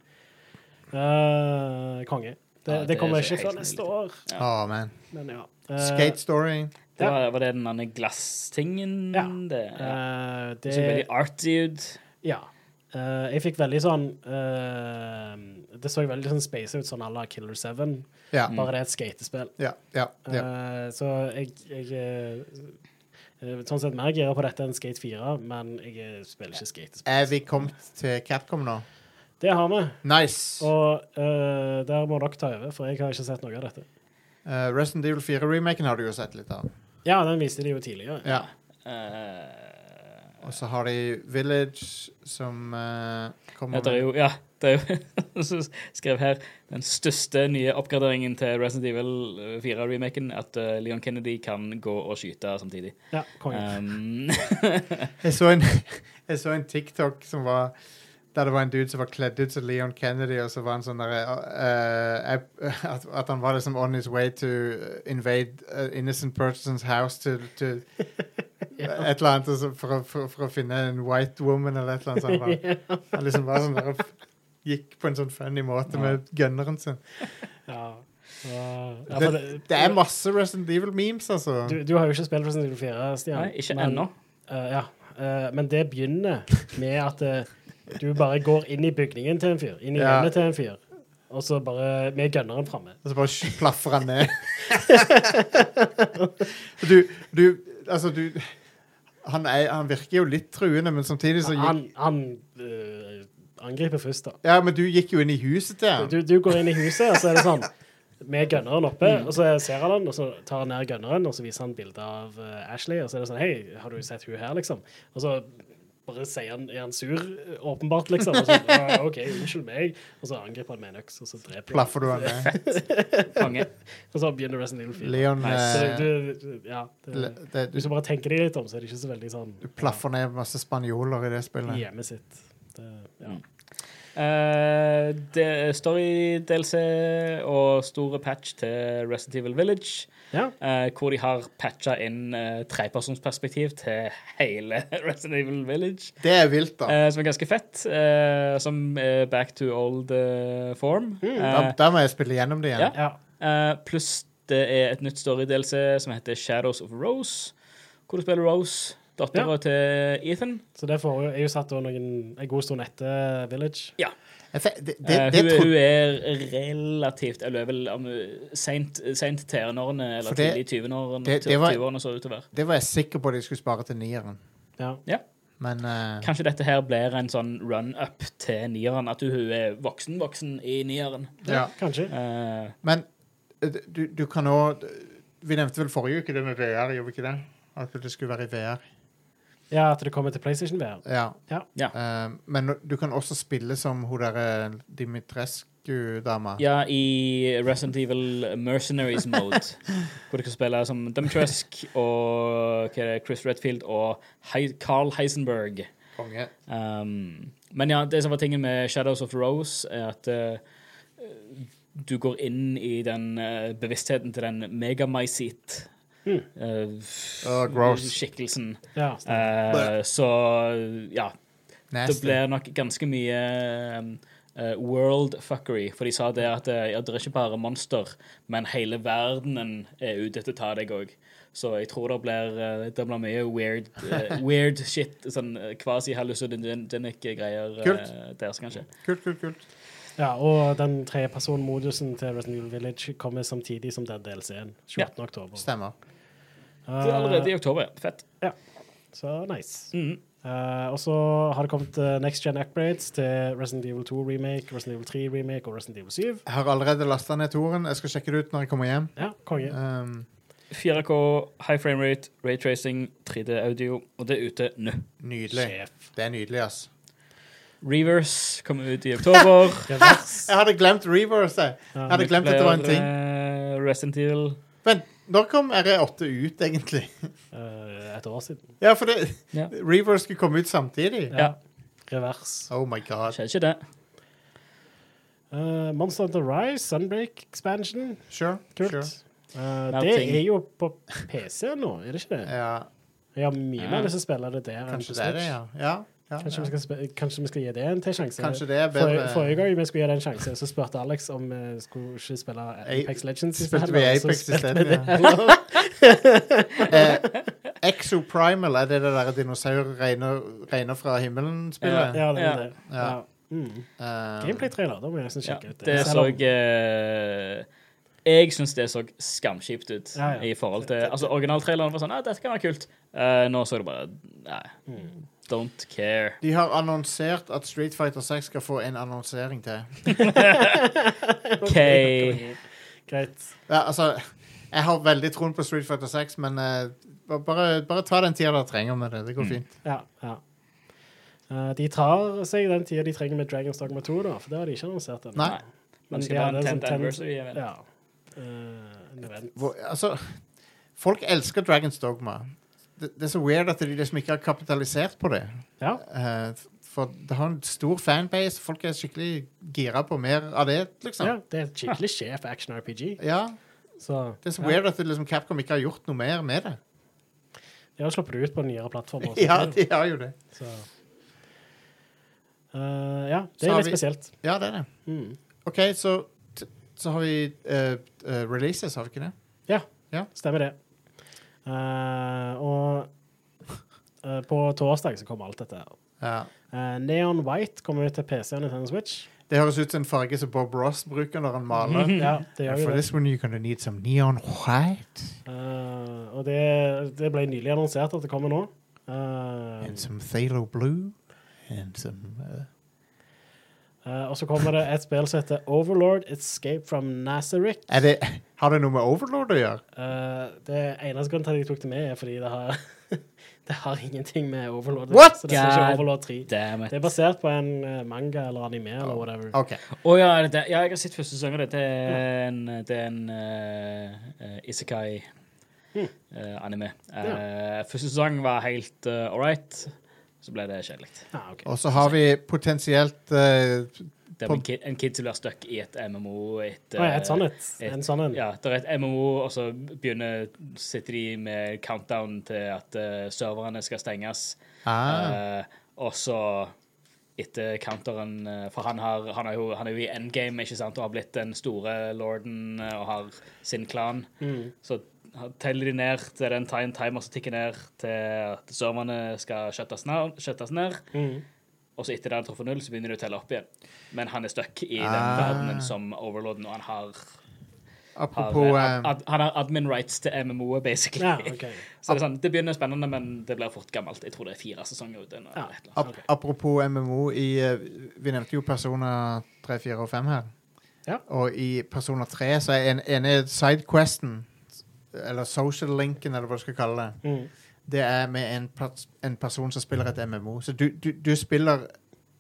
S2: Eh, Konge. Det,
S3: Ja,
S2: det,
S3: det er
S2: kommer ikke
S3: så
S2: før
S3: helt
S2: neste
S3: nydelig.
S2: år,
S1: Å,
S3: Ja.
S1: man.
S2: men ja. Eh,
S1: Skate Story.
S3: Det var, var det den andre glasstingen?
S2: Ja.
S3: Det, ja.
S2: eh,
S3: det så veldig
S2: det
S3: arty ut.
S2: Ja. Eh, jeg fikk veldig sånn eh, Det så veldig sånn space ut, sånn à la Killer 7.
S1: Ja.
S3: Mm.
S2: Bare det er et skatespill.
S1: Ja, ja, ja.
S2: Eh, så jeg, jeg eh, eh, Sånn sett mer gira på dette enn Skate 4, men jeg eh, spiller ikke skatespill.
S1: Er vi kommet til Capcom nå?
S2: Det har vi.
S1: Nice!
S2: Og eh, der må dere ta over, for jeg har ikke sett noe av dette.
S1: Uh, Resident Evil 4-remaken har du jo sett litt av.
S2: Ja, den viste de jo tidligere.
S1: Ja.
S3: Eh,
S1: Og så har de Village, som eh,
S3: ja,
S1: kommer
S3: det er jo, ja, det er jo <laughs> så skrev her den største nye oppgraderingen til Resident Evil 4-remaken, at eh, Leon Kennedy kan gå og skyte samtidig.
S2: Ja, konge. <laughs>
S3: Um,
S1: <laughs> Jeg så en, jeg så en TikTok som var Der det var en dude som var kledd ut som Leon Kennedy, og så var han sånn derre eh, eh, <laughs> at, at han var liksom on his way to invade an innocent person's house to, to Et eller annet og så for, å- for, for å finne en white woman eller et eller annet. Så han, var, han liksom var sånn der og f- gikk på en sånn funny måte med gunneren sin.
S2: Ja. Så, ja,
S1: Det,
S2: for
S1: det er masse Resident Evil-memes, altså.
S2: Du, du har jo ikke spilt Resident Evil 4, Stian.
S3: Nei, ikke
S2: men-
S3: ennå.
S2: Eh, ja. Eh, men det begynner med at eh, du bare går inn i bygningen til en fyr, inn i
S1: Ja.
S2: hjemmet til en fyr, og så bare med gunneren framme.
S1: Og så bare sh- plaffer han
S3: <laughs>
S1: ned. du, du Altså, du han, er, han virker jo litt truende, men samtidig så gikk,
S2: Han, han eh, angriper først, da.
S1: Ja, men du gikk jo inn i huset til han.
S2: Du, du går inn i huset, og så er det sånn med gunneren oppe,
S1: Mm.
S2: og så ser han den, og så tar han ned gunneren, og så viser han bilde av eh, Ashley, og så er det sånn Hei, har du sett hun her, liksom? Og så bare sier han Er han sur, åpenbart, liksom? Og så, «Ah, OK, unnskyld meg. Og så angriper han med en øks, og så dreper han.
S1: Plaffer du han ned.
S3: Konge.
S2: Og så begynner Resident Evil 4.
S1: Leon
S2: Så
S1: eh,
S2: du, du- ja,
S1: le,
S2: det,
S1: det,
S2: hvis
S1: du,
S2: du bare tenker deg litt om, så er det ikke så veldig sånn
S1: du plaffer ned masse spanjoler i det spillet.
S2: hjemmet sitt. Det, ja.
S3: Eh, det er Story-DLC og store patch til Resident Evil Village,
S2: ja.
S3: eh, hvor de har patcha inn eh, trepersonsperspektiv til hele <laughs> Resident Evil Village.
S1: Det er vilt, da.
S3: Eh, som er ganske fett. eh, som er back to old eh, form.
S1: Da,
S3: Eh,
S1: da må jeg spille gjennom det igjen.
S3: ja. eh, Pluss det er et nytt story-delelse som heter Shadows of Rose, hvor du spiller Rose, dattera
S2: Ja.
S3: til Ethan.
S2: Så det får jo, er jo satt da noen, en god stund etter Village.
S1: Jeg fe- Det, det,
S3: Eh,
S1: det,
S3: hun, hun
S1: trodde,
S3: er relativt Eller vel om hun- sent, sent tenårene eller
S1: For det-
S3: tidlig 20-årene.
S1: det- det var-
S3: 20-årene så det ut til å være.
S1: det var jeg sikker på at jeg skulle spare til nieren,
S2: Ja.
S1: men eh,
S3: Kanskje dette her blir en sånn run-up til nieren, at hun er voksen-voksen i nieren.
S1: ja.
S2: Kanskje.
S3: Eh,
S1: Men eh, du, du kan òg Vi nevnte vel forrige uke det med VR, gjorde vi ikke det? At det skulle være i VR.
S2: Ja, at det kommer til PlayStation VR.
S1: Ja.
S2: Ja.
S3: Ja.
S1: Eh, men du kan også spille som hun derre Dimitrescu-dama.
S3: Ja, i Resident Evil Mercenaries
S1: <laughs>
S3: Mode. hvor du kan spille som Dumtrusk og hva er det, Chris Redfield og Hei Carl Heisenberg.
S1: Konge.
S3: Um, men ja, det som var tingen med Shadows of the Rose, er at eh, du går inn i den eh, bevisstheten til den Megamycete.
S2: Mm.
S1: Åh, gross.
S3: Skikkelsen.
S2: Ja, stemmer.
S3: Eh, så ja, det
S1: Nasty.
S3: blir nok ganske mye eh, world fuckery, for de sa det at eh, ja, det er ikke bare monster, men hele verdenen er ute etter å ta deg òg. Så jeg tror det blir, eh, det blir mye weird,
S1: <laughs>
S3: eh, weird shit, sånn eh, quasi-hallucinogenic greier eh,
S1: Kult.
S3: der, så kanskje.
S1: Kult, kult, kult.
S2: ja, og den tredjepersonmodusen til Resident Evil Village kommer samtidig som den DLC-en. 28. oktober.
S1: Stemmer.
S3: Det er allerede
S2: Eh,
S3: i oktober. Fett.
S2: så nice.
S3: Mhm.
S2: Eh, og så har det kommet eh, next gen upgrades til Resident Evil 2 remake, Resident Evil 3 remake og Resident Evil 7.
S1: Jeg har allerede lasta ned toren. Jeg skal sjekke det ut når jeg kommer hjem.
S2: Ja, konge.
S1: Um,
S3: 4K, high frame rate, raytracing, 3D-audio, og det er ute nå.
S1: nydelig.
S2: Sjef.
S1: Det er nydelig, ass.
S3: Reverse kommer
S1: <laughs>
S3: ut i oktober.
S2: Revers.
S3: <laughs>
S1: Jeg hadde glemt reverse. jeg. Jeg hadde glemt at det var en ting.
S3: Eh, Resident Evil.
S1: Vent, når kom RE8 ut, egentlig?
S2: Eh, et år siden.
S1: Ja, for det
S3: Ja.
S1: Reverse skulle komme ut samtidig.
S3: Ja.
S2: Revers.
S1: Oh my god.
S3: Skjedde ikke det.
S2: Eh, Monster Hunter Rise, Sunbreak Expansion.
S1: Sure.
S2: Kult.
S1: sure.
S2: Eh,
S3: Mer
S2: det
S3: ting.
S2: er jo på PC nå, er det ikke
S3: Eh,
S2: det?
S1: Ja,
S2: Jeg har mye
S3: Ja.
S2: mer lyst til å spille det der. enn
S1: kanskje
S2: på
S1: det er det,
S2: Switch.
S1: ja. ja, ja,
S2: Kanskje,
S1: ja.
S2: Vi skal spe- kanskje vi skal gi det en til sjanse.
S1: Kanskje det er
S2: Forrige, forrige
S1: bedre.
S2: gang vi skulle gi det en sjanse, så spurte Alex om vi skulle ikke spille Apex Legends. i
S1: Spilte
S2: stedet,
S1: vi
S2: og så
S1: Apex
S2: spilte
S1: isteden?
S2: vi det.
S1: Ja. eh, Exoprimal, er det det der dinosaur regner, regner fra himmelen-spillet?
S2: <laughs> Ja, det
S3: Ja.
S2: er det.
S1: Ja.
S2: Ja. Mm.
S1: Eh,
S2: Gameplay-trailer, da må jeg nesten
S3: Ja,
S2: sjekke ut det.
S3: det
S2: Selv
S3: så
S2: om-
S3: eh, Jeg syns det så skamskipt ut
S2: Ja, ja.
S3: i forhold til Altså, originaltraileren var sånn Ja, dette kan være kult. Eh, nå så det bare Nei.
S2: Mm.
S3: Don't
S2: <laughs>
S3: care.
S1: de har annonsert at Street Fighter 6 skal få en annonsering til.
S3: OK.
S2: Greit.
S1: Ja, altså, jeg har veldig troen på Street Fighter 6, men eh, ba- bare, bare ta den tida dere trenger med det. Det går fint.
S2: Ja, ja. Eh, de tar seg den tida de trenger med Dragons Dogma 2, da, for det har de ikke annonsert ennå.
S1: Nei.
S2: Men
S3: Men
S2: de
S3: skal bare
S2: hadde
S3: ha
S2: en
S3: en
S2: sånn
S3: 10th
S2: ten-
S3: anniversary event.
S2: Ja. Eh, en event.
S1: Hvor, altså, folk elsker Dragons Dogma. Det, det er så weird at de liksom ikke har kapitalisert på det.
S2: ja.
S1: Eh, f- For det har en stor fanbase. Folk er skikkelig gira på mer av det, liksom.
S2: Ja, det er et
S1: <laughs>
S2: skikkelig sjef action-RPG.
S1: Ja.
S2: Så
S1: Det er så
S2: ja,
S1: weird at det, liksom, Capcom ikke har gjort noe mer med det.
S2: de har sluppet det ut på nyere plattformer.
S1: <laughs> Ja,
S2: også.
S1: de har jo det.
S2: Så. Eh, ja, det
S1: Så
S2: er
S1: har
S2: litt
S1: vi-
S2: spesielt.
S1: Ja, det er det.
S2: Mm.
S1: OK, så, t- så har vi eh, eh, releases, har vi ikke det?
S2: Stemmer det. Eh, og eh, på torsdag så kommer alt dette. her.
S1: Ja.
S2: Eh, Neon White kommer ut til PC og Nintendo Switch.
S1: Det høres ut som en farge som Bob Ross bruker når han maler.
S2: <laughs> Ja, det gjør
S1: For
S2: jo det.
S1: this one you're gonna need some neon white
S2: Eh, og det, det ble nylig annonsert at det kommer nå. Eh,
S1: and some thalo blue and some uh,
S2: eh, og så kommer det et spill som heter Overlord Escape from Nazareth.
S1: er det, <laughs> Har det noe med Overlord å gjøre?
S2: Eh, det eneste grunnen til at jeg tok det med, er fordi det har, <laughs> det har ingenting med Overlord
S1: What?
S2: Så det er ikke
S3: God
S2: Overlord 3.
S3: Damn
S2: Det er basert på en eh, manga eller anime eller whatever.
S1: OK.
S3: Å ja, er det det? ja, jeg har sett første sesong av det. Det er en, det er en eh, eh, Isekai
S2: Hm.
S3: eh, anime. Eh, første sesong var helt uh, all right. Så ble det kjedelig.
S2: Ah, ok.
S1: Og så har vi potensielt eh,
S3: Det er
S1: På-
S3: en kid, en kid som blir stuck i et MMO. Et,
S2: Å ja, et sånn
S3: eh,
S2: et. En sånn en.
S3: Ja, det er et MMO, og så begynner sitter de med countdown til at eh, serverne skal stenges.
S1: ah,
S3: Eh, og så etter counteren eh, For han, har, han, er jo, han er jo i endgame ikke sant? og har blitt den store lorden eh, og har sin klan.
S2: Mm,
S3: Så ha- teller de ned til den time timer som tikker ned til at serverne skal shuttes ned. Shuttes ned.
S2: mm.
S3: Og så etter det han treffer null, så begynner de å telle opp igjen. Men han er stuck i den
S1: Ah.
S3: verdenen som overlorden, og han har, har,
S1: Apropos
S3: eh,
S1: eh,
S3: ad, han har admin rights til MMO-et, basically. <laughs>
S2: Ja, ok.
S3: Så det, er sånn, det begynner spennende, men det blir fort gammelt. Jeg tror det er fire sesonger ute. nå,
S2: Ja.
S3: eller et eller annet.
S1: ap Apropos MMO i eh, Vi nevnte jo Persona 3, 4 og 5 her.
S2: Ja.
S1: Og i Persona 3 så er en, ene sidequesten, eller social linken, eller hva du skal kalle det,
S2: Mm.
S1: det er med en, pers en person som spiller et MMO. Så du, du, du spiller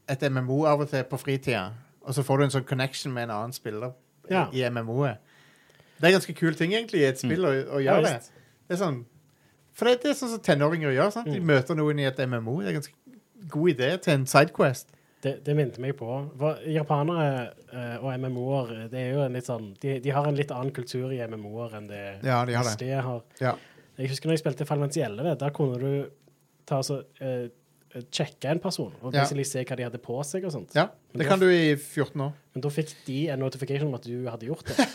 S1: et MMO av og til på fritida, og så får du en sånn connection med en annen spiller
S2: Ja.
S1: i, i MMO-et. Det er en ganske kul ting, egentlig, i et spill å, å
S2: Mm. Ja,
S1: gjøre
S2: visst.
S1: det. Det er sånn For det, det er sånn som tenåringer gjør. sant?
S2: Mm.
S1: De møter noen i et MMO. Det er en ganske god idé til en sidequest.
S2: Det, det minte meg på for Japanere eh, og MMO-er det er jo en litt sånn, de, de har en litt annen kultur i MMO-er enn det
S1: Ja, de har det.
S2: vestlige har.
S1: Ja.
S2: Jeg husker når jeg spilte Final Fantasy 11, der kunne du ta altså, eh, sjekke en person og
S1: Ja.
S2: basically se hva de hadde på seg. og sånt.
S1: ja. Det kan du i 14 år.
S2: Men da fikk de en notification om at du hadde gjort
S1: <laughs>
S2: det.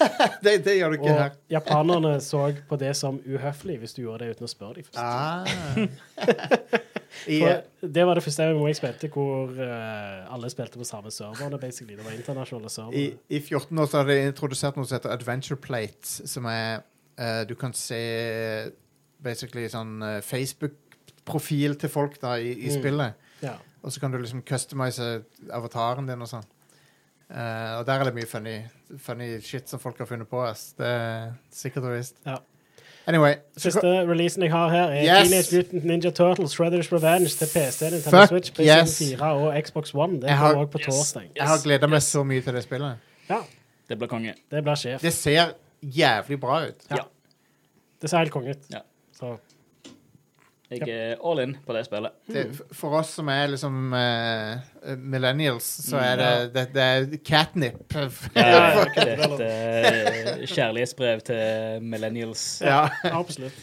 S1: Det, det gjør du ikke her.
S2: Og japanerne så på det som uhøflig hvis du gjorde det uten å spørre dem først. <laughs>
S1: Ah. <laughs> I, eh,
S2: For det var det første MMO jeg spilte hvor eh, alle spilte på samme serverne, basically. Det var internasjonale servere.
S1: I, I 14 år så har de introdusert noe som heter Adventure Plate, som er eh, Du kan se eh, basically sånn eh, Facebook-profil til folk da i, i
S2: Mm.
S1: spillet.
S2: Ja.
S1: Og så kan du liksom customize avataren din og sånn. Eh, og der er det mye funny, funny shit som folk har funnet på. Ass. Det er sikkert og visst.
S2: Ja.
S1: Anyway. så
S2: Siste releasen jeg har her, er
S1: Yes!
S2: Teenage Mutant Ninja Turtles Shredder's Revenge til PC, Nintendo
S1: Fuck
S2: Switch, PlayStation
S1: yes!
S2: 4 og Xbox One. Det
S1: Jeg har-
S2: kommer også på torsdag.
S1: jeg har gleda meg så mye til det spillet.
S2: Ja,
S3: Det blir konge.
S2: det blir sjef.
S1: Det ser jævlig bra ut.
S2: Ja.
S3: Ja.
S2: Det ser helt konge ut.
S3: Ja.
S2: Så
S3: Jeg er all in på det
S1: <laughs>
S3: spillet.
S1: det, f- for oss som er liksom eh, millennials, så er det, det, det er catnip. <laughs>
S3: Eh, Det er et eh, kjærlighetsbrev til millennials.
S1: ja,
S2: absolutt.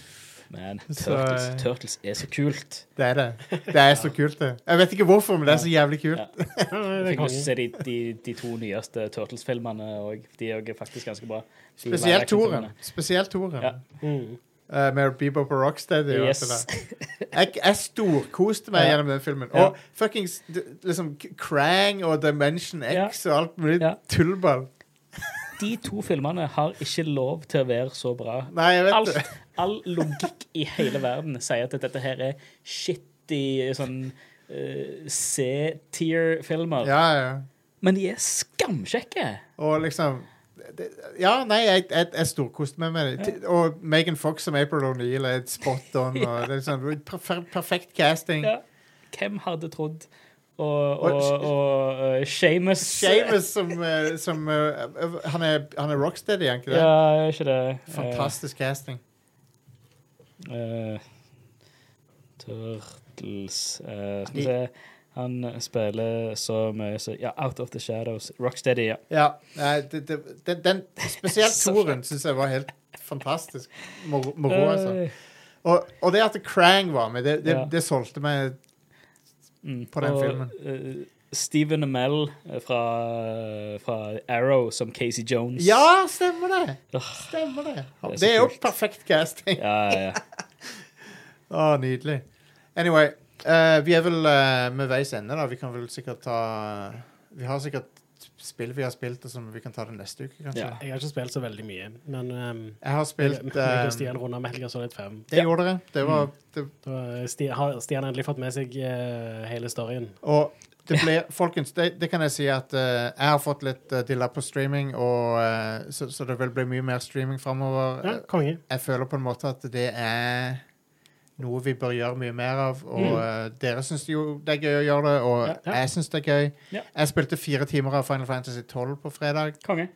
S3: Men
S1: Så,
S3: Turtles,
S1: eh,
S3: Turtles er så kult.
S1: det er det. Det er så kult, det. Jeg vet ikke hvorfor, men det er så jævlig kult.
S3: Ja.
S2: Ja, nei, det
S3: Jeg
S2: er
S3: fikk lyst til å
S2: konge.
S3: se de, de, de to nyeste Turtles-filmene, og de er jo faktisk ganske bra. De
S1: Spesielt Toren.
S3: live-action-filmene.
S1: Spesielt Toren.
S3: Ja.
S2: Mm.
S1: Eh, med Bebop og Rocksteady. og alt
S3: Yes.
S1: det der. Jeg, jeg storkoste meg
S3: Ja.
S1: gjennom den filmen.
S3: Ja.
S1: Og fuckings d- liksom K- Krang og Dimension X og alt mulig
S3: Ja.
S1: tullball.
S3: De to filmene har ikke lov til å være så bra.
S1: Nei, jeg vet
S3: Alt,
S1: det.
S3: all logikk i hele verden sier at dette her er shitty sånn eh, C-tier-filmer.
S1: Ja, ja.
S3: Men de er skamkjekke!
S1: Og liksom det, Ja, nei, jeg, jeg, jeg storkoste meg med det. Ti- Og Megan Fox som April O'Neill er et spot
S3: <laughs>
S1: on. Og det er sånn, perfe perfekt casting.
S3: Ja. Hvem hadde trodd? Og,
S1: Og-
S3: og, og uh, Seamus
S1: Seamus som, eh, som eh, han, er, han er rocksteady, er han ikke det?
S3: Ja, er ikke det? Eh,
S1: Fantastisk casting.
S3: eh, Turtles eh, Skal vi se Han spiller så mye så Ja, Out of the Shadows. Rocksteady, ja.
S1: Ja, nei, det, det, den, den, spesielt
S3: Så
S1: toren syns jeg var helt fantastisk moro, moro altså.
S3: Eh,
S1: Og, og det at Krang var med, det, det,
S3: Ja.
S1: det solgte meg
S3: mm.
S1: på den
S3: Og,
S1: filmen.
S3: eh, Stephen Amell eh, fra, fra Arrow som Casey Jones.
S1: Ja, stemmer det!
S3: Åh,
S1: Stemmer det.
S3: Det er så
S1: Det er jo
S3: kult.
S1: perfekt casting.
S3: ja, ja.
S1: Å, nydelig. Anyway, eh, vi er vel eh, med veis ende, da. Vi kan vel sikkert ta Vi har sikkert spill vi har spilt, og som vi kan ta det neste uke, kanskje.
S3: Ja.
S2: Jeg har ikke spilt så veldig mye, men ehm,
S1: Jeg har
S2: jeg-
S1: spilt
S2: jeg og
S1: eh,
S2: Stian runda med Helga Solid 5.
S1: Det gjorde dere. Det var det,
S2: Da Stian, har Stian endelig fått med seg eh, hele storyen.
S1: Og det ble Folkens, det, det kan jeg si at eh, jeg har fått litt uh, dilla på streaming, og, eh, så, så det vil bli mye mer streaming eh, framover.
S2: Ja, konge.
S1: jeg føler på en måte at det er noe vi bør gjøre mye mer av. Og eh, dere syns jo det er gøy å gjøre det, og
S3: Ja,
S2: Mm. ja.
S1: jeg syns det er gøy.
S3: Ja.
S1: Jeg spilte fire timer av Final Fantasy 12 på fredag
S3: Konge.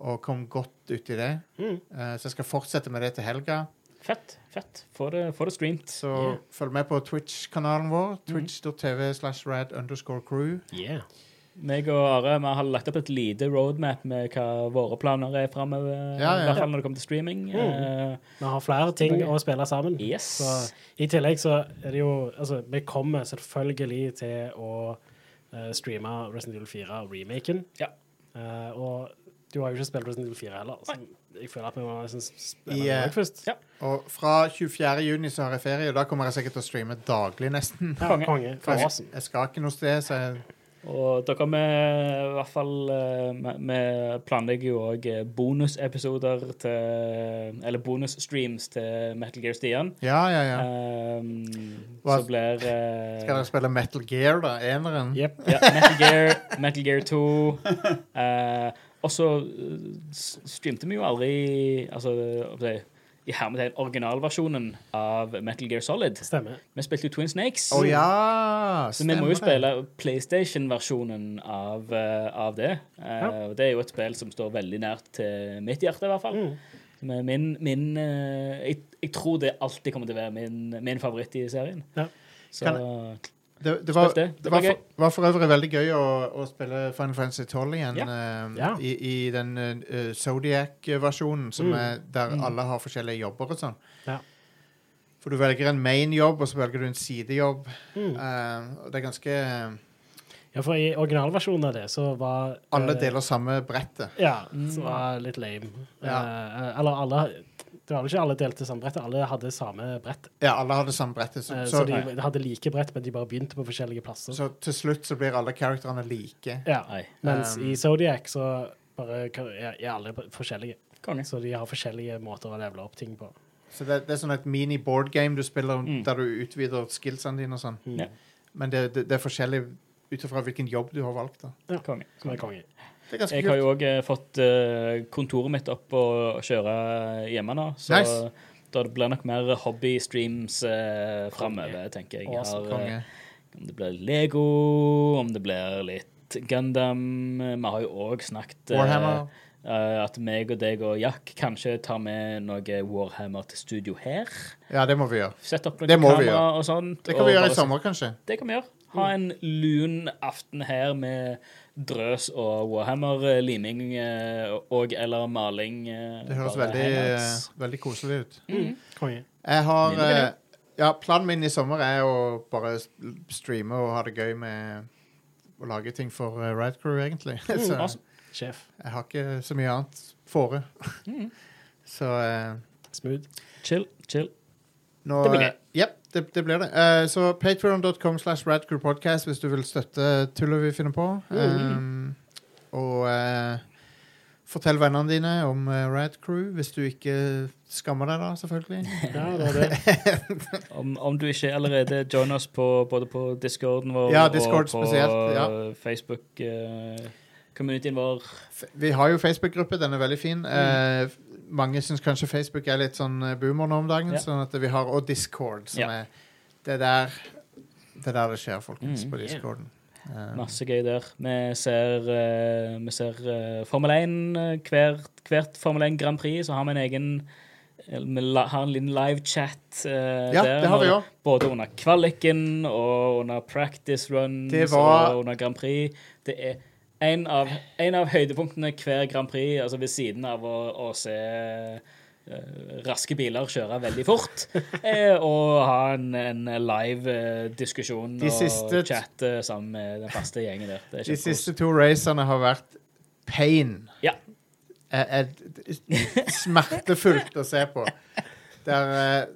S1: og kom godt ut i det.
S2: Mm.
S1: Eh, så jeg skal fortsette med det til helga.
S3: Fett. fett. Få det, få det streamt.
S1: Så
S2: Ja. Mm.
S1: følg med på Twitch-kanalen vår. Twitch.tv slash rad underscore crew.
S2: Yeah.
S3: Meg og Are vi har lagt opp et lite roadmap med hva våre planer er framover.
S1: Ja, ja.
S3: I hvert fall når det kommer til streaming.
S2: Mm.
S3: Eh,
S2: Vi har flere ting å spille sammen.
S3: yes.
S2: Så I tillegg så er det jo Altså, vi kommer selvfølgelig til å eh, streame Resident Evil 4-remaken.
S3: Ja.
S2: Eh, og du har jo ikke spilt Resident Evil 4 heller, så jeg føler at vi må liksom spille
S1: I, eh,
S2: den også først.
S3: ja.
S1: Og fra 24. juni så har jeg ferie, og da kommer jeg sikkert til å streame daglig, nesten.
S2: Ja,
S3: Konge.
S2: konge.
S1: For
S2: For
S1: jeg,
S2: oss.
S1: jeg skal ikke noe sted, så jeg
S3: Og dere vi i hvert fall eh, Vi vi planlegger jo òg bonusepisoder til Eller bonusstreams til Metal Gear Stian.
S1: Ja, ja, ja.
S3: Um,
S1: Hva-
S3: så blir eh,
S1: Skal dere spille Metal Gear, da? Eneren?
S2: Jep.
S3: ja, Metal Gear, Metal Gear 2. eh, og så eh, s- streamte vi jo aldri altså, hva skal jeg si, i hermetegn originalversjonen av Metal Gear Solid.
S2: Stemmer.
S3: Vi spilte jo Twin Snakes.
S1: Å ja!
S3: Så vi må
S1: stemmer
S3: jo
S1: det.
S3: spille PlayStation-versjonen av, eh, av det. Eh,
S2: Ja.
S3: og Det er jo et spill som står veldig nært til mitt hjerte, i hvert fall.
S2: Mm.
S3: Men min, min eh, jeg, jeg tror det alltid kommer til å være min, min favoritt i serien.
S2: Ja.
S3: Så
S1: Det, det, var,
S3: Spilt det.
S1: det,
S3: Det
S1: var,
S3: var gøy.
S1: for, var for øvrig veldig gøy å, å spille Final Fantasy 12 igjen. eh,
S2: Ja.
S1: I, I den eh, Zodiac-versjonen, som
S2: Mm.
S1: er der
S3: Mm.
S1: alle har forskjellige jobber og sånn.
S2: Ja.
S1: For du velger en main-jobb, og så velger du en sidejobb.
S2: Mm.
S1: Eh, og det er ganske
S2: Ja, for i originalversjonen av det så var
S1: Alle
S2: eh,
S1: deler samme brettet.
S2: Ja, som var litt lame.
S1: Ja.
S2: Eh, eller alle Det var vel ikke alle delte samme brettet, alle hadde samme brett.
S1: Ja, alle har det samme brettet. Så,
S2: Eh, så
S1: så,
S2: de hadde like brett, men de bare begynte på forskjellige plasser.
S1: så til slutt så blir alle karakterene like.
S2: Ja.
S3: Nei.
S2: Mens
S1: Um,
S2: i Zodiac så bare kan- er er alle b- forskjellige.
S3: konge.
S2: Så de har forskjellige måter å levele opp ting på.
S1: Så det, det er sånn et mini-boardgame du spiller
S3: Mm.
S1: der du utvider skillsene dine og sånn.
S2: Mm.
S3: Ja.
S1: Men det, det, det er forskjellig ut ifra hvilken jobb du har valgt. da.
S3: konge.
S2: Som er konge.
S1: Det er ganske
S3: Jeg har
S1: kult.
S3: jo òg fått eh, kontoret mitt opp og kjøre hjemme nå, så
S1: Nice.
S3: da det blir nok mer hobbystreams uh, framover,
S2: Konge.
S3: tenker jeg.
S2: Awesome,
S3: Jeg har, eh,
S1: Konge.
S3: Om det blir Lego, om det blir litt Gundam eh, Vi har jo òg snakket eh,
S1: Warhammer.
S3: eh, at meg og deg og Jack kanskje tar med noe Warhammer til studio her.
S1: Ja, det må vi gjøre.
S3: Sett opp noen
S1: Det må vi
S3: kamera og sånt.
S1: Det kan
S3: og
S1: vi gjøre
S3: bare
S1: i sommer, kanskje.
S3: se- Det kan vi gjøre. Ha
S1: Mm.
S3: en lun aften her med drøs og Warhammer-liming eh, og eller maling. eh,
S1: Det høres
S3: bare
S1: veldig,
S3: hangouts.
S1: eh, veldig koselig ut.
S2: Konge.
S1: Jeg har
S3: Nydelig, det.
S1: eh, Ja, planen min i sommer er å bare s- streame og ha det gøy med å lage ting for eh, Ride Crew, egentlig. <laughs> Så
S3: Mm, awesome.
S2: Sjef.
S1: jeg har ikke så mye annet fore. <laughs>
S3: Mm.
S1: Så eh,
S2: Smooth.
S3: Chill, chill.
S1: Nå,
S3: Det blir gøy.
S1: eh, Jep, det, det blir det. Eh, så patreon.com slash radcrewpodcast hvis du vil støtte tullet vi finner på.
S3: Mm.
S1: Eh, og eh, fortell vennene dine om eh, Radcrew hvis du ikke skammer deg, da,
S3: <laughs>
S1: selvfølgelig.
S2: Ja, det var det.
S3: Om, om du ikke allerede join oss på, både på discorden vår
S1: Ja, Discord
S3: og på
S1: spesielt, ja.
S3: Facebook-communityen vår.
S1: F- Vi har jo Facebook-gruppe, den er veldig
S3: Mm.
S1: fin. Eh, f- mange syns kanskje Facebook er litt sånn eh, boomer nå om dagen,
S3: Ja.
S1: sånn at vi har og Discord, som
S3: Ja.
S1: er det er der det, er der det skjer, folkens,
S3: Mm.
S1: på Discorden. Eh,
S3: Masse gøy der. Vi ser, eh, vi ser eh, Formel 1 eh, hvert, hvert Formel 1 Grand Prix, så har vi en egen Vi la- har en liten livechat uh,
S1: Ja, det har vi også.
S3: Både under kvaliken og under practice runs
S1: Det var-
S3: og under Grand Prix. Det er en av, en av høydepunktene hver Grand Prix, altså ved siden av å, å se eh, raske biler kjøre veldig fort,
S1: <laughs>
S3: eh, og ha en, en live eh, diskusjon
S1: De
S3: og
S1: siste-
S3: chat eh, sammen med den faste gjengen der. Det er
S1: De
S3: kjempekos.
S1: siste to racerne har vært pain.
S3: Ja.
S1: Eh, eh, d- d- smertefullt å se på. Der eh,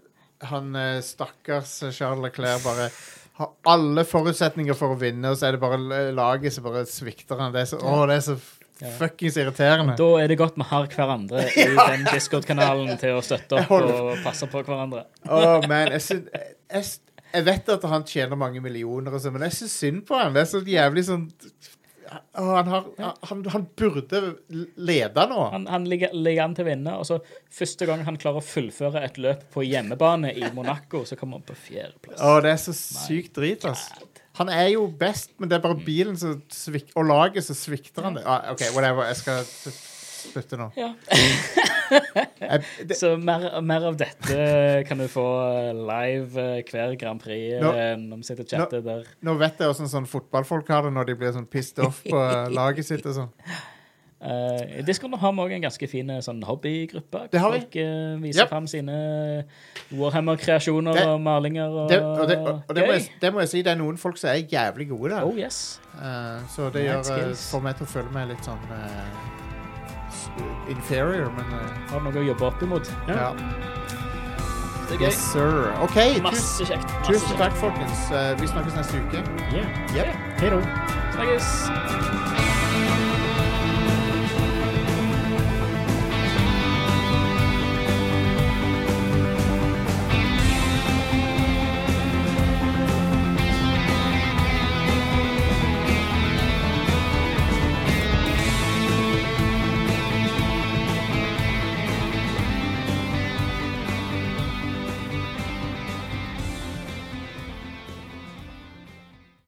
S1: han eh, stakkars Charles Leclerc bare har alle forutsetninger for å vinne, og så er det bare l- laget som bare svikter han. Det er så, å, det er så f- fuckings irriterende.
S3: Da er det godt vi har hverandre i
S1: <laughs>
S3: den Discord-kanalen til å støtte opp
S1: holder-
S3: og passe på hverandre.
S1: Åh, man, jeg, syn- jeg, s- jeg vet at han tjener mange millioner, og så, men jeg syns synd på ham. Det er så jævlig sånn Åh, han, har, han, han burde lede nå.
S3: Han, han ligger, ligger an til å vinne, og så første gang han klarer å fullføre et løp på hjemmebane i Monaco, så kommer han på fjerdeplass.
S1: Åh, det er så sykt drit, ass. Han er jo best, men det er bare
S3: Mm.
S1: bilen som svik og laget som svikter han det. Ah, OK, whatever. Jeg skal s- slutte nå.
S3: Ja.
S1: Jeg, det,
S3: Så mer, mer av dette kan du få live eh, hver Grand Prix eh,
S1: Nå-
S3: når vi sitter og chatter der.
S1: nå vet jeg åssen sånn fotballfolk har det når de blir sånn pissed off
S3: <laughs>
S1: på eh, laget sitt og sånn.
S3: Eh, I Discord har vi òg en ganske fin eh, sånn hobbygruppe.
S1: Det har vi.
S3: Folk eh, viser
S1: Ja.
S3: frem sine Warhammer-kreasjoner
S1: Det-
S3: og malinger og
S1: Det, og det, og, og det, må
S3: Ah, Gøy.
S1: jeg, s- det må jeg si, det er noen folk som er jævlig gode der.
S3: Oh yes.
S1: Eh, så det
S3: Nice
S1: gjør eh,
S3: skills.
S1: får meg til å føle meg litt sånn eh, s- inferior, men eh,
S3: Har noe å jobbe opp imot.
S1: ja.
S3: Det er gøy.
S1: Yes, sir. OK, tusen,
S3: Masse kjekt. Masse
S1: tusen
S3: kjekt.
S1: takk, folkens. Eh, vi snakkes neste uke.
S2: Yeah.
S1: Yep.
S2: Hei da.
S3: Snakkes.
S1: Hei!